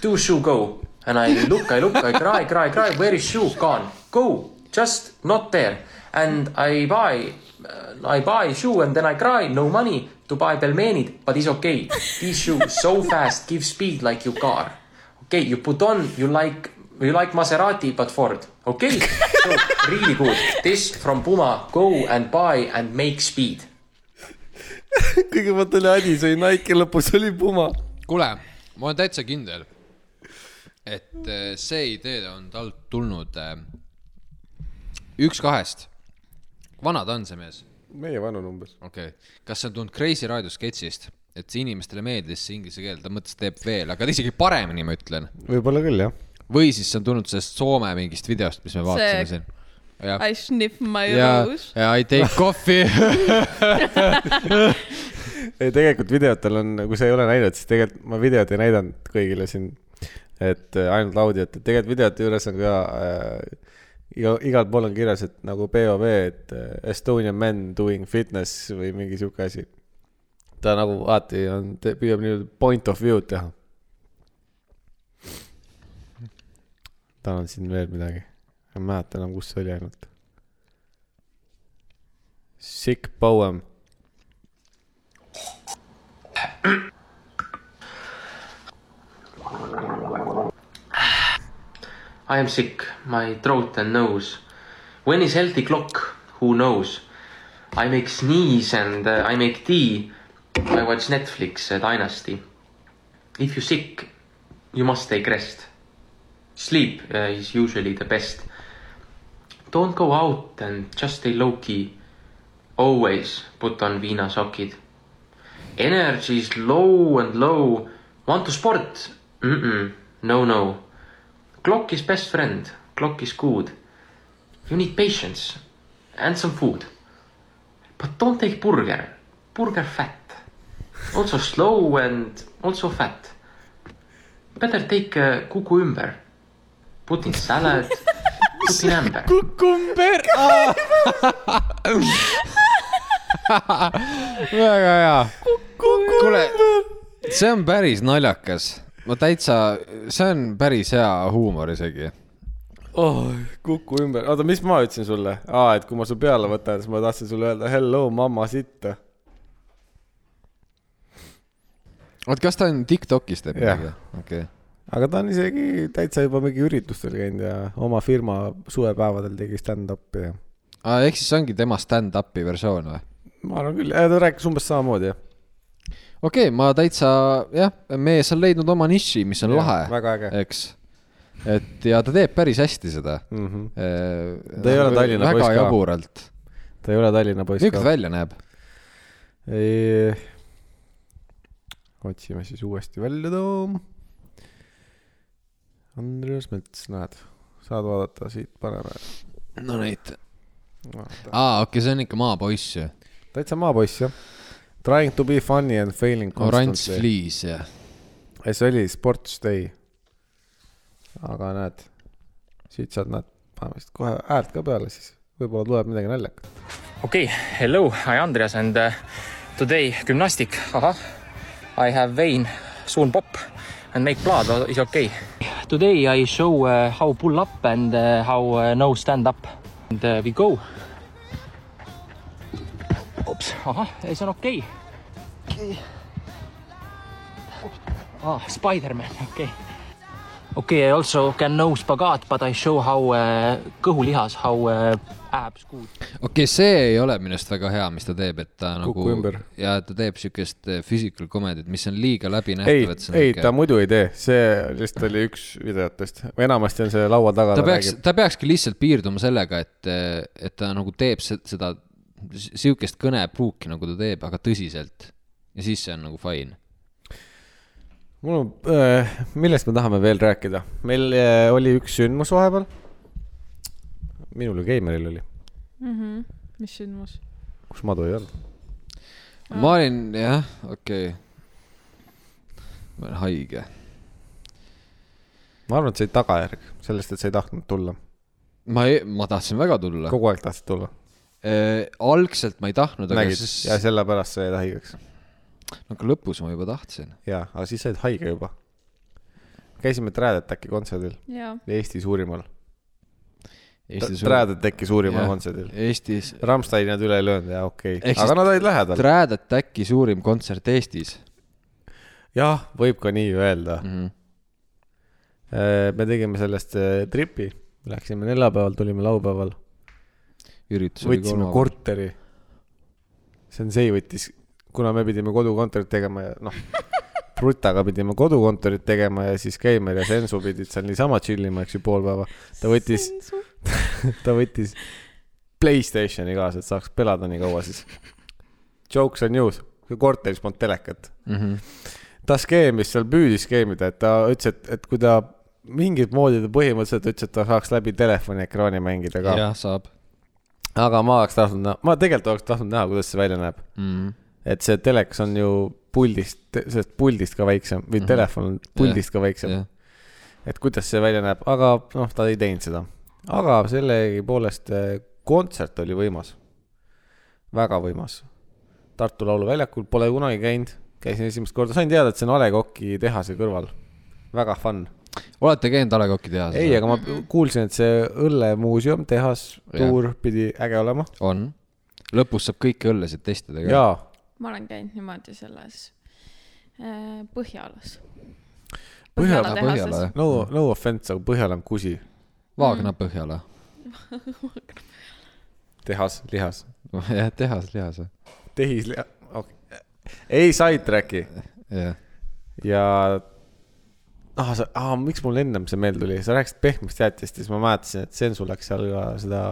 two shoe go and I look, I look, I cry, cry, cry. Where is shoe gone? Go, just not there. And I buy, uh, I buy shoe and then I cry. No money to buy pelmeenid, but it's okay. These shoe so fast, give speed like your car. Okay, you put on, you like, you like Maserati but Ford. Okay, so really good. This from Puma, go and buy and make speed. kõigepealt oli Adi , sai Nike , lõpus oli Puma . kuule , ma olen täitsa kindel , et eh, see idee on talt tulnud eh, üks kahest . vana ta on , see mees ? meie vanune umbes . okei okay. , kas see on tulnud Kreisi raadio sketšist , et see inimestele meeldis see inglise keel , ta mõtles , et teeb veel , aga ta isegi paremini , ma ütlen . võib-olla küll , jah . või siis see on tulnud sellest Soome mingist videost , mis me vaatasime See- siin . jah , I sniff my ja , rose . ja I take coffee ei , tegelikult videotel on , kui sa ei ole näinud , siis tegelikult ma videot ei näidanud kõigile siin , et äh, ainult audiot , et tegelikult videote juures on ka äh, iga , igal pool on kirjas , et nagu POV , et äh, Estonian men doing fitness või mingi sihuke asi . ta nagu alati on , püüab nii-öelda point of view'd teha . tal on siin veel midagi , ma ei mäleta enam , kus see oli ainult . Sick poem I am sick, my throat and nose. When is healthy clock? Who knows? I make sneeze and uh, I make tea. I watch Netflix uh, Dynasty. If you're sick, you must take rest. Sleep uh, is usually the best. Don't go out and just stay low key. Always put on Vina sokid. Energy is low and low. Want to sport? Mm-mm. No, no. Clock is best friend. Clock is good. You need patience and some food. But don't take burger. Burger fat. Also slow and also fat. Better take uh, cucumber. Put in salad. Put in amber. kumber . väga hea . kuule , see on päris naljakas , ma täitsa , see on päris hea huumor isegi . oh, . kuku ümber , oota , mis ma ütlesin sulle ah, , et kui ma su peale võtan , siis ma tahtsin sulle öelda hello mamma sitta . oot , kas ta on Tiktokis teeb Jah. midagi ? okei okay. , aga ta on isegi täitsa juba mingi üritustel käinud ja oma firma suvepäevadel tegi stand-up'i ja ehk siis see ongi tema stand-up'i versioon või ? ma arvan küll , ta rääkis umbes samamoodi jah . okei okay, , ma täitsa jah , mees on leidnud oma niši , mis on Jah, ja, lahe , väga äge. eks . et ja ta teeb päris hästi seda Mm -hmm. eh, Ta ei ole nagu Tallinna väga poiss ka. jaburalt , ta ei ole Tallinna poiss milline ta ka . välja näeb ? otsime siis uuesti välja too . Andreas Mets , näed , saad vaadata siit paremale . no neid aa ah, , okei okay, , see on ikka maapoiss ju . täitsa maapoiss jah . Trying to be funny and failing oranž constantly . fliis ja see oli Sports Day . aga näed , siit saad , näed , paneme vist kohe häält ka peale , siis võib-olla tuleb midagi naljakat . Okay, hello, I Andreas and uh, today gymnastic. Aha. I have vein, soon pop and make blood uh, is okay. Today I show uh, how pull up and uh, how uh, no stand up. And uh, we go. Oops, ahah, ei, see on okei okay. . Ah, Spider-man , okei okay. . okei okay, , I also can no spagaat but I show how uh, kõhulihas , how uh, abs good . okei okay, , see ei ole minu arust väga hea , mis ta teeb , et ta Kuku nagu ümber. ja et ta teeb siukest eh, physical comedy't , mis on liiga ei läbinähtav , et , see on ei ta niisugune- muidu ei tee , see lihtsalt oli üks videotest , enamasti on see laua taga . ta peaks , ta peakski lihtsalt piirduma sellega , et , et ta nagu teeb se- seda si- siukest kõnepruuki , nagu ta teeb , aga tõsiselt . ja siis see on nagu fine . mul on äh, , millest me tahame veel rääkida , meil äh, oli üks sündmus vahepeal . minul ja Keimeril oli , mis sündmus ? kus madu ei olnud . ma olin , jah , okei okay. . ma olen haige . ma arvan , et see oli tagajärg sellest , et sa ei tahtnud tulla , ma ei , ma tahtsin väga tulla . kogu aeg tahtsid tulla , Äh, algselt ma ei tahtnud , aga nägid siis , ja sellepärast sa jäid haigeks . aga lõpus ma juba tahtsin . jaa , aga siis said haige juba . käisime Trad Attacki kontserdil , jaa , Eesti suurimal . Eestis , Trad Attacki suurimal Jah. kontserdil . Eestis , Rammsteini nad üle ei löönud ja okei Ehk okay. , siis aga nad olid lähedal . Trad Attacki suurim kontsert Eestis jah , võib ka nii öelda mm . -hmm. me tegime sellest äh, tripi , läksime neljapäeval , tulime laupäeval , üritus oli võtsime kolmapäeval . korteri . Sensei võttis , kuna me pidime kodukontorit tegema ja noh , Brutaga pidime kodukontorit tegema ja siis Keimer ja Sensu pidid seal niisama chill ima , eks ju , pool päeva . ta võttis , ta võttis Playstationi kaasa , et saaks pelada nii kaua siis . Jokes on you , korteris polnud telekat Mm -hmm. ta skeemis seal , püüdis skeemida , et ta ütles , et , et kui ta mingit moodi ta põhimõtteliselt ütles , et ta saaks läbi telefoniekraani mängida ka . jah , saab aga ma oleks tahtnud näha , ma tegelikult oleks tahtnud näha , kuidas see välja näeb . mm . -hmm. et see telekas on ju puldist , sellest puldist ka väiksem või Mhm. telefon on puldist ka väiksem . jah , et kuidas see välja näeb , aga noh , ta ei teinud seda . aga sellegipoolest eh, kontsert oli võimas . väga võimas . Tartu Lauluväljakul pole kunagi käinud , käisin esimest korda , sain teada , et see on A Le Coqi tehase kõrval . väga fun . olete käinud A Le Coqi tehases ? ei , aga ma kuulsin , et see õllemuuseum , tehas , Jah. tuur pidi äge olema . on . lõpus saab kõiki õllesid testida ka . jaa , ma olen käinud niimoodi selles äh, Põhjalas . Põhjala- Põhjala Põhjala tehases . jah , no , no offense , aga Põhjala on kusi , Vaagna Põhjala . tehas , lihas , jah , tehas lihas või ? tehisliha okay. . ei , sidetrack'i jah , ja ah, , sa ah, , miks mul ennem see meelde tuli , sa rääkisid pehmest jäätist ja siis ma mäletasin , et Sensu läks seal ka seda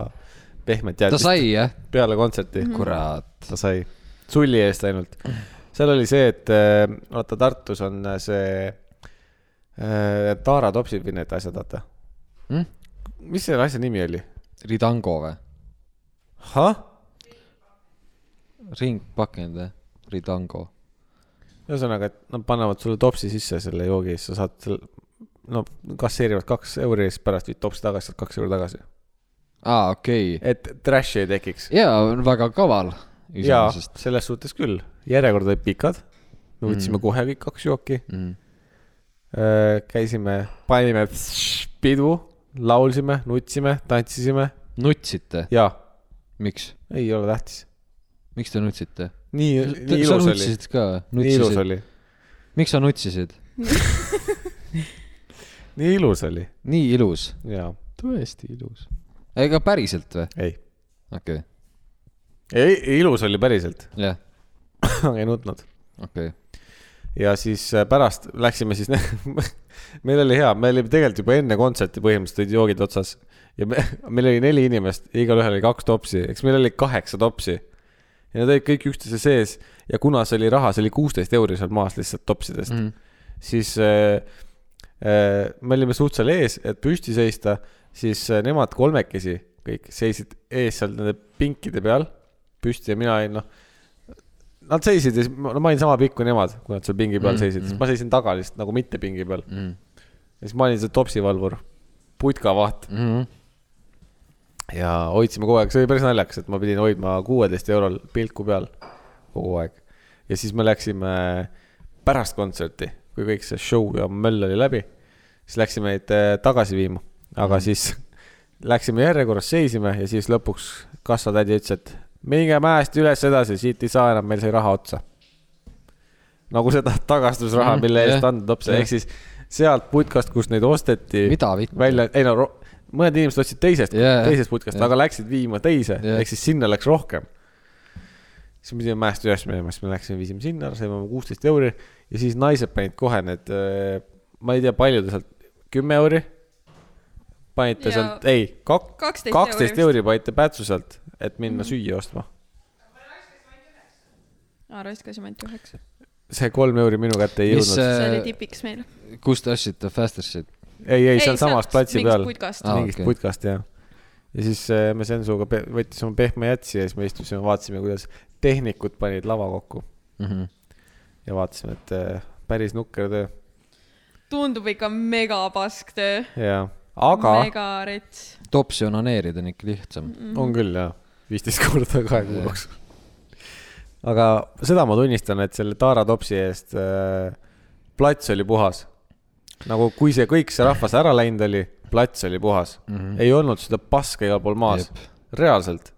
pehmet ta jäätist sai jah , peale kontserti . Mhm. kurat . ta sai , sulli eest ainult . seal oli see , et äh, vaata Tartus on see äh, Taara topsib või need asjad , vaata Mm? mis selle asja nimi oli ? Ridango või ? ahah , ringpakend või ? Ridango . ühesõnaga , et nad panevad sulle topsi sisse selle joogi ja siis sa saad selle , no kasseerivad kaks euri ja siis pärast viid topsi tagasi , saad kaks euri tagasi . aa , okei okay. . et trash'i ei tekiks . jaa , väga kaval jaa , iseenesest . selles suhtes küll , järjekord olid pikad , me võtsime mm. kohe kõik kaks jooki , Mm. käisime , panime pidu , laulsime , nutsime , tantsisime nutsite , ja miks , ei ole tähtis . miks te nutsite ? nii , nii sa ilus oli , nutsisid ka või ? nii ilus nutsisid , oli , miks sa nutsisid ? nii ilus oli nii ilus . ja tõesti ilus . ega päriselt või ? ei , okei okay. , ei ilus oli päriselt , jah , ei nutnud okei okay. . ja siis äh, pärast läksime siis , meil oli hea , me olime tegelikult juba enne kontserti põhimõtteliselt olid joogid otsas ja me, meil oli neli inimest , igalühel oli kaks topsi , eks meil oli kaheksa topsi . ja nad olid kõik üksteise sees ja kuna see oli raha , see oli kuusteist euri seal maas lihtsalt topsidest mm , -hmm. siis äh, äh, me olime suht seal ees , et püsti seista , siis äh, nemad kolmekesi kõik seisid ees seal nende pinkide peal , püsti ja mina olin noh , nad seisid ja siis ma ma olin sama pikk kui nemad , kui nad seal pingi peal seisid , siis ma seisin taga lihtsalt nagu mitte pingi peal . ja siis ma olin see topsivalvur , putkavaht mm . ja hoidsime kogu aeg , see oli päris naljakas , et ma pidin hoidma kuueteist eurol pilku peal kogu aeg . ja siis me läksime pärast kontserti , kui kõik see show ja möll oli läbi , siis läksime neid eh, tagasi viima , aga Mhm. siis läksime järjekorras , seisime ja siis lõpuks kassatädi ütles , et minge mäest üles edasi , siit ei saa enam , meil sai raha otsa . nagu seda tagastusraha , Mhm, mille eest jah, andnud lapse , jah. ehk siis sealt putkast , kus neid osteti . Mida vittu? välja , ei no ro- mõned inimesed ostsid teisest Jajah. yeah, , teisest putkast Jah. yeah. , aga läksid viima teise Jah. yeah. , ehk siis sinna läks rohkem . siis me pidime mäest üles minema , siis me läksime , viisime sinna , saime oma kuusteist euri ja siis naised panid kohe need , ma ei tea , palju ta sealt , kümme euri . panite yeah. Ja- sealt , ei , kak- , 12 kaksteist euri euri panite päätsu sealt , et minna mm. süüa ostma . aa , raiskasime ainult üheks . see kolm euri minu kätte ei mis äh, jõudnud ., see oli tipiks meil . kus te ostsite Fastersit ? ei , ei , sealsamas platsi peal . putkast Aa, ah, , mingist okei. okay. putkast jah . ja siis äh, me Sensuga pe- võttis oma pehme jätsi ja siis me istusime , vaatasime , kuidas tehnikud panid lava kokku Mhm. ja vaatasime , et äh, päris nukker töö tundub ikka mega pask töö . ja , aga Mega. mega rets . topsi onaneerida on ikka lihtsam . on küll jah , viisteist korda kahe kuu jooksul . aga seda ma tunnistan , et selle Taara topsi eest äh, plats oli puhas . nagu kui see kõik see rahvas ära läinud oli , plats oli puhas mm , Mhm. -hmm. ei olnud seda paska igal pool maas , reaalselt .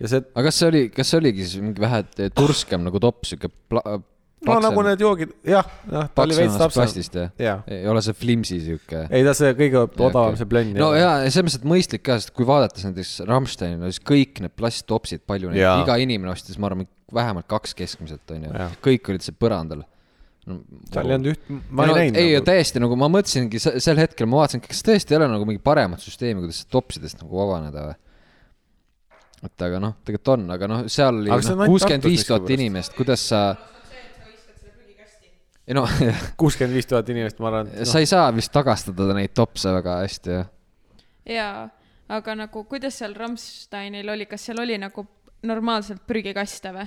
ja see aga kas see oli , kas see oligi siis mingi vähe et- turskem nagu tops , sihuke pla- ? no nagu need joogid , jah , jah , ta oli veits täpsem . plastist jah ? jaa , ei ole see flimsi sihuke ? ei ta see kõige odavam see blend . no ja , ja selles mõttes , et mõistlik ka , sest kui vaadates näiteks Rammsteini , no siis kõik need plasttopsid , palju neid Jaa. , iga inimene ostis , ma arvan , vähemalt kaks keskmiselt onju Jaa. , kõik olid seal põrandal . seal ei olnud üht , ma ei no, näinud . ei nagu... , täiesti nagu ma mõtlesingi se- sel hetkel , ma vaatasin , kas tõesti ei ole nagu mingi paremat süsteemi , kuidas topsidest nagu vabaneda või ? et aga noh , tegelikult on , aga noh , seal Aga see on oli ainult kuuskümmend viis Tartus tuhat miskipärast. inimest , kuidas sa . ei no , kuuskümmend viis tuhat inimest , ma arvan , et noh, sa ei saa vist tagastada neid topse väga hästi , jah . jaa , aga nagu kuidas seal Rammsteinil oli , kas seal oli nagu normaalselt prügikaste või ?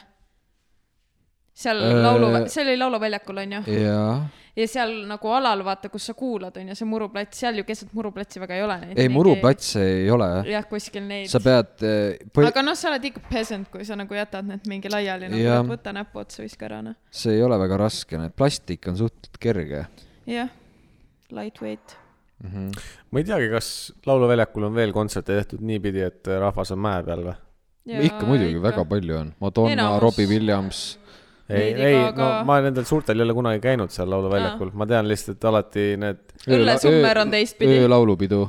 seal Öö. laulu , see oli lauluväljakul onju , jaa . ja seal nagu alal vaata , kus sa kuulad onju , see muruplats , seal ju keset muruplatsi väga ei ole neid . ei , muruplatse ei ole , jah . jah , kuskil neid sa . pead eh, põhi... , aga noh , sa oled ikka peasant , kui sa nagu jätad need mingi laiali , nagu Jah. et võta näpu otsa , viska ära noh . see ei ole väga raske , need plastik on suhteliselt kerge . jah , lightweight . ma ei teagi , kas Lauluväljakul on veel kontserte tehtud niipidi , et rahvas on mäe peal või ? ikka muidugi ikka. väga palju on , Madonna , Enamus- Robbie Williams ei , Lady ei , no Gaga. ma nendel suurtel ei ole kunagi käinud seal Lauluväljakul , ma tean lihtsalt , et alati need õllesummer on teistpidi. öölaulupidu .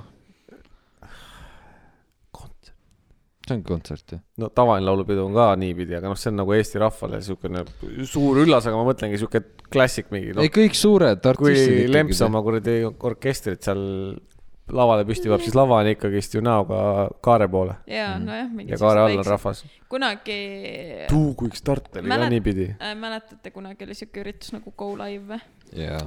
see ongi kontsert ju . no tavaline laulupidu on ka niipidi , aga noh , see on nagu Eesti rahvale niisugune suur üllas , aga ma mõtlengi niisugune klassik mingi noh ei , kõik suured kui artistid Lemps . oma kuradi orkestrit seal lavale püsti peab , siis lava on ikkagist ju näoga kaare poole jaa , Mm. nojah , mingi . ja kaare all on . rahvas . kunagi tuu , kui üks start oli ka Mälet- niipidi . Äh, mäletate , kunagi oli siuke üritus nagu Go Live või ? jaa ,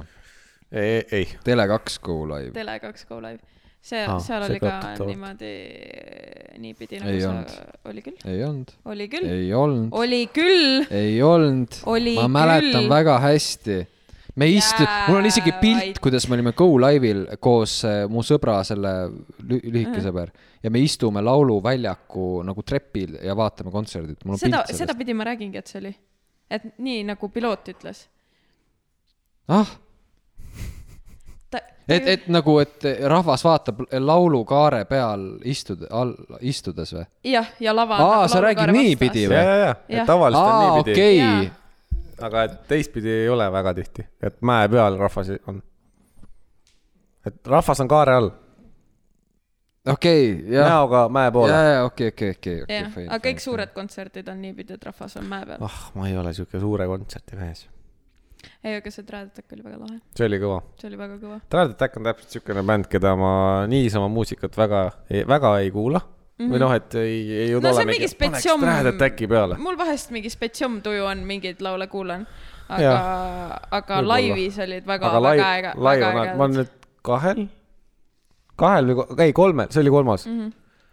ei , ei , Tele2 Go Live . Tele2 Go Live . see Aa, ah, , seal see oli ka ka tuttavalt. niimoodi , niipidi nagu Ei sa olnud. , oli küll , ei olnud , oli küll , ei olnud , oli küll . ei olnud . Oli ma mäletan küll. väga hästi . me istu- , mul on isegi pilt , Jäävaid. kuidas me olime Go Live'il koos äh, mu sõbra , selle lü- lühike Äh. sõber ja me istume lauluväljaku nagu trepil ja vaatame kontserdit . mul on seda , pilt sellest . sedapidi ma räägingi , et see oli , et nii nagu piloot ütles . ah ta , et , et nagu , et rahvas vaatab laulukaare peal istud- , all , istudes või ? jah , ja lava . Aa, sa räägid niipidi ja , ja , või? ja , Jah. et tavaliselt on aa , niipidi , okei , Jaa. aga et teistpidi ei ole väga tihti , et mäe peal rahvas on . et rahvas on kaare all , okei , jah , näoga mäe ja , poole . ja okei , okei , okei , jah , okei . aga kõik . suured kontserdid on niipidi , et rahvas on mäe peal . ah , ma ei ole niisugune suure kontserti mees . ei , aga see Trad Attack oli väga lahe , see oli kõva see oli väga kõva . Trad Attack on täpselt niisugune bänd , keda ma niisama muusikat väga , väga ei kuula mm . -hmm. või noh , et ei , ei No jõuda see on mingi spetsiom- Trad Attacki peale . mul vahest mingi spetsium tuju on , mingeid laule kuulan , aga Jah. , aga Võib-olla. laivis olid väga , aga väga live äge ,, live väga on , ma olen ägedad . nüüd kahel , Mhm. kahel või ko- ei kolmel , see oli kolmas mm . -hmm.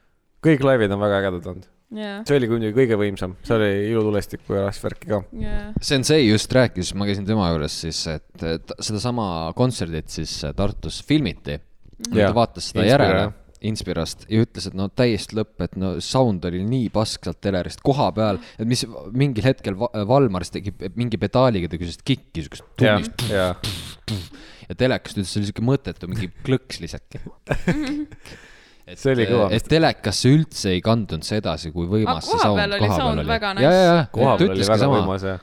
kõik laivid on väga ägedad olnud . jaa , see oli muidugi kõige võimsam , see oli ilutulestiku ja värki ka . jaa . Sensei just rääkis , ma käisin tema juures siis , et eh, ta- sedasama kontserdit siis eh, Tartus filmiti . ta Mhm. Jaa. vaatas seda Inspira, järele jah. Inspirast ja ütles , et no täiesti lõpp , et no sound oli nii pask sealt telerist koha peal , et mis mingil hetkel Va- Valmaris tegi pe- mingi pedaaliga tegi sellist kikki , siukest ja tunnist , ja ja telekast ütles , see oli siuke mõttetu mingi klõks lisake . see oli kõva . et telekasse üldse ei kandunud see edasi , kui võimas see Ah, koha sound peal oli sound väga nice. ja , ja , ja , ta kohapeal oli ütles ka väga sama , võimas ja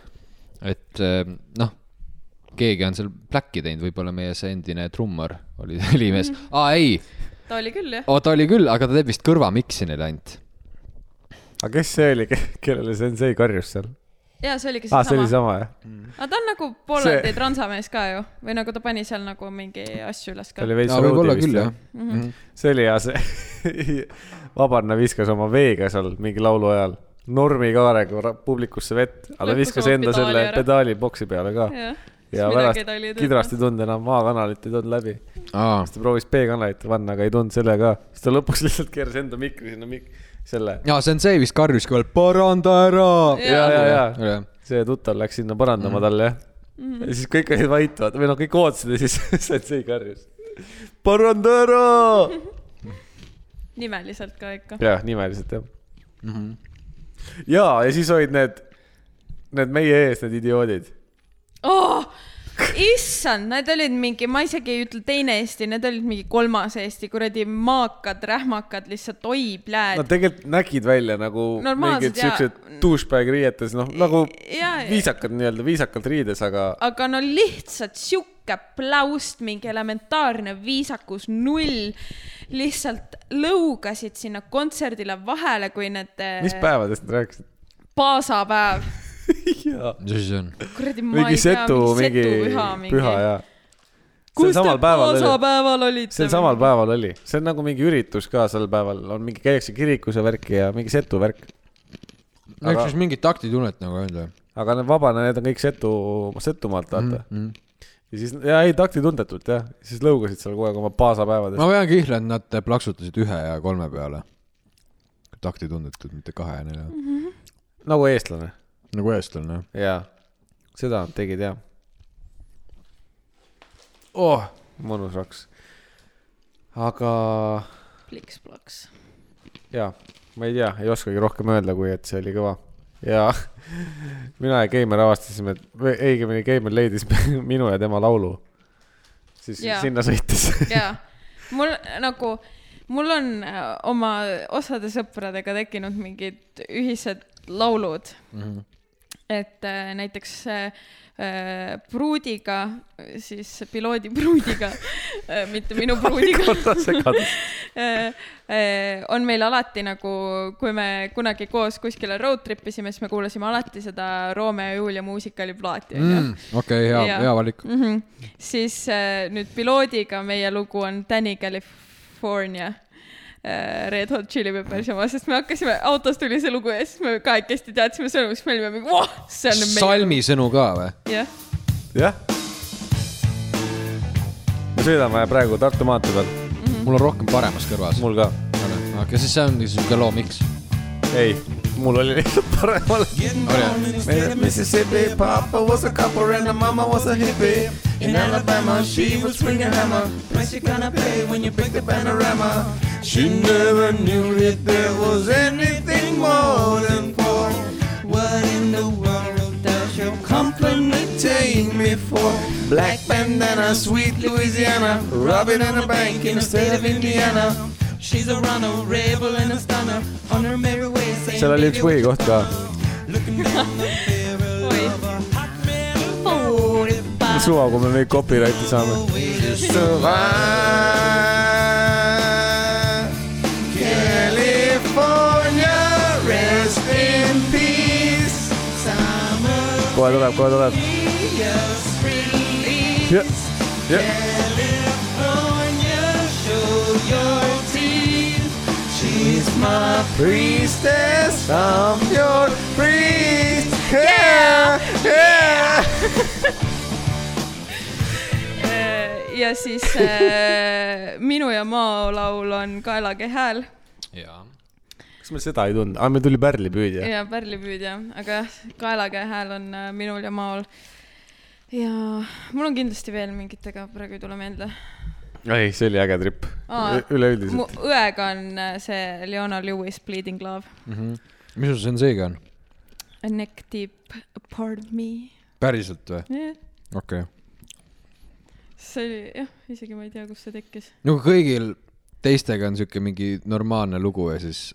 et eh, noh , keegi on seal pläkki teinud , võib-olla meie see endine trummar oli helimees . Mhm. aa , ei , ta oli küll Oh. jah . ta oli küll , aga ta teeb vist kõrvamiksi neile ainult . aga kes see oli , kellele sensei karjus seal ? jaa , see oligi aa , Ah, see siis oli sama sama . jah ? aga ta on nagu Poolandi See- transamees ka ju , või nagu ta pani seal nagu mingi asju üles ta ka . oli veits võib-olla roadie vist küll jah jah .. see oli hea , see Vabarna viskas oma veega seal mingi laulu ajal normikaarega ra- publikusse vett , aga ta Lõpuks viskas oma enda pedaali selle ära. pedaali boksi peale ka . ja pärast kidrast ei tulnud enam A-kanalit ei tulnud läbi , aa , siis ta proovis B-kanalit panna , aga ei tulnud selle ka , siis ta lõpuks lihtsalt keeras enda mikri sinna mik- , selle . ja Sensei vist karjus ka veel , paranda ära . ja , ja , ja Jah. see tuttav läks sinna parandama talle jah . Mhm. ja siis kõik olid vait , vaata , või noh , kõik ootasid ja siis sensei karjus . paranda ära . nimeliselt ka ikka . jah , nimeliselt jah . ja , ja siis olid need , need meie ees , need idioodid . oh, . issand , need olid mingi , ma isegi ei ütle teine Eesti , need olid mingi kolmas Eesti , kuradi maakad , rähmakad , lihtsalt oi pläed Nad . tegelikult nägid välja nagu Normaalsed mingid ja- siuksed douchebag riietes , noh nagu ja- viisakad nii-öelda , viisakalt riides , aga aga no lihtsalt sihuke pläust , mingi elementaarne viisakus null , lihtsalt lõugasid sinna kontserdile vahele , kui need . mis ? päevadest nad rääkisid ? paasapäev , jaa . mis asi see on ? kuradi , ma mingi ei tea , setu , mingi setupüha püha mingi . ja . kus te oli ? paasapäeval olite ? sel samal . päeval oli , see on nagu mingi üritus ka sel päeval , on mingi , käiakse kirikus ja värki ja mingi setu värk . eks siis mingit taktitunnet nagu öelda . aga need vabana , need on kõik Setu , Setumaalt , vaata mm . -hmm. ja siis , ja ei takti tundetult jah , siis lõugasid seal kogu aeg oma paasapäevades no. . ma pean kihla , et nad plaksutasid ühe ja kolme peale . taktitundetud , mitte kahe ja nelja . nagu eestlane . nagu eestlane . jaa , seda nad tegid jah . oh , mõnus raks . aga pliks-plaks . jaa , ma ei tea , ei oskagi rohkem öelda , kui et see oli kõva ja mina ja Keimar avastasime , või õigemini Keimar leidis minu ja tema laulu . siis Jaa. ja. sinna sõitis . jaa , mul nagu , mul on äh, oma osade sõpradega tekkinud mingid ühised laulud mm . Mhm. -hmm. et äh, näiteks äh, äh, pruudiga , siis piloodi pruudiga äh, , mitte minu pruudiga korra segadus . Äh, äh, on meil alati nagu , kui me kunagi koos kuskile road trip isime , siis me kuulasime alati seda Romeo ja Julia muusikali plaati , onju Mm. okei , hea , Jaa. hea valik . mm . -hmm. siis äh, nüüd piloodiga meie lugu on Danny California äh, Red Hot Chili Peppersi oma , sest me hakkasime , autos tuli see lugu ja siis me kahekesti teadsime sõnu , siis me olime mingi , voh , see on meie . salmi sõnu ka või ? jah , jah . me sõidame praegu Tartu maantee peal , mul on rohkem paremas kõrvas . mul ka . okei , siis see on niisugune loo , miks ? ei , mul oli lihtsalt paremal . Mississippi. Papa was a copper and the mama was a hippie. In Alabama, she was swinging hammer. Price you gonna pay when you pick the panorama. She never knew that there was anything more than poor. What in the world does your compliment take me for? Black bandana, sweet Louisiana, robbing in a bank in the state of Indiana. She's a runner, rebel and a stunner. On her merry way, saying, seal oli üks põhikoht ka . oi . suva , kui me mingi copyright'i saame . survive. California, rest in peace. Summer kohe tuleb , kohe tuleb . breeze. jah , jah . California, show your teeth. She's my priestess. I'm your priest. Yeah, yeah. ja siis äh, minu ja Mao laul on Kaelage hääl . jaa . kas miks me seda ei tundnud , aa , meil tuli pärlipüüdja . ja pärlipüüdja , aga jah , kaelakäe hääl on äh, minul ja maol . ja mul on kindlasti veel mingitega , praegu ei tule meelde . ei , see oli äge trip . Aa, mu üleüldiselt . õega on äh, see Leona Lewis Bleeding Love . mis sul senseega on ? A neck deep part of me päriselt või ? yeah. . okei okay. . see oli jah , isegi ma ei tea , kust see tekkis . no kui Nagu kõigil teistega on siuke mingi normaalne lugu ja siis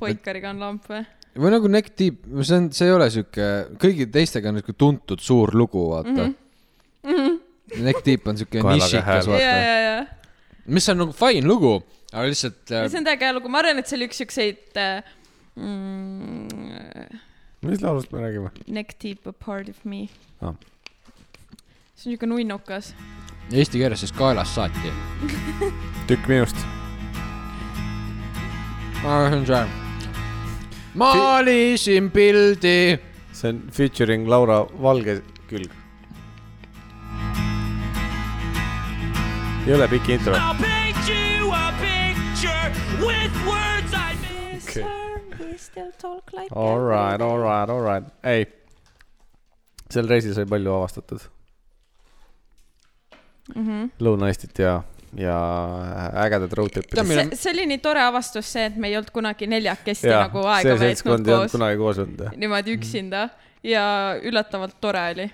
Poikariga on lamp või ? või nagu Neck Deep , see on , see ei ole siuke , kõigi teistega on niisugune tuntud suur lugu , vaata mm . -hmm. Neck Deep on siuke Kaelaga hääl. nišikas , ja , vaata ja , ja , mis on nagu fine lugu , aga lihtsalt ja äh, see on täiega hea lugu , ma arvan , et see oli üks siukseid äh, mm, mis laulust me räägime ? neck deep a part of me Ah. ah. . see on niuke nunnukas . eesti keeles siis kaelast saati . tükk minust . see on see . maalisin pildi . see on featuring Laura Valge külg . ei ole pikk intro . I'll paint you a picture with words I made. Okay. Alright , alright , alright , ei . sel reisil sai palju avastatud mm Mhm. -hmm. . Lõuna-Eestit ja , ja ägedat road trip'i . Tead, Meil see on- , see oli nii tore avastus , see , et me ei olnud kunagi neljakesti ja, jaa nagu , aega see veetnud seltskond ei olnud koos , kunagi koos olnud jah . niimoodi üksinda ja üllatavalt tore oli .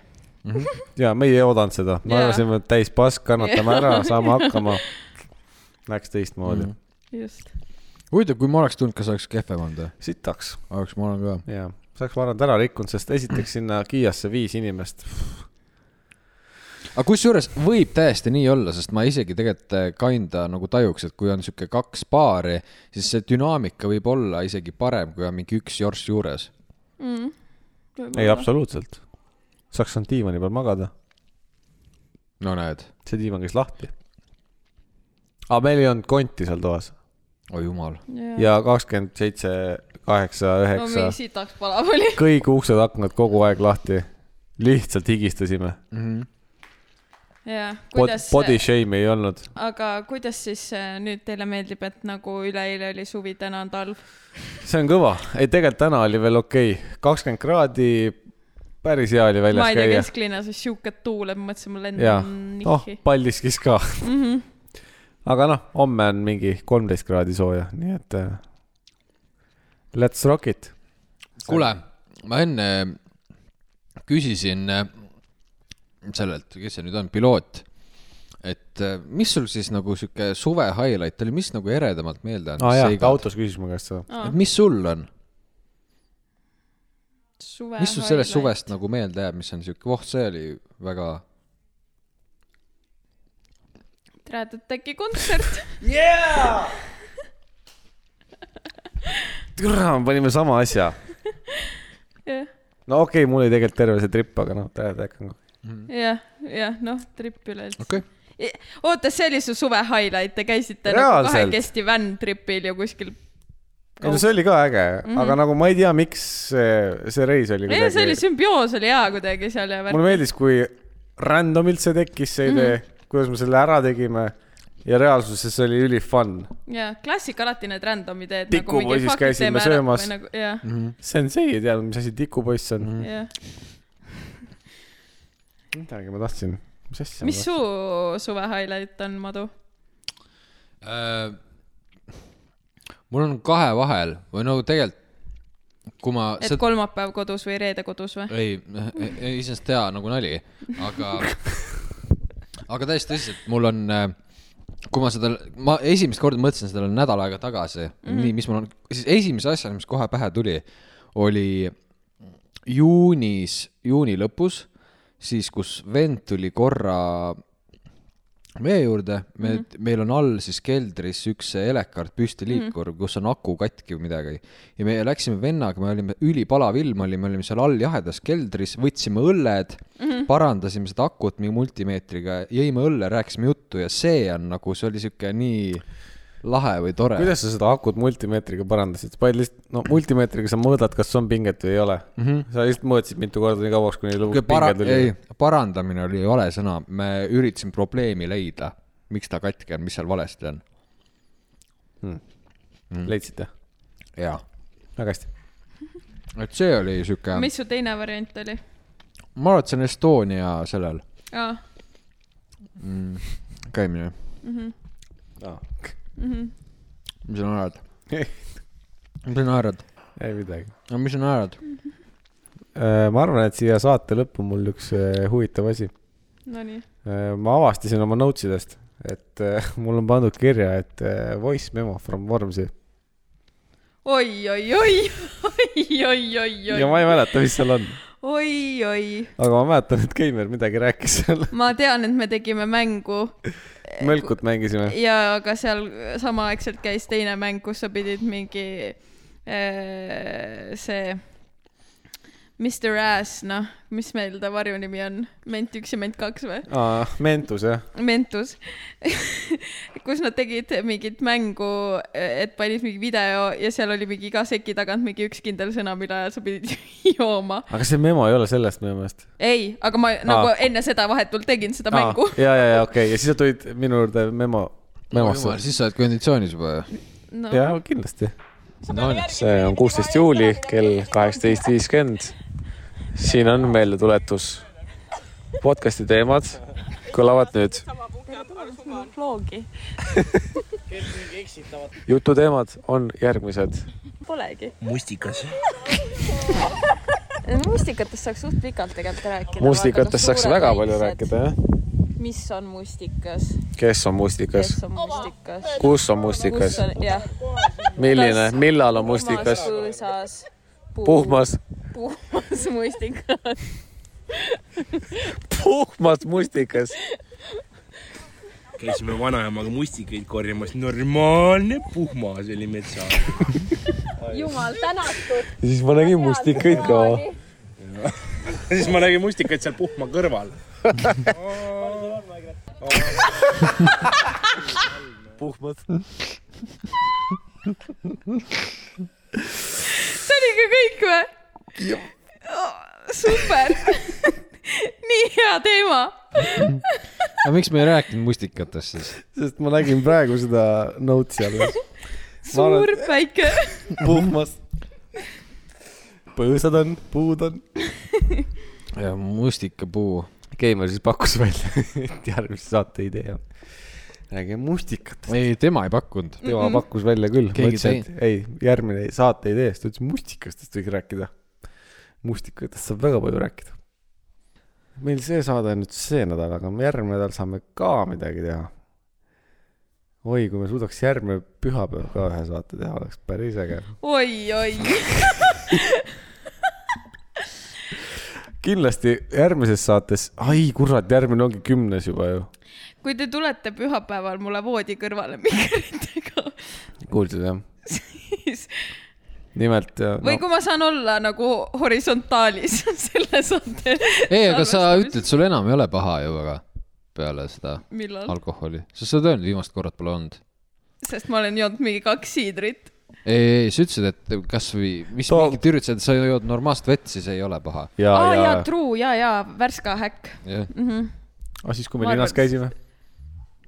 ja meie ei oodanud seda , me Jaa. arvasime , et täis pask , kannatame ära , saame hakkama . Läks teistmoodi mm -hmm. , just . huvitav , kui ma oleks tulnud , kas oleks kehvem olnud või ? sitaks oleks , ma olen ka . jaa , see oleks ma arvan täna rikkunud , sest esiteks sinna Kiiasse viis inimest . aga kusjuures võib täiesti nii olla , sest ma isegi tegelikult äh, kinda nagu tajuks , et kui on sihuke kaks paari , siis see dünaamika võib olla isegi parem , kui on mingi üks jorss juures . ei ,. absoluutselt . saaks saanud diivani peal magada , no näed , see diivan käis lahti . aga meil ei olnud konti seal toas oi jumal . ja kakskümmend seitse , kaheksa , no üheksa mingi , sitaks palav oli . kõik uksed-aknad kogu aeg lahti . lihtsalt higistasime , jaa , kuidas , body shame ei olnud . aga kuidas siis äh, nüüd teile meeldib , et nagu üleeile oli suvi , täna on talv ? see on kõva , ei tegelikult täna oli veel okei okay. , kakskümmend kraadi , päris hea oli ma väljas ei tea , käia . kesklinnas oli siuke tuul , et ma mõtlesin , ma jaa lendan , noh nihki , Paldiskis ka mm . -hmm. Mhm. aga noh , homme on mingi kolmteist kraadi sooja , nii et äh, let's rock it . kuule , ma enne küsisin äh, sellelt , kes see nüüd on , piloot , et äh, mis sul siis nagu sihuke suve highlight oli , mis nagu eredamalt meelde on aa ah, jaa , ta seigad? autos küsis mu käest Ah. seda . et mis sul on , suve . mis sul sellest ? suvest nagu meelde jääb , mis on sihuke , voh , see oli väga tead , et äkki kontsert . türa , me panime sama asja . jah , no okei okay, , mul oli tegelikult terve see trip , aga noh , tähendab ikka . jah , jah , noh , trip üleüldse okei okay. . I- oota , see oli su suve highlight , te käisite nagu Reaalselt. kahekesti van-tripil ju kuskil . ei no see oli ka äge mm , -hmm. aga nagu ma ei tea , miks see , see reis oli Mhm. ei , see oli sümbioos oli hea kuidagi seal ja värk . Mhm. mulle meeldis , kui random'ilt see tekkis , see idee mm , -hmm. kuidas me selle ära tegime ja reaalsuses see oli üli fun . jaa , klassika alati need nagu random ideed . Tikupoisis käisime söömas. Mhm. nagu, . jah , Sensei ei teadnud , mis asi tikupoiss on mm . jah . -hmm. midagi ma tahtsin , mis asja . mis su suve highlight on , Madu ? Äh, mul on kahe vahel või no tegelikult , kui ma et seda kolmapäev kodus või reede kodus või ? ei , ei iseenesest hea nagu nali , aga , aga täiesti tõsiselt , mul on , kui ma seda , ma esimest korda mõtlesin sellele nädal aega tagasi mm , -hmm. nii , mis mul on , siis esimese asjana , mis kohe pähe tuli , oli juunis , juuni lõpus , siis kus vend tuli korra meie juurde , me mm , -hmm. meil on all siis keldris üks Elekart püstiliikur mm , -hmm. kus on aku katki või midagi . ja me läksime vennaga , me olime , ülipalav ilm oli , me olime seal all jahedas keldris , võtsime õlled mm , -hmm. parandasime seda akut mingi multimeetriga , jõime õlle , rääkisime juttu ja see on nagu , see oli sihuke nii lahe või tore . kuidas sa seda akut multimeetriga parandasid , sa panid lihtsalt , no multimeetriga sa mõõdad , kas on pinget või ei ole mm . -hmm. sa lihtsalt mõõtsid mitu korda nii kauaks , kuni Kui lõpuks para- pinge , tuli ei ,. parandamine oli vale sõna , me üritasime probleemi leida , miks ta katki on , mis seal valesti on hmm. . mm. , leidsite ? jaa . väga hästi . et see oli sihuke , mis su teine variant oli ? ma arvan , et see on Estonia sellel aa , käimine . mis sa naerad ? mis sa naerad ? ei midagi . no mis sa naerad ? Äh, ma arvan , et siia saate lõppu mul üks äh, huvitav asi . nonii . Äh, ma avastasin oma notes idest , et äh, mul on pandud kirja , et äh, voice memo from Vormsi oi , oi , oi , oi , oi , oi , ja ma oi , ei mäleta , mis seal on , oi , oi . aga ma mäletan , et Keimer midagi rääkis seal . ma tean , et me tegime mängu mõlkut mängisime . ja aga seal samaaegselt käis teine mäng , kus sa pidid mingi äh, see Mr Ass , noh , mis meil ta varjunimi on , ment üks ja ment kaks või ? Aa, Mentus jah , Mentus , kus nad tegid mingit mängu , et panid mingi video ja seal oli mingi iga seki tagant mingi üks kindel sõna , mille ajal sa pidid jooma . aga see memo ei ole sellest minu meelest . ei , aga ma nagu enne seda vahetult tegin seda mängu . ja , ja , ja okei okay. , ja siis sa tulid minu juurde memo , memosse . siis sa oled konditsioonis juba ju . No, jaa , kindlasti . see on kuusteist juuli kell kaheksateist viiskümmend . siin on meeldetuletus . podcasti teemad kõlavad nüüd . vloogi , jututeemad on järgmised . polegi . mustikas . mustikatest saaks suht pikalt tegelikult rääkida . noh, mustikatest saaks väga palju rääkida , jah . mis on mustikas , kes on mustikas , kes on mustikas , kus on kus mustikas , on , jah . milline , millal on mustikas , põõsas , puhmas , puhmas mustikas , puhmas mustikas . käisime vanaemaga mustikaid korjamas , normaalne puhmas oli metsas . jumal tänatud . ja siis ma nägin mustikaid ka . siis ma nägin mustikaid seal puhma kõrval . puhmad . see oli ka kõik või ? super , nii hea teema . aga miks me ei rääkinud mustikatest siis ? sest ma nägin praegu seda notes'i alles . suur päike , puhmas . põõsad on , puud on . jah , mustikapuu . Keimer siis pakkus välja , et järgmise saate idee on . räägime mustikatest . ei , tema ei pakkunud . tema pakkus välja küll , ma Keegi ütlesin , et ei , järgmine saate idee , siis ta ütles mustikastest võiks rääkida . mustikatest saab väga palju rääkida . meil see saade on nüüd see nädal , aga me järgmine nädal saame ka midagi teha . oi , kui me suudaks järgmine pühapäev ka ühe saate teha , oleks päris äge . oi , oi , kindlasti järgmises saates , ai kurat , järgmine ongi kümnes juba ju . kui te tulete pühapäeval mulle voodi kõrvale mikritega , kuulsid jah ? siis nimelt . või kui ma saan olla nagu horisontaalis selle saate . ei , aga sa . ütled , sul enam ei ole paha ju väga peale seda millal ? alkoholi , sest sa oled öelnud , viimast korrat pole olnud . sest ma olen joonud mingi kaks siidrit . ei , ei , sa ütlesid , et kasvõi , mis Too- mingit üritused , sa jood normaalset vett , siis ei ole paha . ja , aa ja jaa ,, true ja , ja värska häkk , jah , aga Ah, siis , kui me Ma linnas arvan- käisime ,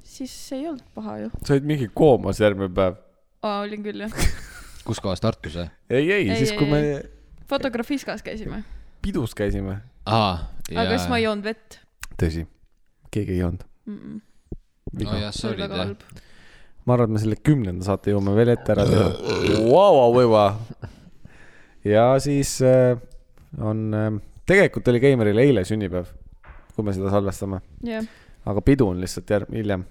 siis ei olnud paha ju . sa olid mingi koomas järgmine päev . aa , olin küll jah . kus kohas Tartus või ? ei , ei, ei , Ei, siis ei, kui me ei. Fotografiskas käisime , pidus käisime . aa , aga siis ma ei joonud vett . tõsi , keegi ei joonud mm . oh -mm. jah , see oli sorry väga jah . halb . ma arvan , et me selle kümnenda saate jõuame veel ette ära teha . Vau-vau-vau-vau . ja siis äh, on äh, , tegelikult oli Keimeril eile sünnipäev , kui me seda salvestame , jah , aga pidu on lihtsalt järg- , hiljem .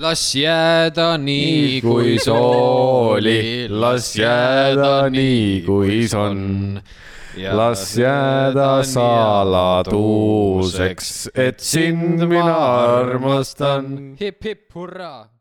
las jääda nii , kui sooli , las jääda nii , kui on . las jääda saladuuseks , et sind mina armastan . hip-hip hurraa .